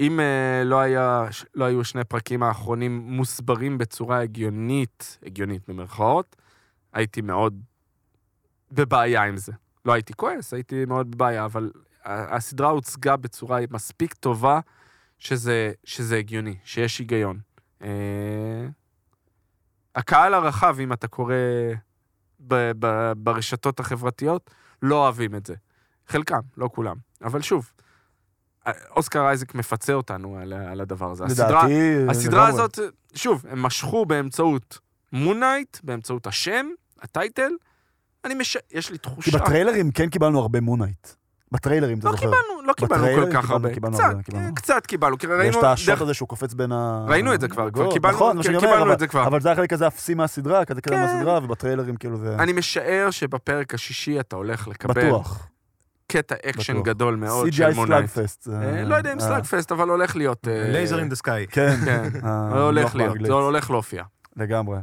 S2: אם אה, לא, היה, לא היו שני פרקים האחרונים מוסברים בצורה הגיונית, הגיונית במרכאות, הייתי מאוד בבעיה עם זה. לא הייתי כועס, הייתי מאוד בבעיה, אבל ה- הסדרה הוצגה בצורה מספיק טובה שזה, שזה הגיוני, שיש היגיון. אה, הקהל הרחב, אם אתה קורא ב, ב, ברשתות החברתיות, לא אוהבים את זה. חלקם, לא כולם. אבל שוב, אה, אוסקר אייזק מפצה אותנו על, על הדבר הזה. הסדרה,
S1: לדעתי,
S2: הסדרה
S1: אה, לגמרי.
S2: הזאת, שוב, הם משכו באמצעות מונייט, באמצעות השם, הטייטל. אני מש... יש לי תחושה...
S1: כי בטריילרים כן קיבלנו הרבה מונייט. בטריילרים, אתה
S2: לא
S1: זוכר.
S2: קיבלנו, לא קיבלנו
S1: בטריילר
S2: כל כך
S1: קיבלנו-
S2: הרבה.
S1: קיבלנו
S2: קצת,
S1: הרבה, קיבלנו.
S2: קצת קיבלנו, כי
S1: ויש
S2: ראינו...
S1: את
S2: דרך-
S1: השוט הזה שהוא קופץ בין ה...
S2: ראינו את זה כבר, כבר
S1: הגגות.
S2: קיבלנו-
S1: נכון, זה מה
S2: כן,
S1: שאני אומר,
S2: קיבלנו
S1: אבל-
S2: את זה כבר.
S1: אבל זה החלק הזה האפסי מהסדרה, כזה קטע
S2: כן.
S1: מהסדרה, ובטריילרים כאילו זה...
S2: אני משער שבפרק השישי אתה הולך לקבל
S1: בטוח.
S2: קטע אקשן
S1: בטוח.
S2: גדול מאוד של
S1: CGI
S2: מונייט.
S1: סלאגפסט.
S2: אה, לא יודע אם סלאגפסט, אבל הולך להיות... אה,
S3: לייזר אין דה סקאי.
S2: (laughs)
S1: כן. (laughs)
S2: כן,
S1: אה,
S2: זה הולך
S1: נוח
S2: להיות, לא-
S1: באנגלית.
S2: זה הולך להופיע.
S1: לגמרי.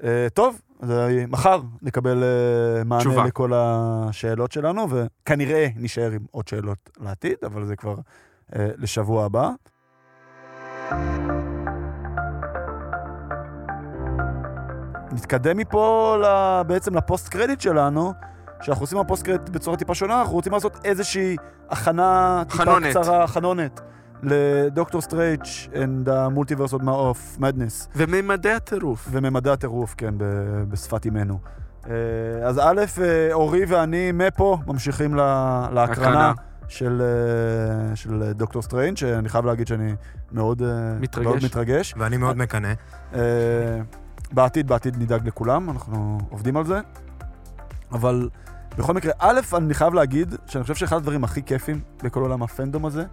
S1: Uh, טוב, אז אה, מחר נקבל uh, מענה
S2: תשובה.
S1: תשובה. לכל השאלות שלנו, וכנראה נישאר עם עוד שאלות לעתיד, אבל זה כבר uh, לשבוע הבא. נתקדם מפה ל- בעצם לפוסט קרדיט שלנו, שאנחנו עושים הפוסט קרדיט בצורה טיפה שונה, אנחנו רוצים לעשות איזושהי הכנה טיפה
S2: חנונת.
S1: קצרה, חנונת, לדוקטור סטרייץ' and the multiverse of madness.
S2: וממדי הטירוף.
S1: וממדי הטירוף, כן, ב- בשפת אימנו. אה, אז א', אה, אורי ואני מפה ממשיכים ל-
S2: הקרנה.
S1: להקרנה של, אה, של דוקטור סטריינג, שאני חייב להגיד שאני מאוד אה,
S2: מתרגש.
S1: מאוד מתרגש.
S3: ואני מאוד מקנא.
S1: אה, בעתיד, בעתיד נדאג לכולם, אנחנו עובדים על זה. אבל בכל מקרה, א', אני חייב להגיד שאני חושב שאחד הדברים הכי כיפים בכל עולם הפנדום הזה,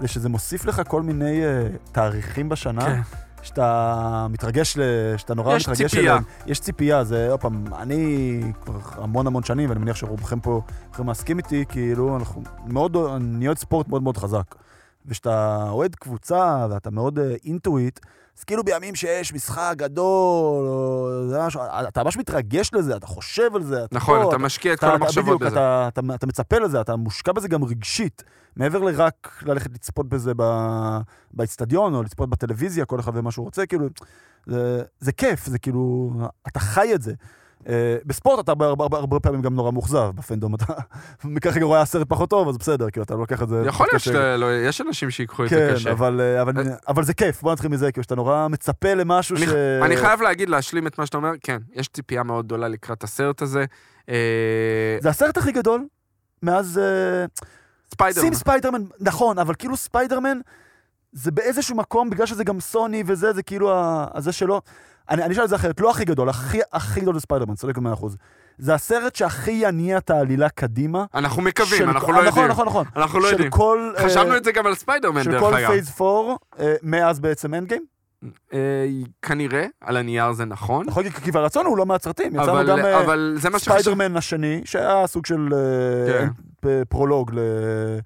S1: זה שזה מוסיף לך כל מיני אה, תאריכים בשנה.
S2: כן.
S1: שאתה מתרגש, ל- שאתה נורא
S2: יש
S1: מתרגש
S2: ציפייה.
S1: אליהם. יש ציפייה, זה עוד פעם, אני כבר המון המון שנים, ואני מניח שרובכם פה יכולים להסכים איתי, כאילו, אנחנו מאוד, אני אוהד ספורט מאוד מאוד חזק. וכשאתה אוהד קבוצה ואתה מאוד אה, אינטואיט, אז כאילו בימים שיש משחק גדול, או זה משהו, אה, אתה ממש מתרגש לזה, אתה חושב על זה. אתה פה,
S2: נכון, אתה משקיע את כל המחשבות
S1: בדיוק,
S2: בזה.
S1: לא, אתה, אתה, אתה מצפה לזה, אתה מושקע בזה גם רגשית. מעבר לרק ללכת לצפות בזה ב- באיצטדיון, או לצפות בטלוויזיה, כל אחד ומה שהוא רוצה, כאילו, זה, זה כיף, זה כאילו, אתה חי את זה. אה, בספורט אתה הרבה, הרבה, הרבה, הרבה פעמים גם נורא מאוכזב, בפנדום אתה (laughs) ככה רואה הסרט פחות טוב, אז בסדר, כאילו, אתה לוקח את זה...
S2: יכול
S1: קצת
S2: להיות
S1: קשה.
S2: שאתה, לא- יש אנשים שיקחו את זה
S1: כן,
S2: קשה.
S1: אבל, אה, אבל,
S2: אה.
S1: אבל זה כיף, בוא נתחיל מזה, כאילו שאתה נורא מצפה למשהו ש...
S2: אני חייב להגיד, להשלים את מה שאתה אומר, כן, יש ציפייה מאוד גדולה לקראת הסרט הזה. אה,
S1: זה הסרט הכי גדול מאז... אה,
S2: ספיידרמן.
S1: שים ספיידרמן, נכון, אבל כאילו ספיידרמן, זה באיזשהו מקום, בגלל שזה גם סוני וזה, זה כאילו ה- הזה שלו. אני אני אשאל את זה אחרת, לא הכי גדול, הכי הכי גדול זה ספיידרמן, צודק במאה אחוז. זה הסרט שהכי יניע את העלילה קדימה.
S2: אנחנו
S1: של-
S2: מקווים, אנחנו לא
S1: נכון,
S2: יודעים.
S1: נכון, נכון.
S2: אנחנו לא
S1: של
S2: יודעים.
S1: כל... אה,
S2: חשבנו את זה גם על ספיידרמן,
S1: של
S2: דרך
S1: כל
S2: אגב.
S1: פייס 4, מאז בעצם אנד גיים.
S2: אה, כנראה, על הנייר זה נכון.
S1: נכון, כי- כי והרצון הוא לא מהסרטים, יצאנו
S2: אבל,
S1: גם אה,
S2: אבל זה מה שחשוב
S1: ספיידרמן השני, שהיה סוג של אה,
S2: כן. אה,
S1: אה, פרולוג ל-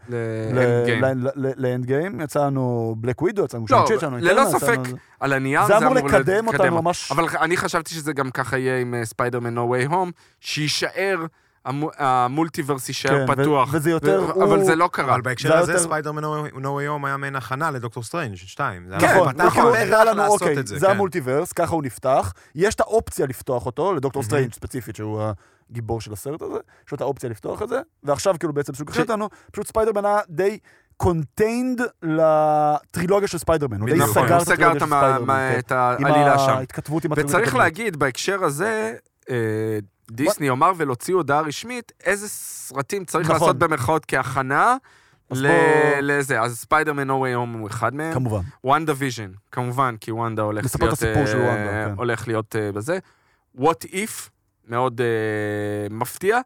S1: ל-
S2: ל-Endgame.
S1: ל- ל- לאנד גיים, יצאנו בלק ווידו, יצאנו
S2: לא,
S1: שינצ'י, יצאנו...
S2: ללא
S1: אינטרנל,
S2: ספק,
S1: יצאנו-
S2: על הנייר
S1: זה אמור לקדם אותנו ממש...
S2: אבל אני חשבתי שזה גם ככה יהיה עם אה, ספיידרמן No Way Home, שיישאר, המו- המולטיברס יישאר
S1: כן, ו-
S2: פתוח.
S1: וזה יותר
S2: ו-
S1: הוא-
S2: אבל זה לא קרה.
S3: אבל
S1: זה
S3: בהקשר
S1: היה
S3: הזה,
S1: יותר-
S3: ספיידרמן נו היום היה מעין הכנה לדוקטור סטרנג' 2.
S1: נכון,
S2: כן,
S1: הוא כאילו הראה לנו, אוקיי, זה
S3: כן.
S1: המולטיברס, ככה הוא נפתח, יש את האופציה לפתוח אותו, לדוקטור סטרנג' ספציפית, שהוא הגיבור של הסרט הזה, יש לו את האופציה לפתוח את זה, ועכשיו כאילו בעצם סוג אחר אותנו, פשוט ספיידרמן היה די קונטיינד לטרילוגיה של ספיידרמן, הוא די
S3: בדיוק,
S1: סגר
S2: נכון,
S1: את
S2: הוא
S1: הטרילוגיה
S2: סגר
S1: של
S2: את המה-
S1: ספיידרמן,
S2: מה-
S1: כן.
S2: את
S1: עם
S2: העלילה שם.
S1: ההתכתבות עם הטרילוגיה.
S2: וצריך
S1: הקודמת.
S2: להגיד, בהקשר הזה, אה, דיסני או מארוול הוציאו הודעה רשמית, איזה סרטים צריך
S1: נכון.
S2: לעשות במרכאות כהכנה
S1: אז
S2: ל-
S1: בוא-
S2: לזה. אז ספיידרמן No Way Home הוא אחד מהם.
S1: כמובן.
S2: וונדה ויז'ן, כמובן, כי וונדה הולכת
S1: מספר את
S2: להיות...
S1: הסיפור של
S2: אה,
S1: וונדה, כן.
S2: הולך להיות אה, בזה. What if, מאוד אה, מפתיע.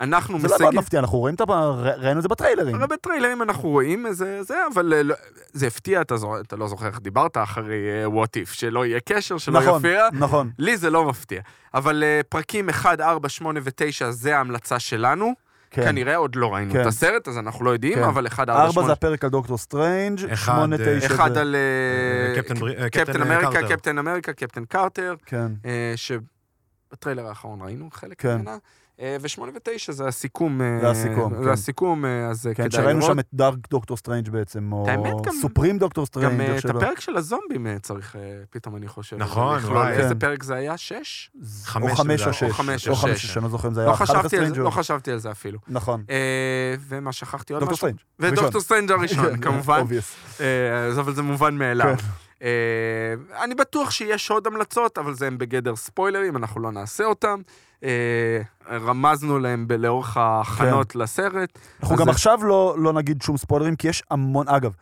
S2: אנחנו
S1: זה לא מאוד
S2: מסייגים...
S1: מפתיע, אנחנו רואים את ה... ראינו את זה בטריילרים.
S2: הרי בטריילרים אנחנו רואים איזה זה, אבל אה, לא- זה הפתיע, אתה זו- אתה לא זוכר איך דיברת אחרי אה, What if, שלא יהיה קשר, שלא
S1: נכון,
S2: יופיע.
S1: נכון.
S2: לי זה לא מפתיע. אבל אה, פרקים 1, 4, 8 ו-9 זה ההמלצה שלנו.
S1: כן.
S2: כנראה עוד לא ראינו
S1: כן.
S2: את הסרט, אז אנחנו לא יודעים,
S1: כן.
S2: אבל 1, 4,
S1: ארבע זה
S2: 8...
S1: הפרק על דוקטור סטרנג',
S3: אחד,
S1: שמונה,
S3: אה,
S1: תשע.
S2: אחד
S1: זה-
S2: על... אה,
S3: אה, קפטן ברי- אה,
S2: קפטן
S3: קפטן, אה,
S2: אמריקה,
S3: קרטר.
S2: קפטן אמריקה, קפטן קרטר,
S1: כן.
S2: אה, שבטריילר האחרון ראינו חלק
S1: כן.
S2: ממנה. אה, ושמונה ותשע זה הסיכום. אה,
S1: זה הסיכום, כן.
S2: זה הסיכום, אה, אז אה,
S1: כן,
S2: כדאי
S1: שראינו
S2: לראות.
S1: שם את דארק דוקטור סטרנג' בעצם, או
S2: האמת, גם-
S1: סופרים דוקטור סטרנג',
S2: גם אה,
S1: איך
S2: את
S1: שלא.
S2: הפרק של הזומבים אה, צריך, אה, פתאום אני חושב.
S3: נכון,
S2: לכלול.
S3: וואי.
S1: כן.
S2: איזה פרק זה היה? שש?
S1: או
S3: חמש
S1: חמש
S3: אולי,
S1: או
S3: או
S1: שש.
S2: חמש
S1: או
S2: או
S1: חמש או
S2: שש.
S1: שש, אני לא זוכר אם זה היה
S2: לא
S1: אחד אחרי
S2: חשבתי על זה-
S1: סטרנג'
S2: לא
S1: או...
S2: חשבתי על זה אפילו.
S1: נכון,
S2: אה, ומה שכחתי עוד
S1: דוקטור
S2: משהו?
S1: סטרנג'. ראשון.
S2: ודוקטור
S1: (laughs)
S2: סטרנג' הראשון, כמובן.
S1: Obvious.
S2: אה, אז אבל זה מובן מאליו.
S1: כן.
S2: אה, אני בטוח שיש עוד המלצות, אבל זה הם בגדר ספוילרים, אנחנו לא נעשה אותם. אה, רמזנו להם ב- לאורך
S1: כן.
S2: ההכנות לסרט.
S1: אנחנו
S2: אז
S1: גם
S2: זה-
S1: עכשיו לא לא נגיד שום ספוילרים, כי יש המון... אגב,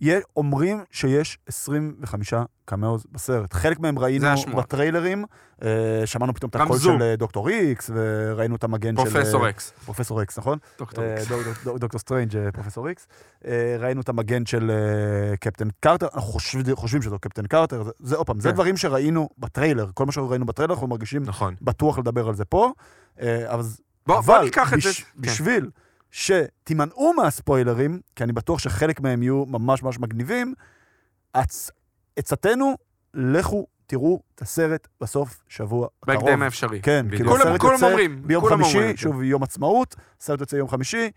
S1: יה- אומרים שיש 25 קמאוז בסרט. חלק מהם ראינו
S2: זה השמועות.
S1: בטריילרים, אה, שמענו פתאום את הקול
S2: רמזו.
S1: של אה, דוקטור איקס, וראינו את המגן של...
S2: פרופסור
S1: אה,
S2: אקס.
S1: פרופסור איקס, נכון?
S2: דוקטור אקס.
S1: אה, דוק- דוק- דוקטור סטרנג', אה, פרופסור איקס. אה, ראינו את המגן של אה, קפטן קרטר, אנחנו חושבים- חושבים שזו קפטן קרטר, זה- זה עוד פעם, זה
S2: כן.
S1: דברים שראינו בטריילר, כל מה שראינו בטריילר, אנחנו מרגישים
S3: נכון.
S1: בטוח לדבר על זה פה, אה, אבל
S2: בוא בוא
S1: אבל
S2: ניקח את זה.
S1: בש-
S2: כן.
S1: בשביל שתימנעו מהספוילרים, כי אני בטוח שחלק מהם יהיו ממש ממש מגניבים, עצ- עצתנו, לכו תראו את הסרט בסוף שבוע הקרוב.
S2: בהקדם האפשרי.
S1: כן,
S3: בדיוק.
S1: כאילו
S2: כולם-
S1: הסרט
S2: כולם
S1: יוצא
S2: אומרים,
S1: ביום
S2: כולם
S1: חמישי,
S2: אומרים, כן.
S1: שוב יום עצמאות, הסרט יוצא יום חמישי,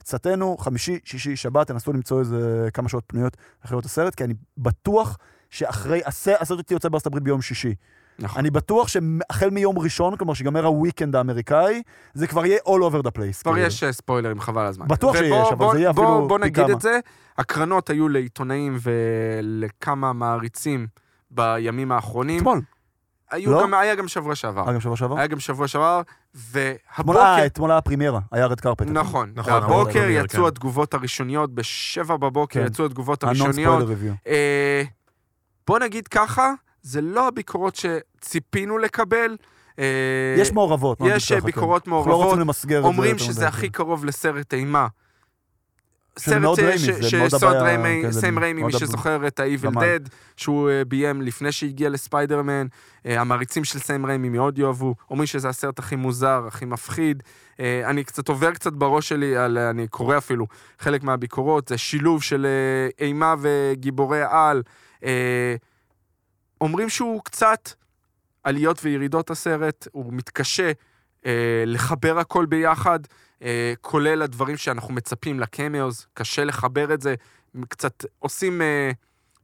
S1: עצתנו, חמישי, שישי, שבת, תנסו למצוא איזה כמה שעות פנויות אחרי לראות את הסרט, כי אני בטוח שאחרי, הס- הסרט אותי יוצא בארצות הברית ביום שישי.
S2: נכון.
S1: אני בטוח שהחל מיום ראשון, כלומר שיגמר הוויקנד האמריקאי, זה כבר יהיה all over the place.
S2: כבר
S1: כאילו.
S2: יש אה, ספוילרים, חבל על הזמן.
S1: בטוח
S2: ובוא-
S1: שיש, אבל
S2: בוא-
S1: זה יהיה
S2: בוא-
S1: אפילו
S2: בוא
S1: פי
S2: נגיד
S1: כמה.
S2: את זה, הקרנות היו לעיתונאים ולכמה מעריצים בימים האחרונים.
S1: אתמול.
S2: היו
S1: לא?
S2: גם- היה גם שבוע שעבר.
S1: אה, גם שבוע שעבר?
S2: היה גם שבוע שעבר,
S1: אתמול אה,
S2: והבוקר...
S1: היה- אתמול היה הפרימיירה, היה רד קרפט.
S2: נכון,
S3: נכון,
S2: והבוקר
S3: הבוקר,
S2: יצאו
S3: כן.
S2: התגובות הראשוניות, בשבע בבוקר
S1: אוקיי. כן.
S2: יצאו התגובות
S1: הנון
S2: הראשוניות.
S1: ספוילר ריוויו.
S2: אה, בוא נגיד ככה, זה לא הביקורות שציפינו לקבל. אה,
S1: יש מעורבות. בוא נגיד
S2: יש אה,
S1: ככה, כן.
S2: ביקורות
S1: אנחנו לא רוצים
S2: מעורבות,
S1: למסגר את זה.
S2: אומרים
S1: יותר
S2: שזה
S1: מדי.
S2: הכי קרוב לסרט אימה.
S1: שזה
S2: סרט
S1: כן, מאוד
S2: אה,
S1: ריימי,
S2: ש-
S1: זה מאוד
S2: שסוד
S1: הבעיה,
S2: ריימי,
S1: כן, זה
S2: סם ריימי,
S1: מאוד
S2: מי
S1: הבעיה.
S2: שזוכר את ה-Evil
S1: גמל.
S2: Dead, שהוא אה, ביים לפני שהגיע לספיידרמן, אה, המעריצים של סם ריימי מאוד יאהבו, אומרים שזה הסרט הכי מוזר, הכי מפחיד. אה, אני קצת עובר קצת בראש שלי, על, אה, אני קורא אפילו חלק מהביקורות, זה שילוב של אה, אימה וגיבורי על. אה, אומרים שהוא קצת עליות וירידות הסרט, הוא מתקשה אה, לחבר הכל ביחד, אה, כולל הדברים שאנחנו מצפים לקמיוז, קשה לחבר את זה, הם קצת עושים, אה,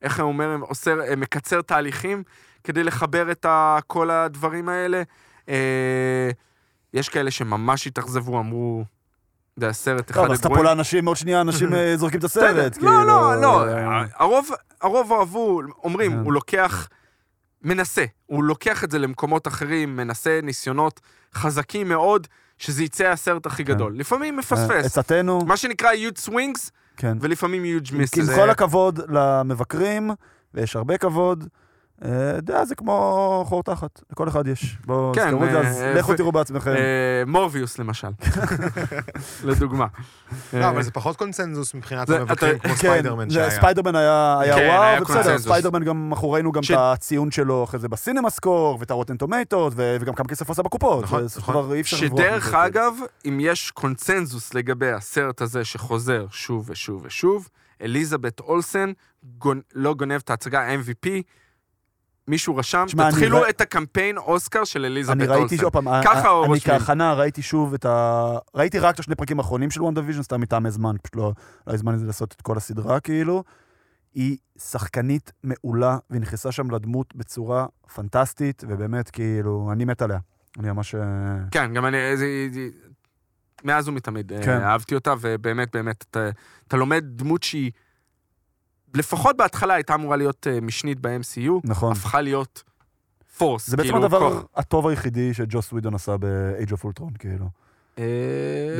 S2: איך הוא אומר, הם עושה, אה, מקצר תהליכים כדי לחבר את ה, כל הדברים האלה. אה, יש כאלה שממש התאכזבו, אמרו, זה הסרט אחד
S1: טוב, אז אתה לא, פה
S2: הגרועים.
S1: לאנשים, עוד שנייה
S2: (laughs)
S1: אנשים אה, זורקים את
S2: בסדר,
S1: הסרט.
S2: לא,
S1: כאילו,
S2: לא, לא,
S1: אה,
S2: הרוב, הרוב אהבו, אומרים,
S1: כן.
S2: הוא לוקח, מנסה, הוא לוקח את זה למקומות אחרים, מנסה ניסיונות חזקים מאוד, שזה יצא הסרט הכי גדול.
S1: כן.
S2: לפעמים
S1: אה,
S2: מפספס.
S1: עצתנו,
S2: מה שנקרא huge swings,
S1: כן.
S2: ולפעמים huge
S1: עם
S2: misses.
S1: כל הכבוד למבקרים, ויש הרבה כבוד, אה, דעה זה כמו חור תחת, לכל אחד יש. בואו,
S2: כן,
S1: תזכרו את זה,
S2: אה,
S1: אז
S2: אה,
S1: לכו
S2: ו-
S1: תראו בעצמכם.
S2: אה,
S1: (laughs)
S2: מורביוס למשל, לדוגמה. אה,
S3: לא, אבל זה פחות קונצנזוס מבחינת
S2: זה-
S3: המבקרים,
S2: אתה-
S3: כמו
S1: אה. (laughs) כן,
S3: ספיידרמן
S1: זה-
S3: שהיה.
S1: ספיידרמן היה היה
S2: כן, היה
S1: וואו, ובסדר,
S2: קונצנזוס.
S1: ספיידרמן גם, אנחנו ראינו גם
S2: ש-
S1: את הציון שלו אחרי זה בסינמה סקור, ואת הרוטן טומטות, וגם כמה כסף עשה בקופות.
S3: נכון,
S1: זה
S3: נכון.
S1: כבר אי אפשר לברוח מזה,
S2: שדרך
S1: כאילו.
S2: אגב, אם יש קונצנזוס לגבי הסרט הזה שחוזר שוב ושוב ושוב, אליזבת אולסן גונ... לא גונב את ההצגה ה-MVP, מישהו רשם,
S1: תשמע, אני
S2: תתחילו
S1: ר-
S2: את הקמפיין אוסקר של אליזבת
S1: אני
S2: אולסן.
S1: ראיתי, עוד פעם, אה,
S2: ככה
S1: אני- אני
S2: רושמים.
S1: כהכנה ראיתי שוב את ה... ראיתי רק את השני פרקים האחרונים של וואן דיוויז'ן, סתם מטעמי זמן, פשוט לא לא היה זמן לזה לעשות את כל הסדרה, כאילו. היא שחקנית מעולה, והיא נכנסה שם לדמות בצורה פנטסטית, ובאמת, כאילו, אני מת עליה. אני ממש... אה,
S2: כן, גם אני... זה, זה, מאז ומתמיד אה,
S1: כן.
S2: אהבתי אותה, ובאמת, באמת, אתה, אתה לומד דמות שהיא, לפחות בהתחלה הייתה אמורה להיות אה, משנית ב-MCU,
S1: נכון.
S2: הפכה להיות פורס.
S1: זה בעצם
S2: כאילו,
S1: הדבר
S2: כוח.
S1: הטוב היחידי שג'וס ווידון עשה ב-Age of Ultron, כאילו.
S2: אה,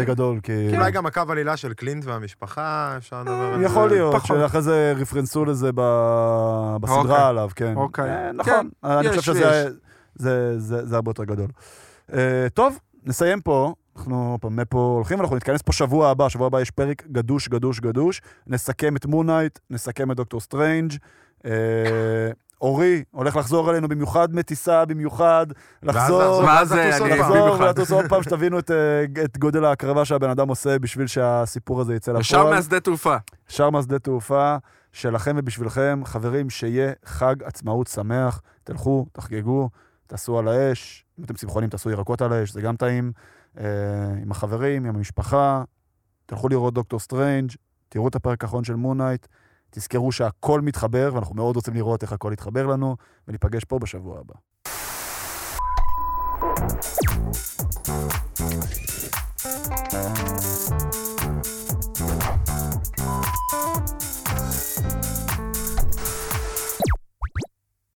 S1: בגדול, כאילו.
S3: אולי גם הקו עלילה של קלינט והמשפחה, אפשר לדבר על זה.
S1: יכול להיות,
S2: פחות.
S1: שאחרי זה רפרנסו לזה ב-
S2: אוקיי.
S1: בסדרה עליו, כן.
S2: אוקיי.
S1: אה, נכון, אני
S2: יש,
S1: חושב שזה זה- זה- זה הרבה יותר גדול. אה, טוב, נסיים פה. אנחנו עוד פעם מפה הולכים, אנחנו נתכנס פה שבוע הבא, שבוע הבא יש פרק גדוש, גדוש, גדוש. נסכם את מונייט, נסכם את דוקטור סטרנג'. אה, אורי הולך לחזור אלינו במיוחד מטיסה, במיוחד לחזור.
S3: לחזור.
S2: ואז
S3: ואז
S2: אה,
S3: לטוס עוד
S2: אני
S3: פעם.
S1: לחזור
S2: במיוחד.
S1: ולטוס עוד פעם, שתבינו את, אה, את גודל ההקרבה שהבן אדם עושה בשביל שהסיפור הזה יצא לפועל.
S2: ישר מהשדה תעופה.
S1: ישר מהשדה תעופה שלכם ובשבילכם. חברים, שיהיה חג עצמאות שמח. תלכו, תחגגו, תעשו על האש. אם אתם צמחונים, תעשו ירקות על האש, זה גם טעים. אה, עם החברים, עם המשפחה. תלכו לראות דוקטור סטרנג', תראו את הפרק האחרון של מונייט. תזכרו שהכל מתחבר, ואנחנו מאוד רוצים לראות איך הכל יתחבר לנו, וניפגש פה בשבוע הבא.